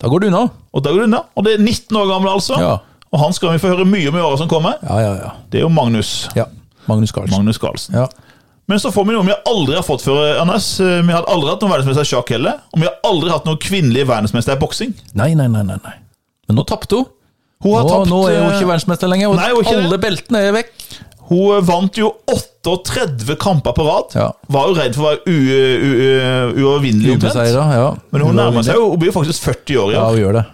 Speaker 1: Da går du unna.
Speaker 2: Og da går det unna. Og det er 19 år gammel, altså.
Speaker 1: Ja.
Speaker 2: Og han skal vi få høre mye om i åra som kommer.
Speaker 1: Ja, ja, ja.
Speaker 2: Det er jo Magnus.
Speaker 1: ja. Magnus Carlsen.
Speaker 2: Magnus Carlsen.
Speaker 1: Ja.
Speaker 2: Men så får vi noe vi aldri har fått før, Anders. Eh, Vi har aldri hatt noen verdensmester i sjakk heller. Og vi har aldri hatt noen kvinnelig verdensmester i boksing.
Speaker 1: Nei, nei, nei, nei. nei. Men nå tapte hun.
Speaker 2: Hun
Speaker 1: Nå,
Speaker 2: har tapt
Speaker 1: nå er hun
Speaker 2: eh,
Speaker 1: ikke verdensmester lenger, og
Speaker 2: Nei, hun er ikke det.
Speaker 1: alle beltene er vekk.
Speaker 2: Hun vant jo 38 kamper på rad.
Speaker 1: Ja.
Speaker 2: Var jo redd for å være u- u- u- uovervinnelig. omtrent.
Speaker 1: Ubeseiret, ja.
Speaker 2: Men hun nærmer seg jo, hun blir jo faktisk 40 år i
Speaker 1: Ja,
Speaker 2: år.
Speaker 1: hun gjør det.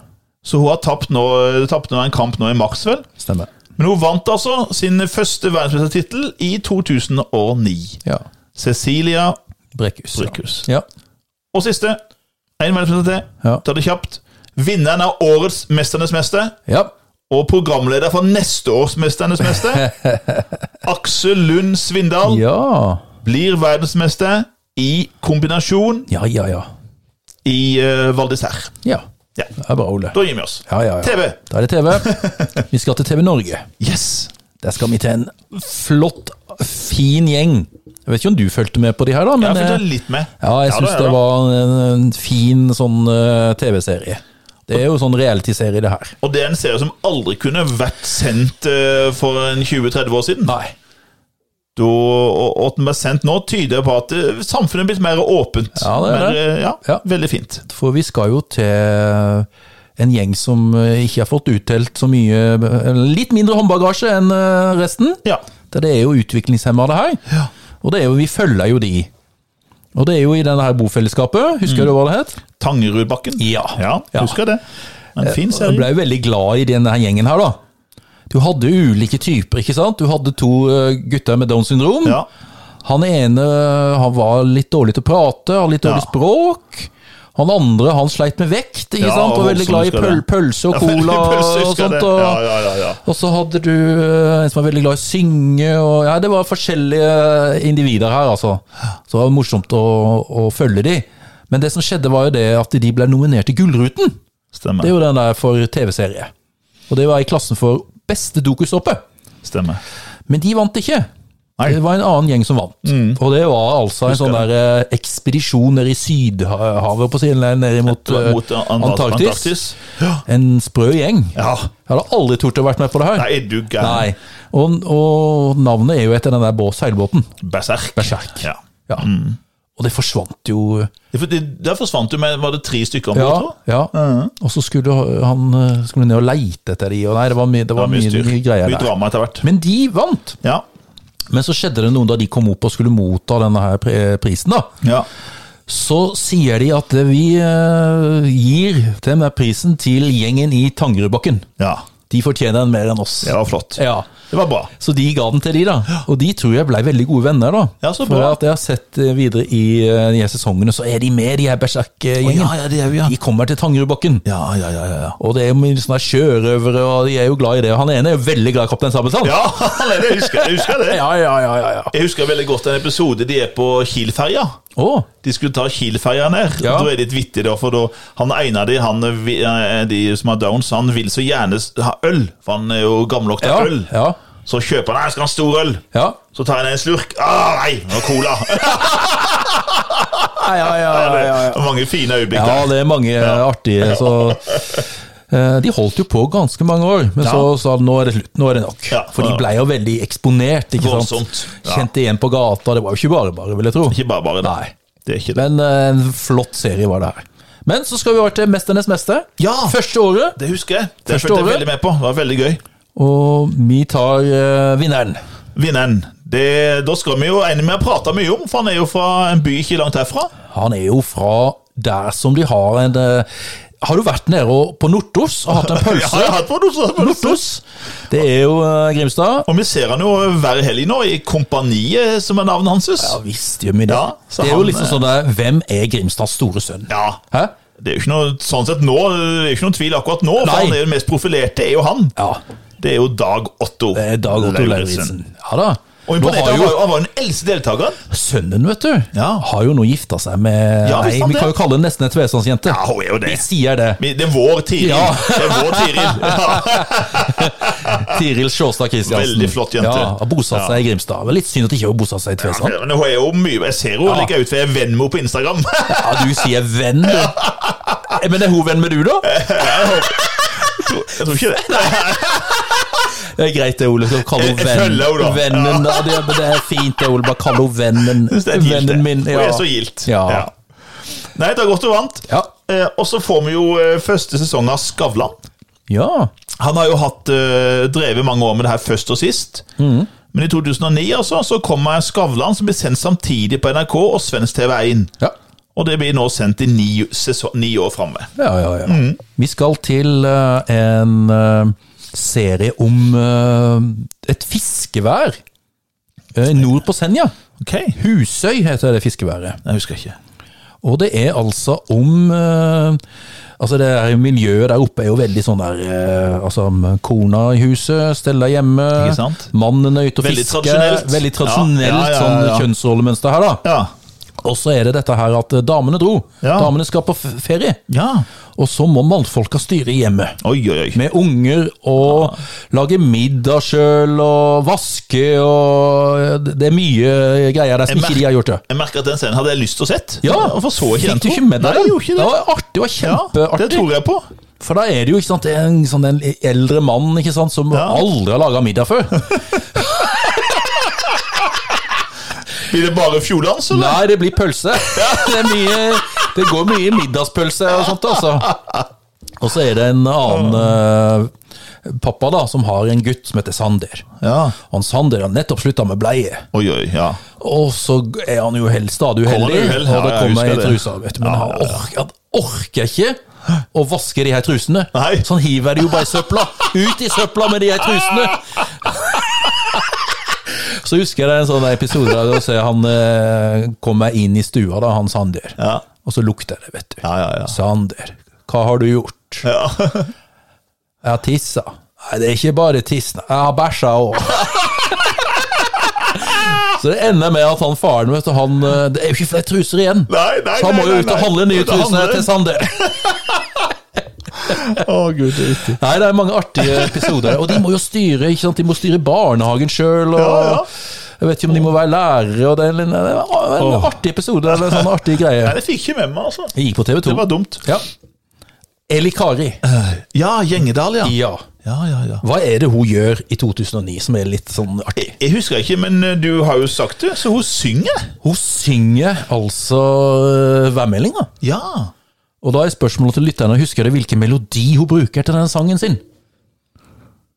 Speaker 2: Så hun har tapt nå, tapt nå en kamp nå i Maxwell.
Speaker 1: Stemmer.
Speaker 2: Men hun vant altså sin første verdensmestertittel i 2009.
Speaker 1: Ja.
Speaker 2: Cecilia
Speaker 1: Brekkhus. ja.
Speaker 2: Brykhus.
Speaker 1: Ja.
Speaker 2: Og siste, en verdensmester til.
Speaker 1: Ja.
Speaker 2: Ta det kjapt. Vinneren av årets Mesternes mester
Speaker 1: ja.
Speaker 2: og programleder for neste års Mesternes mester, Aksel Lund Svindal,
Speaker 1: Ja,
Speaker 2: blir verdensmester i kombinasjon
Speaker 1: ja, ja. Ja.
Speaker 2: i uh, Val d'Isère.
Speaker 1: ja.
Speaker 2: Ja.
Speaker 1: Det er bra, Ole.
Speaker 2: Da gir vi oss.
Speaker 1: Ja, ja, ja.
Speaker 2: TV.
Speaker 1: Da er det TV. Vi skal til TV Norge.
Speaker 2: Yes.
Speaker 1: Der skal vi til en flott, fin gjeng. Jeg vet ikke om du fulgte med på de her, da.
Speaker 2: Jeg
Speaker 1: Men,
Speaker 2: har fulgt
Speaker 1: eh,
Speaker 2: litt med.
Speaker 1: ja, jeg
Speaker 2: Ja,
Speaker 1: syns
Speaker 2: da, ja,
Speaker 1: det
Speaker 2: da.
Speaker 1: var en, en fin sånn eh, TV-serie. Det er jo sånn reality-serie, det her.
Speaker 2: Og det er en serie som aldri kunne vært sendt eh, for en 20-30 år siden.
Speaker 1: Nei.
Speaker 2: Da, og, og at den ble sendt nå, tyder på at eh, samfunnet er blitt mer åpent.
Speaker 1: Ja, det er
Speaker 2: mer,
Speaker 1: det.
Speaker 2: eh, Ja,
Speaker 1: Ja.
Speaker 2: Veldig fint.
Speaker 1: For vi skal jo til en gjeng som eh, ikke har fått utdelt så mye eh, Litt mindre håndbagasje enn eh, resten.
Speaker 2: Ja.
Speaker 1: Det det er jo utviklingshemmede her. Og det er jo, vi følger jo de. Og det er jo i denne her bofellesskapet. Husker
Speaker 2: Mm.
Speaker 1: du hva det het?
Speaker 2: Tangerudbakken.
Speaker 1: Ja.
Speaker 2: ja,
Speaker 1: Ja.
Speaker 2: husker jeg det. En fin
Speaker 1: Jeg
Speaker 2: serie.
Speaker 1: ble jo veldig glad i denne her gjengen her, da. Du hadde ulike typer, ikke sant? Du hadde to eh, gutter med Downs syndrom.
Speaker 2: Ja.
Speaker 1: Han ene eh, han var litt dårlig til å prate, hadde litt dårlig
Speaker 2: Ja.
Speaker 1: språk. Han andre han sleit med vekt, ikke
Speaker 2: Ja,
Speaker 1: sant? og veldig
Speaker 2: voldsomt,
Speaker 1: glad i
Speaker 2: husker
Speaker 1: pøl,
Speaker 2: jeg det.
Speaker 1: pølse og
Speaker 2: Ja, veldig
Speaker 1: cola
Speaker 2: pølse,
Speaker 1: og
Speaker 2: husker jeg
Speaker 1: sånt.
Speaker 2: det.
Speaker 1: Og,
Speaker 2: Ja, ja, ja, ja.
Speaker 1: og så hadde du eh, en som var veldig glad i å synge. Og, ja, det var forskjellige individer her, altså. Så det var morsomt å, å følge de. Men det som skjedde, var jo det at de ble nominert til Gullruten. Det
Speaker 2: Stemmer.
Speaker 1: er jo den der for TV-serie. Og det var i klassen for beste dokusåpe.
Speaker 2: Stemmer.
Speaker 1: Men de vant ikke.
Speaker 2: Nei. Mm.
Speaker 1: Det var en annen gjeng som vant. Og det var altså en sånn der eh, ekspedisjon nede i Sydhavet, på siden, eller nede mot, eh,
Speaker 2: Mot Antarktis.
Speaker 1: Antarktis.
Speaker 2: Antarktis. Ja.
Speaker 1: En sprø gjeng.
Speaker 2: ja.
Speaker 1: Jeg hadde aldri tort å vært med på det her.
Speaker 2: Nei, er du gæren.
Speaker 1: Nei. Og, og navnet er jo etter den der bå- seilbåten.
Speaker 2: Berserk.
Speaker 1: Berserk.
Speaker 2: Ja.
Speaker 1: Ja. Mm. Og det forsvant jo.
Speaker 2: Det- for det- Der forsvant jo med Var det tre stykker om bord,
Speaker 1: Ja,
Speaker 2: tror jeg?
Speaker 1: ja. Og så skulle han eh, skulle ned og leite etter de, og nei, det var mye, det var mye,
Speaker 2: styr.
Speaker 1: mye greier
Speaker 2: Mye
Speaker 1: der.
Speaker 2: drama etter hvert.
Speaker 1: Men de vant.
Speaker 2: Ja.
Speaker 1: Men så skjedde det noe da de kom opp og skulle motta denne her pri- prisen. da.
Speaker 2: ja.
Speaker 1: Så sier de at vi eh, gir den der prisen til gjengen i Tangerudbakken.
Speaker 2: Ja.
Speaker 1: De fortjener den mer enn oss.
Speaker 2: Det var flott.
Speaker 1: Ja.
Speaker 2: Det var bra.
Speaker 1: Så de ga den til de, da. Og de tror jeg ble veldig gode venner, da.
Speaker 2: Ja, så
Speaker 1: For
Speaker 2: bra.
Speaker 1: at jeg har sett eh, videre i eh, de her sesongene, så er de med, de her Berserk-gjengen.
Speaker 2: Å, ja, ja, det er vi, ja.
Speaker 1: De kommer til Tangerudbakken.
Speaker 2: Ja, ja, ja, ja.
Speaker 1: Og det er jo mye sånne sjørøvere, og de er jo glad i det. Og han ene er jo veldig glad i Kaptein Sabeltann.
Speaker 2: Ja, det husker jeg, jeg husker det.
Speaker 1: ja, ja, ja, ja, ja.
Speaker 2: Jeg husker veldig godt en episode de er på Kiel-ferja.
Speaker 1: Å,
Speaker 2: De skulle ta Kiel-ferja ned.
Speaker 1: Ja.
Speaker 2: Da er det litt vittig, da, for da, han ene av de, han, vi- eh, de som har downs, han vil så gjerne s- ha øl, for han er jo gammelok til
Speaker 1: ja,
Speaker 2: øl.
Speaker 1: ja,
Speaker 2: Så kjøper han «Nei, jeg skal ha en stor øl.
Speaker 1: ja.
Speaker 2: Så tar han en slurk. Ah, nei, det var cola!
Speaker 1: Ja, ja, ja, ja, ja.
Speaker 2: Det var Mange fine øyeblikk
Speaker 1: Ja,
Speaker 2: der.
Speaker 1: det er mange artige, så Eh, De holdt jo på ganske mange år, men så sa de nå er det slutt, nå er det nok.
Speaker 2: Ja.
Speaker 1: For de blei jo veldig eksponert, ikke sant.
Speaker 2: Voldsomt. Ja.
Speaker 1: Kjente igjen på gata, det var jo ikke bare bare, vil jeg tro.
Speaker 2: Ikke bare bare. da.
Speaker 1: Nei.
Speaker 2: Det er ikke det.
Speaker 1: Men eh, en flott serie var det her. Men så skal vi over til 'Mesternes mester'.
Speaker 2: Ja.
Speaker 1: Første året.
Speaker 2: Det husker jeg. Det
Speaker 1: Første
Speaker 2: fulgte jeg
Speaker 1: året.
Speaker 2: veldig med på. Det var veldig gøy.
Speaker 1: Og vi tar eh, vinneren.
Speaker 2: Vinneren. Det, da skal vi jo en vi har prata mye om, for han er jo fra en by ikke langt herfra.
Speaker 1: Han er jo fra der som de har en eh, Har du vært nede og- på Nortos og hatt en
Speaker 2: Ja, jeg
Speaker 1: pølse?
Speaker 2: har hatt på noe sånt.
Speaker 1: Nortos! Det er jo eh, Grimstad.
Speaker 2: Og vi ser han jo hver helg nå, i Kompaniet, som er navnet hans.
Speaker 1: Ja
Speaker 2: Ja.
Speaker 1: visst gjør vi det.
Speaker 2: Ja, så
Speaker 1: det er jo
Speaker 2: han,
Speaker 1: liksom
Speaker 2: eh,
Speaker 1: sånn der, Hvem er Grimstads store sønn?
Speaker 2: ja.
Speaker 1: Hæ?
Speaker 2: Det er jo ikke noe sånn sett nå, det er jo ikke noen tvil akkurat nå, for
Speaker 1: Nei.
Speaker 2: han er jo den mest profilerte, er jo han.
Speaker 1: Ja,
Speaker 2: Det er jo Dag Otto.
Speaker 1: det er Dag Otto Lauritzen. Ja da.
Speaker 2: Og
Speaker 1: Nå
Speaker 2: imponert,
Speaker 1: har
Speaker 2: han
Speaker 1: jo
Speaker 2: var jo han var jo den eldste deltakeren.
Speaker 1: sønnen, vet du,
Speaker 2: Ja.
Speaker 1: har jo nå gifta seg med
Speaker 2: Ja, visst
Speaker 1: Nei,
Speaker 2: han
Speaker 1: vi
Speaker 2: det.
Speaker 1: kan jo kalle henne nesten en tvesandsjente.
Speaker 2: Ja, hun er jo det.
Speaker 1: Vi sier det.
Speaker 2: Vi- Det er vår Tiril.
Speaker 1: Ja.
Speaker 2: Det er vår Tiril. Ja.
Speaker 1: Tiril Sjåstad Kristiansen.
Speaker 2: Veldig flott jente.
Speaker 1: Ja, har bosatt seg i Grimstad. Det var Litt synd at hun ikke har bosatt seg i Tvesand.
Speaker 2: Men hun er jo mye Jeg ser hun
Speaker 1: Ja.
Speaker 2: ligger ut for jeg er venn med henne på Instagram.
Speaker 1: Ja, du sier venn, du. Eh, Men er hun venn med du, da?
Speaker 2: Eh. Jeg tror ikke det.
Speaker 1: Det er greit, det, Ole. Skal kalle henne
Speaker 2: Jeg- jeg følger henne, da.
Speaker 1: venn. Vennen. Ja, det, men det er fint, det, Ole. Bare kall henne vennen.
Speaker 2: Det er et gildt, det.
Speaker 1: Vennen min.
Speaker 2: Hun er så gildt.
Speaker 1: Ja.
Speaker 2: Ja. Nei, det er godt hun vant.
Speaker 1: Ja.
Speaker 2: Eh, og så får vi jo eh, første sesong av Skavlan.
Speaker 1: ja.
Speaker 2: Han har jo hatt, eh, drevet mange år med det her først og sist.
Speaker 1: Mm.
Speaker 2: Men i 2009 altså, så kommer Skavlan, som blir sendt samtidig på NRK og svensk TV1.
Speaker 1: Ja,
Speaker 2: Og det blir nå sendt i ni, sesong, ni år framme.
Speaker 1: ja, ja. ja.
Speaker 2: Mm.
Speaker 1: Vi skal til eh, en eh, serie om eh, et fiskevær eh, nord på Senja.
Speaker 2: Ok, jeg
Speaker 1: Husøy heter det fiskeværet.
Speaker 2: husker ikke.
Speaker 1: Og det er altså om eh, Altså, det her miljøet der oppe er jo veldig sånn der eh, Altså, kona i huset, Stella hjemme,
Speaker 2: Ikke sant?
Speaker 1: mannen er ute og
Speaker 2: Veldig
Speaker 1: fisker.
Speaker 2: tradisjonelt.
Speaker 1: Veldig tradisjonelt
Speaker 2: Ja, ja, ja, ja.
Speaker 1: sånn kjønnsrollemønster her, da.
Speaker 2: Ja.
Speaker 1: Og så er det dette her at eh, damene dro.
Speaker 2: Ja.
Speaker 1: Damene skal på f- ferie.
Speaker 2: ja.
Speaker 1: Og så må mannfolka styre hjemmet.
Speaker 2: Oi, oi, oi.
Speaker 1: Med unger og lage middag sjøl og vaske og Det er mye greier der som
Speaker 2: Jeg
Speaker 1: ikke de har gjort. det.
Speaker 2: Jeg merker at den scenen hadde jeg lyst til å sett.
Speaker 1: Ja,
Speaker 2: Hvorfor så jeg ikke den
Speaker 1: Fikk du ikke med deg
Speaker 2: Nei, jeg
Speaker 1: den?
Speaker 2: gjorde ikke
Speaker 1: Det
Speaker 2: det.
Speaker 1: var artig, det var
Speaker 2: Ja, det
Speaker 1: kjempeartig.
Speaker 2: tror jeg på.
Speaker 1: For da er det jo ikke sant, det er en, sånn, en eldre mann ikke sant, som
Speaker 2: Ja.
Speaker 1: aldri har laga middag før.
Speaker 2: Blir det bare fjordans, eller?
Speaker 1: Nei, det blir pølse. Det, er mye, det går mye middagspølse og sånt, altså. Og så er det en annen eh, pappa da, som har en gutt som heter Sander.
Speaker 2: Ja.
Speaker 1: Han Sander har nettopp slutta med bleie.
Speaker 2: Oi, oi, ja.
Speaker 1: Og så er han jo hel- stadig uheldig,
Speaker 2: Kommer det uhell? Ja,
Speaker 1: og det
Speaker 2: jeg
Speaker 1: kommer
Speaker 2: husker
Speaker 1: ei
Speaker 2: det.
Speaker 1: truse. Vet du, men han orker, han orker ikke å vaske de her trusene.
Speaker 2: Nei.
Speaker 1: Så han hiver det jo bare i søpla. Ut i søpla med de her trusene! Så husker jeg det er en sånn episode der du ser han eh, kommer inn i stua, da, han Sander.
Speaker 2: Ja.
Speaker 1: Og så lukter det, vet du.
Speaker 2: Ja, ja, ja.
Speaker 1: Sander, hva har du gjort?
Speaker 2: ja.
Speaker 1: Jeg har tissa. Nei, det er ikke bare tissen. Jeg har bæsja òg. Så det ender med at han faren vet du, han, eh, Det er jo ikke flere truser igjen.
Speaker 2: Nei, nei,
Speaker 1: så han må jo
Speaker 2: nei, nei,
Speaker 1: ut og
Speaker 2: nei.
Speaker 1: handle nye
Speaker 2: Ut og
Speaker 1: truser
Speaker 2: handle.
Speaker 1: til Sander.
Speaker 2: Å, gud, det er riktig.
Speaker 1: Nei, det er mange artige episoder. Og de må jo styre ikke sant? De må styre barnehagen sjøl. Og
Speaker 2: Ja, ja.
Speaker 1: jeg vet ikke om de må være lærere. Og det er en, det er en
Speaker 2: Åh.
Speaker 1: artig episode. Eller en sånn artig
Speaker 2: Nei,
Speaker 1: greie.
Speaker 2: det fikk ikke med meg, altså.
Speaker 1: Jeg gikk på TV2.
Speaker 2: Det var dumt.
Speaker 1: Ja. Eli Kari.
Speaker 2: Ja, Gjengedal, ja.
Speaker 1: Ja.
Speaker 2: Ja, ja, ja.
Speaker 1: Hva er det hun gjør i 2009 som er litt sånn artig?
Speaker 2: Jeg husker ikke, men eh, du har jo sagt det, så hun synger.
Speaker 1: Hun synger altså øh, værmeldinga.
Speaker 2: Ja.
Speaker 1: Og da er spørsmålet til lytterne husker dere hvilken melodi hun bruker til denne sangen sin.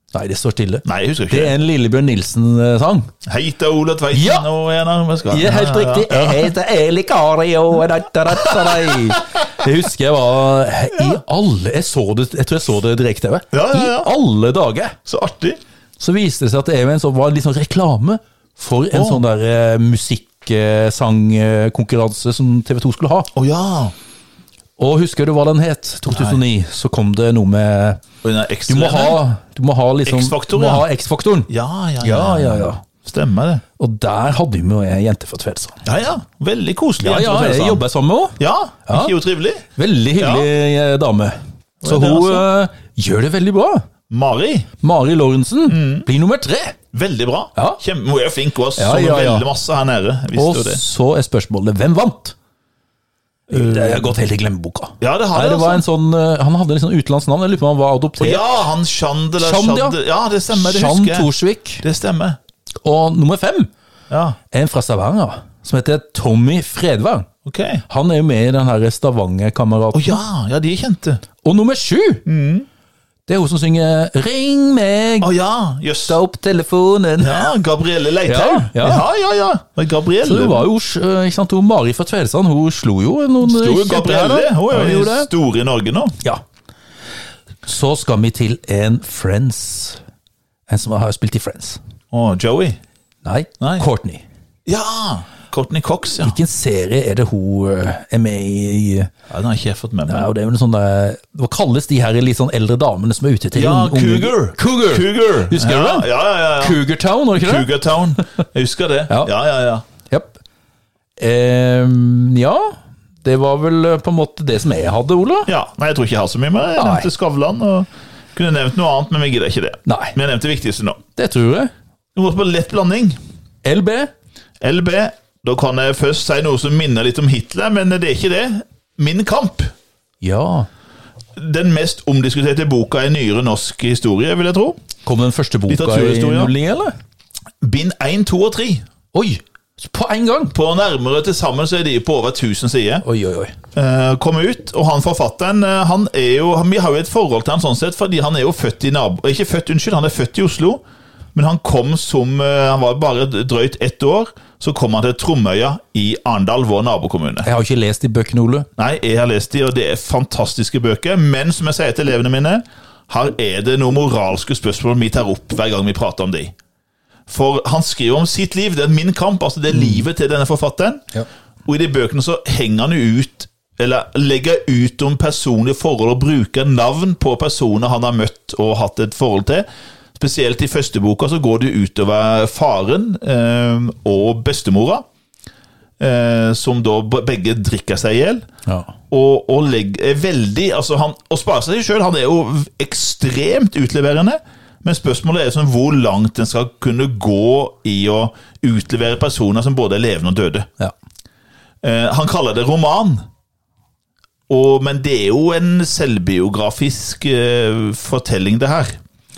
Speaker 1: Nei, det står stille.
Speaker 2: Nei, jeg husker
Speaker 1: Det
Speaker 2: ikke.
Speaker 1: er en Lillebjørn Nilsen-sang.
Speaker 2: Heita Ola Tveiten
Speaker 1: Ja.
Speaker 2: og en av dem skal.
Speaker 1: Ja, helt riktig. Jeg heter Eli Kari og da, da, da, da, da. Det husker jeg var i alle Jeg, så det, jeg tror jeg så det direkte. vet du.
Speaker 2: Ja, ja, ja.
Speaker 1: I alle dager
Speaker 2: Så artig.
Speaker 1: så viste det seg at det er en sånn, var en litt sånn reklame for en
Speaker 2: Å.
Speaker 1: sånn der eh, musikksangkonkurranse som TV 2 skulle ha.
Speaker 2: Å ja.
Speaker 1: Og husker du hva den het? 2009. Så kom det noe med
Speaker 2: Og en av
Speaker 1: Du må ha, du må ha liksom
Speaker 2: X-faktor,
Speaker 1: du må
Speaker 2: ja.
Speaker 1: ha X-faktoren.
Speaker 2: Ja, ja,
Speaker 1: Ja, ja, ja.
Speaker 2: Stemmer det.
Speaker 1: Og der hadde vi jo ei jente fra Tvedestrand.
Speaker 2: Ja, ja. Veldig koselig.
Speaker 1: Ja,
Speaker 2: jente
Speaker 1: ja,
Speaker 2: fra
Speaker 1: jeg
Speaker 2: Tvedestrand.
Speaker 1: jobber sammen med henne.
Speaker 2: Ja,
Speaker 1: Ja.
Speaker 2: ikke jo trivelig.
Speaker 1: Veldig hyggelig eh, dame. Så
Speaker 2: det
Speaker 1: hun
Speaker 2: altså?
Speaker 1: eh, gjør det veldig bra.
Speaker 2: Mari,
Speaker 1: Mari Lorentzen blir nummer tre.
Speaker 2: veldig bra.
Speaker 1: Ja.
Speaker 2: Kjempe, hun er flink, hun har
Speaker 1: Ja,
Speaker 2: sunget
Speaker 1: ja, ja.
Speaker 2: veldig masse her nede.
Speaker 1: Og
Speaker 2: Visste jo det.
Speaker 1: så er spørsmålet hvem vant? Eh, Det har gått helt i glemmeboka.
Speaker 2: Ja, det har
Speaker 1: Nei,
Speaker 2: det,
Speaker 1: det var
Speaker 2: altså.
Speaker 1: en sånn, eh, han hadde litt sånn utenlandsk navn. Jeg lurer på om han var adoptert.
Speaker 2: Ja, han Shand eller
Speaker 1: Shand, ja.
Speaker 2: Shand- Ja, det stemmer, det
Speaker 1: Jean
Speaker 2: husker jeg.
Speaker 1: Thorsvik.
Speaker 2: Det stemmer.
Speaker 1: Og nummer fem
Speaker 2: Ja,
Speaker 1: er en fra Stavanger som heter Tommy Fredvang.
Speaker 2: ok. Å
Speaker 1: Han er jo med i den her Stavanger-kameraten.
Speaker 2: ja, ja, de er kjente.
Speaker 1: Og nummer sju! Det er hun som synger 'Ring meg,
Speaker 2: Å ja, jøss.
Speaker 1: ta opp telefonen'.
Speaker 2: Ja, Gabrielle Leithaug.
Speaker 1: Ja, ja.
Speaker 2: ja, ja. ja. Men
Speaker 1: Så det
Speaker 2: Gabrielle
Speaker 1: var jo, eh, ikke sant, hun Mari fra Tvedestrand hun slo jo noen
Speaker 2: Sto jo
Speaker 1: kjemper
Speaker 2: Gabrielle.
Speaker 1: her, da.
Speaker 2: Hun
Speaker 1: Ja,
Speaker 2: er
Speaker 1: hun
Speaker 2: jo
Speaker 1: gjorde det.
Speaker 2: stor i Norge nå.
Speaker 1: Ja. Så skal vi til en Friends. En som har spilt i Friends.
Speaker 2: Å, Joey.
Speaker 1: Nei,
Speaker 2: Nei.
Speaker 1: Courtney.
Speaker 2: Ja! Courtney Cox, ja.
Speaker 1: Hvilken serie er det hun eh, er med i?
Speaker 2: ja. Den har ikke jeg fått med
Speaker 1: Ja,
Speaker 2: meg.
Speaker 1: og det er jo en sånn, eh, Hva kalles de her litt sånn eldre damene som er ute til
Speaker 2: Ja,
Speaker 1: unge- unge-
Speaker 2: Cougar.
Speaker 1: Cougar.
Speaker 2: Cougar.
Speaker 1: Husker
Speaker 2: ja,
Speaker 1: du den?
Speaker 2: Ja, ja, ja. ja.
Speaker 1: Cougar Town, var det ikke det?
Speaker 2: Cougar Town. Jeg husker det.
Speaker 1: Ja.
Speaker 2: Ja, ja, ja.
Speaker 1: Japp. Ehm, ja, det var vel eh, på en måte det som jeg hadde, Ola.
Speaker 2: ja. Nei, jeg tror ikke jeg har så mye med det. Jeg
Speaker 1: Nei.
Speaker 2: nevnte Skavlan og kunne nevnt noe annet, men vi gidder ikke det.
Speaker 1: Nei.
Speaker 2: Vi har nevnt det viktigste nå.
Speaker 1: Det tror jeg.
Speaker 2: Vi går på lett blanding.
Speaker 1: LB.
Speaker 2: LB. Da kan jeg først si noe som minner litt om Hitler, men det er ikke det. Min kamp.
Speaker 1: Ja.
Speaker 2: Den mest omdiskuterte boka i nyere norsk historie, vil jeg tro.
Speaker 1: Kom den første boka i
Speaker 2: Litteraturhistorie, ja.
Speaker 1: nulling, eller?
Speaker 2: Bind 1, 2 og 3.
Speaker 1: Oi! På en gang!
Speaker 2: På nærmere til sammen så er de på over 1000 sider.
Speaker 1: Oi, oi, oi.
Speaker 2: Eh, kom ut, og han forfatteren eh, han er jo, Vi har jo et forhold til han sånn sett, fordi han er jo født i nabo... Ikke født, unnskyld, han er født i Oslo. Men han kom som eh, Han var bare drøyt ett år. Så kom han til Tromøya i Arendal, vår nabokommune.
Speaker 1: Jeg har jo ikke lest de bøkene, Ole.
Speaker 2: Nei, jeg har lest de, og det er fantastiske bøker. Men som jeg sier til elevene mine, her er det noen moralske spørsmål vi tar opp hver gang vi prater om de. For han skriver om sitt liv, det er min kamp, altså det er livet til denne forfatteren.
Speaker 1: Ja.
Speaker 2: Og i de bøkene så henger han jo ut, eller legger ut om personlige forhold og bruker navn på personer han har møtt og hatt et forhold til. Spesielt i første boka så går det utover faren eh, og bestemora, eh, som da b- begge drikker seg i hjel
Speaker 1: Ja.
Speaker 2: og, og legg- er veldig altså han, Å spare seg sjøl, han er jo v- ekstremt utleverende. Men spørsmålet er sånn hvor langt en skal kunne gå i å utlevere personer som både er levende og døde.
Speaker 1: ja.
Speaker 2: Eh, han kaller det roman, og, men det er jo en selvbiografisk eh, fortelling, det her.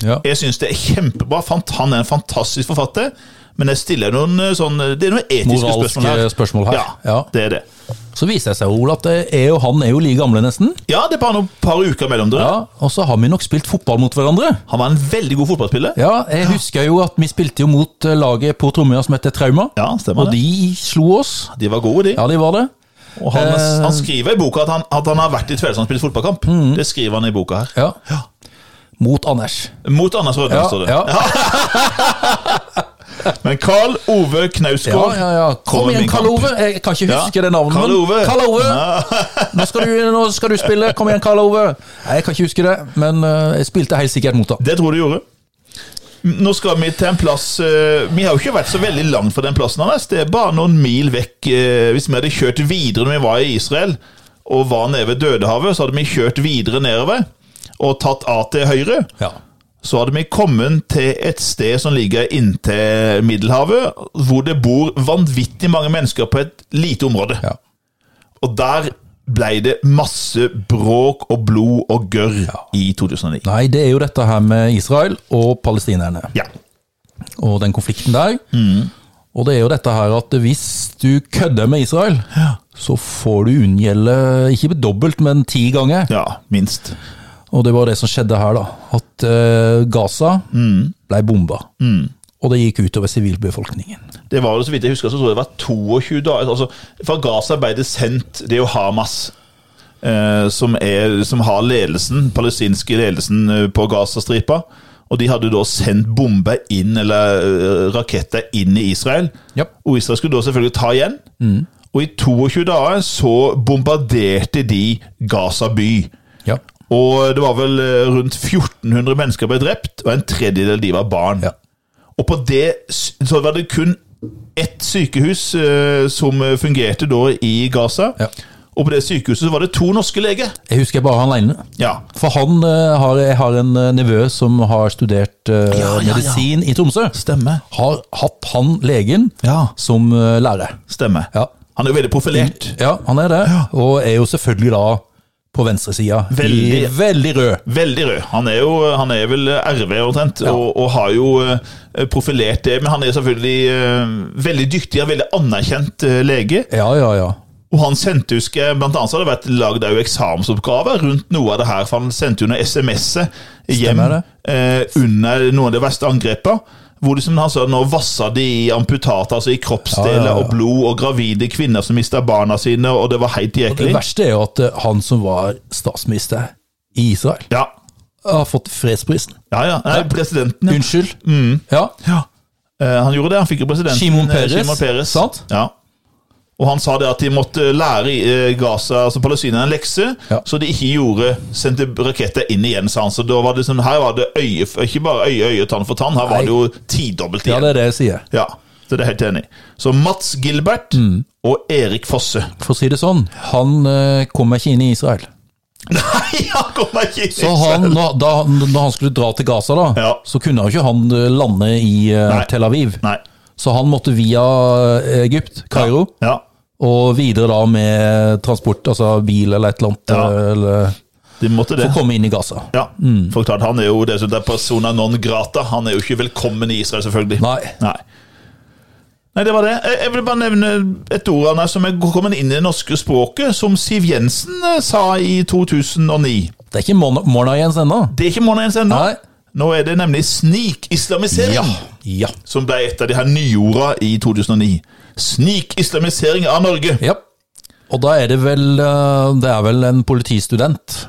Speaker 1: ja.
Speaker 2: Jeg syns det er kjempebra. Fant, han er en fantastisk forfatter. Men jeg stiller noen eh, sånn Det er noen etiske
Speaker 1: Moralske
Speaker 2: spørsmål her.
Speaker 1: spørsmål her,
Speaker 2: Ja,
Speaker 1: ja.
Speaker 2: det er det.
Speaker 1: Så viser det seg, Ole, at det er jo, han er jo like gamle, nesten.
Speaker 2: Ja, det er bare noen par uker mellom dere.
Speaker 1: Ja, Og så har vi nok spilt fotball mot hverandre.
Speaker 2: Han var en veldig god fotballspiller.
Speaker 1: Ja, jeg husker jo at vi spilte jo mot eh, laget på Tromøya som heter Trauma.
Speaker 2: Ja, stemmer
Speaker 1: Og
Speaker 2: det.
Speaker 1: de slo oss.
Speaker 2: De var gode, de.
Speaker 1: Ja, de var det.
Speaker 2: og han,
Speaker 1: eh, Mm.
Speaker 2: han skriver i boka at han, at han har vært i Tvedestrand og spilt fotballkamp. Det skriver han i boka her.
Speaker 1: Ja. Mot Anders.
Speaker 2: Mot Anders Rødland, står det.
Speaker 1: ja.
Speaker 2: Men Karl Ove
Speaker 1: ja,
Speaker 2: Knausgård
Speaker 1: ja, ja. Kom
Speaker 2: kommer
Speaker 1: igjen,
Speaker 2: min
Speaker 1: Karl
Speaker 2: kamp.
Speaker 1: Ove. Jeg kan ikke
Speaker 2: Ja.
Speaker 1: huske det navnet.
Speaker 2: Karl
Speaker 1: men-
Speaker 2: Ove.
Speaker 1: Karl Ove. Nå, skal du, nå skal du spille. Kom igjen, Karl Ove. Nei, jeg kan ikke huske det, men eh, jeg spilte helt sikkert mot han.
Speaker 2: Det tror du gjorde. Nå skal vi til en plass eh, Vi har jo ikke vært så veldig langt fra den plassen hans. Det er bare noen mil vekk. eh, Hvis vi hadde kjørt videre når vi var i Israel og var nede ved Dødehavet, så hadde vi kjørt videre nedover og tatt A til høyre.
Speaker 1: Ja.
Speaker 2: Så hadde vi kommet til et sted som ligger inntil Middelhavet, hvor det bor vanvittig mange mennesker på et lite område.
Speaker 1: Ja.
Speaker 2: Og der ble det masse bråk og blod og gørr i 2009.
Speaker 1: Nei, det er jo dette her med Israel og palestinerne.
Speaker 2: Ja.
Speaker 1: og den konflikten der.
Speaker 2: Mm.
Speaker 1: Og det er jo dette her at hvis du kødder med Israel, så får du unngjelde ikke dobbelt, men ti ganger.
Speaker 2: ja, minst.
Speaker 1: Og det var det som skjedde her, da. At eh, Gaza
Speaker 2: Mm.
Speaker 1: ble bomba. Og det gikk utover sivilbefolkningen.
Speaker 2: Det var jo så vidt jeg husker, så tror jeg det var 22 dager altså, Fra Gaza ble det sendt Det er jo Hamas eh, som, er, som har ledelsen, palestinske ledelsen eh, på Gazastripa. Og de hadde da sendt bomber inn, eller eh, raketter inn i Israel.
Speaker 1: Japp.
Speaker 2: Og Israel skulle da selvfølgelig ta igjen. Og i 22 dager så bombarderte de Gaza by.
Speaker 1: Ja.
Speaker 2: Og det var vel eh, rundt 1400 mennesker ble drept, og en tredjedel de var barn.
Speaker 1: Ja.
Speaker 2: Og på det s- så var det kun ett sykehus eh, som fungerte da i Gaza.
Speaker 1: Ja.
Speaker 2: Og på det sykehuset så var det to norske leger.
Speaker 1: Jeg husker jeg bare han ene.
Speaker 2: Ja.
Speaker 1: For han eh, har, jeg har en eh, nevø som har studert eh,
Speaker 2: Ja, ja, ja.
Speaker 1: medisin i Tromsø.
Speaker 2: Stemmer.
Speaker 1: Har hatt han legen
Speaker 2: Ja.
Speaker 1: som eh, lærer.
Speaker 2: Stemmer.
Speaker 1: Ja. Mm.
Speaker 2: Han er jo veldig profilert.
Speaker 1: ja, han er det. Og er jo selvfølgelig da på venstresida. i-
Speaker 2: Veldig.
Speaker 1: veldig rød.
Speaker 2: Veldig rød. Han er, jo, han er vel RV omtrent, og, og har jo eh, profilert det. Men han er selvfølgelig eh, veldig dyktig og veldig anerkjent eh, lege.
Speaker 1: Ja, ja, ja.
Speaker 2: Og han sendte, husker jeg, blant annet så hadde det vært lagd også eksamensoppgaver rundt noe av det her, for han sendte jo noen SMS-et hjem
Speaker 1: Stemmer
Speaker 2: eh, under noen av de verste angrepene. Hvor det, som han sa, nå vasser de i amputater, altså i kroppsdeler
Speaker 1: Ja, ja, ja.
Speaker 2: og blod, og gravide kvinner som mista barna sine, og det var helt
Speaker 1: Det
Speaker 2: jæklig.
Speaker 1: verste er jo at eh, han som var statsminister i Israel,
Speaker 2: Ja,
Speaker 1: har fått fredsprisen.
Speaker 2: ja. ja. Nei, presidenten, ja. Mm.
Speaker 1: Unnskyld. Ja.
Speaker 2: Eh, han gjorde det. Han fikk jo presidenten.
Speaker 1: Shimon
Speaker 2: eh,
Speaker 1: Peres,
Speaker 2: Shimon Peres.
Speaker 1: sant?
Speaker 2: Ja. Og han sa det at de måtte lære eh, Gaza, altså Palestina, en lekse,
Speaker 1: Ja.
Speaker 2: så de ikke gjorde sendte raketter inn igjen, sa han. Så da var det sånn, her var det øye, for- ikke bare øye, øye, tann for tann, her var
Speaker 1: Nei.
Speaker 2: det jo tidobbelt
Speaker 1: ja,
Speaker 2: igjen. Ja,
Speaker 1: det er det jeg sier.
Speaker 2: det, er jeg helt enig. i. Så Mats Gilbert
Speaker 1: Mm.
Speaker 2: og Erik Fosse.
Speaker 1: For å si det sånn, han eh, kommer ikke inn i Israel.
Speaker 2: Nei, han kommer ikke inn!
Speaker 1: Så han, når, da, når han skulle dra til Gaza, da,
Speaker 2: Ja.
Speaker 1: så kunne jo ikke han eh, lande i eh,
Speaker 2: Nei.
Speaker 1: Tel Aviv.
Speaker 2: Nei.
Speaker 1: Så han måtte via eh, Egypt, Kairo,
Speaker 2: Ja.
Speaker 1: og videre da med transport, altså bil eller et eller annet,
Speaker 2: Ja.
Speaker 1: eh, eller,
Speaker 2: De måtte det.
Speaker 1: for å komme inn i Gaza.
Speaker 2: Ja,
Speaker 1: Mm.
Speaker 2: for klart, han er jo det som det er persona non grata. Han er jo ikke velkommen i Israel, selvfølgelig.
Speaker 1: Nei.
Speaker 2: Nei. Nei, det var det. Jeg- Jeg vil bare nevne et ord Anna, som er kommet inn i det norske språket, som Siv Jensen eh, sa i 2009.
Speaker 1: Det er ikke Mon- Mona Jens ennå.
Speaker 2: Det er ikke morgenen ennå.
Speaker 1: Nei.
Speaker 2: Nå er det nemlig snikislamisering,
Speaker 1: Ja. Ja.
Speaker 2: som ble et av de her nyorda i 2009. Snikislamisering av Norge.
Speaker 1: ja. Og da er det vel eh, Det er vel en politistudent,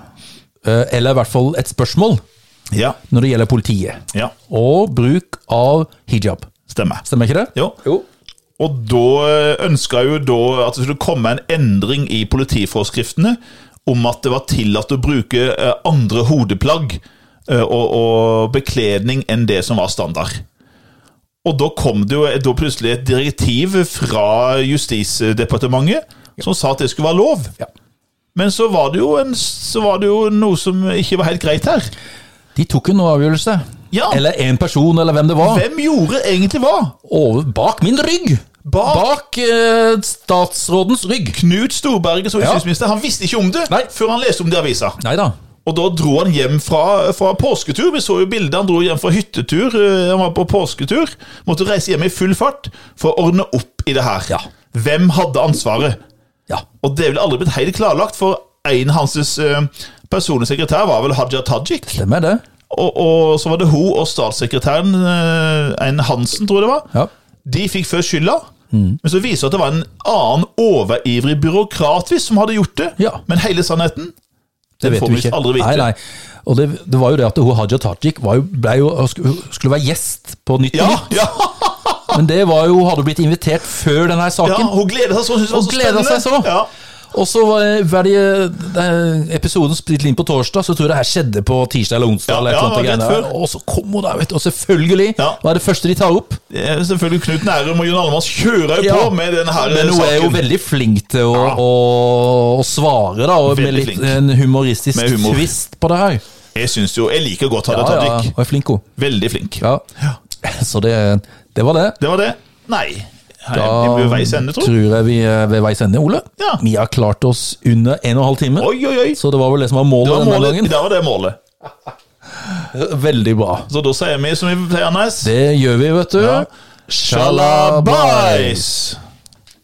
Speaker 1: eh, eller i hvert fall et spørsmål,
Speaker 2: Ja,
Speaker 1: når det gjelder politiet,
Speaker 2: ja,
Speaker 1: og bruk av hijab.
Speaker 2: stemmer.
Speaker 1: Stemmer ikke det?
Speaker 2: Jo. Og da ønska jo da at det skulle komme en endring i politiforskriftene om at det var tillatt å bruke eh, andre hodeplagg eh, og, og bekledning enn det som var standard. Og da kom det jo eh, da plutselig et direktiv fra Justisdepartementet som sa at det skulle være lov.
Speaker 1: Ja.
Speaker 2: Men så var, det jo en, så var det jo noe som ikke var helt greit her.
Speaker 1: De tok en avgjørelse.
Speaker 2: Ja.
Speaker 1: Eller en person, eller hvem det var.
Speaker 2: Hvem gjorde egentlig hva?
Speaker 1: Over, bak min rygg!
Speaker 2: Bak-
Speaker 1: eh, statsrådens rygg.
Speaker 2: Knut Storberget som justisminister han visste ikke om det
Speaker 1: Nei.
Speaker 2: før han leste om det i avisa.
Speaker 1: Nei da.
Speaker 2: Og da dro han hjem fra, fra påsketur. Vi så jo bildet. Han dro hjem fra hyttetur. eh, Han var på påsketur. Måtte reise hjem i full fart for å ordne opp i det her.
Speaker 1: Ja.
Speaker 2: Hvem hadde ansvaret?
Speaker 1: Ja.
Speaker 2: Og det ville aldri blitt helt klarlagt, for en av hans eh, personlige sekretær var vel Hadia Tajik.
Speaker 1: Stemmer det.
Speaker 2: Og, og så var det hun og statssekretæren, eh, en Hansen, tror jeg det var.
Speaker 1: Ja. Mm.
Speaker 2: De fikk først skylda. Men så viser det at det var en annen overivrig byråkrat hvis som hadde gjort det.
Speaker 1: Ja.
Speaker 2: Men hele sannheten,
Speaker 1: Det
Speaker 2: den
Speaker 1: vet
Speaker 2: får
Speaker 1: vi
Speaker 2: vi
Speaker 1: ikke.
Speaker 2: aldri vite.
Speaker 1: Nei, nei. Og det, det var jo det at hun Haja Tajik var jo, ble jo, hun skulle hun skulle være gjest på Nytt
Speaker 2: Ja,
Speaker 1: på Nytt,
Speaker 2: ja,
Speaker 1: men det var jo, hun hadde blitt invitert før denne
Speaker 2: ja,
Speaker 1: saken.
Speaker 2: hun gleder seg så. Hun,
Speaker 1: Hun gleder seg så.
Speaker 2: Ja.
Speaker 1: Og så var det- var det eh, episoden spilt inn på torsdag, så tror jeg det her skjedde på tirsdag eller onsdag.
Speaker 2: Ja,
Speaker 1: eller et
Speaker 2: ja,
Speaker 1: eller annet
Speaker 2: det var
Speaker 1: greier
Speaker 2: rett
Speaker 1: der. Og så kom hun der, vet du. Og selvfølgelig,
Speaker 2: Ja.
Speaker 1: hva er det første de tar opp?
Speaker 2: Eh, Selvfølgelig Knut Nærum og Jon Almaas kjører jo
Speaker 1: Ja.
Speaker 2: på med denne her
Speaker 1: Men hun
Speaker 2: saken.
Speaker 1: er jo veldig flink til å,
Speaker 2: Ja.
Speaker 1: å, å svare, da, og med
Speaker 2: Veldig
Speaker 1: litt
Speaker 2: flink.
Speaker 1: en humoristisk
Speaker 2: Med humor.
Speaker 1: twist på det her.
Speaker 2: Jeg synes jo, jeg liker godt Hadia
Speaker 1: Ja, ja,
Speaker 2: Tajik.
Speaker 1: hun er flink, hun.
Speaker 2: Veldig flink.
Speaker 1: Ja. Så det, det var det.
Speaker 2: Det var det. Nei, jeg
Speaker 1: Da
Speaker 2: jeg blir veis ende, tror jeg.
Speaker 1: tror jeg vi er ved veis ende, Ole.
Speaker 2: Ja.
Speaker 1: Vi har klart oss under en og en halv time,
Speaker 2: Oi, oi, oi.
Speaker 1: så det var vel det som var
Speaker 2: Det
Speaker 1: målet
Speaker 2: var
Speaker 1: denne
Speaker 2: målet.
Speaker 1: gangen.
Speaker 2: Det var det målet.
Speaker 1: Veldig bra.
Speaker 2: Så da sier vi som vi pleier, Nes.
Speaker 1: Det gjør vi, vet du.
Speaker 2: Ja. Shalabais!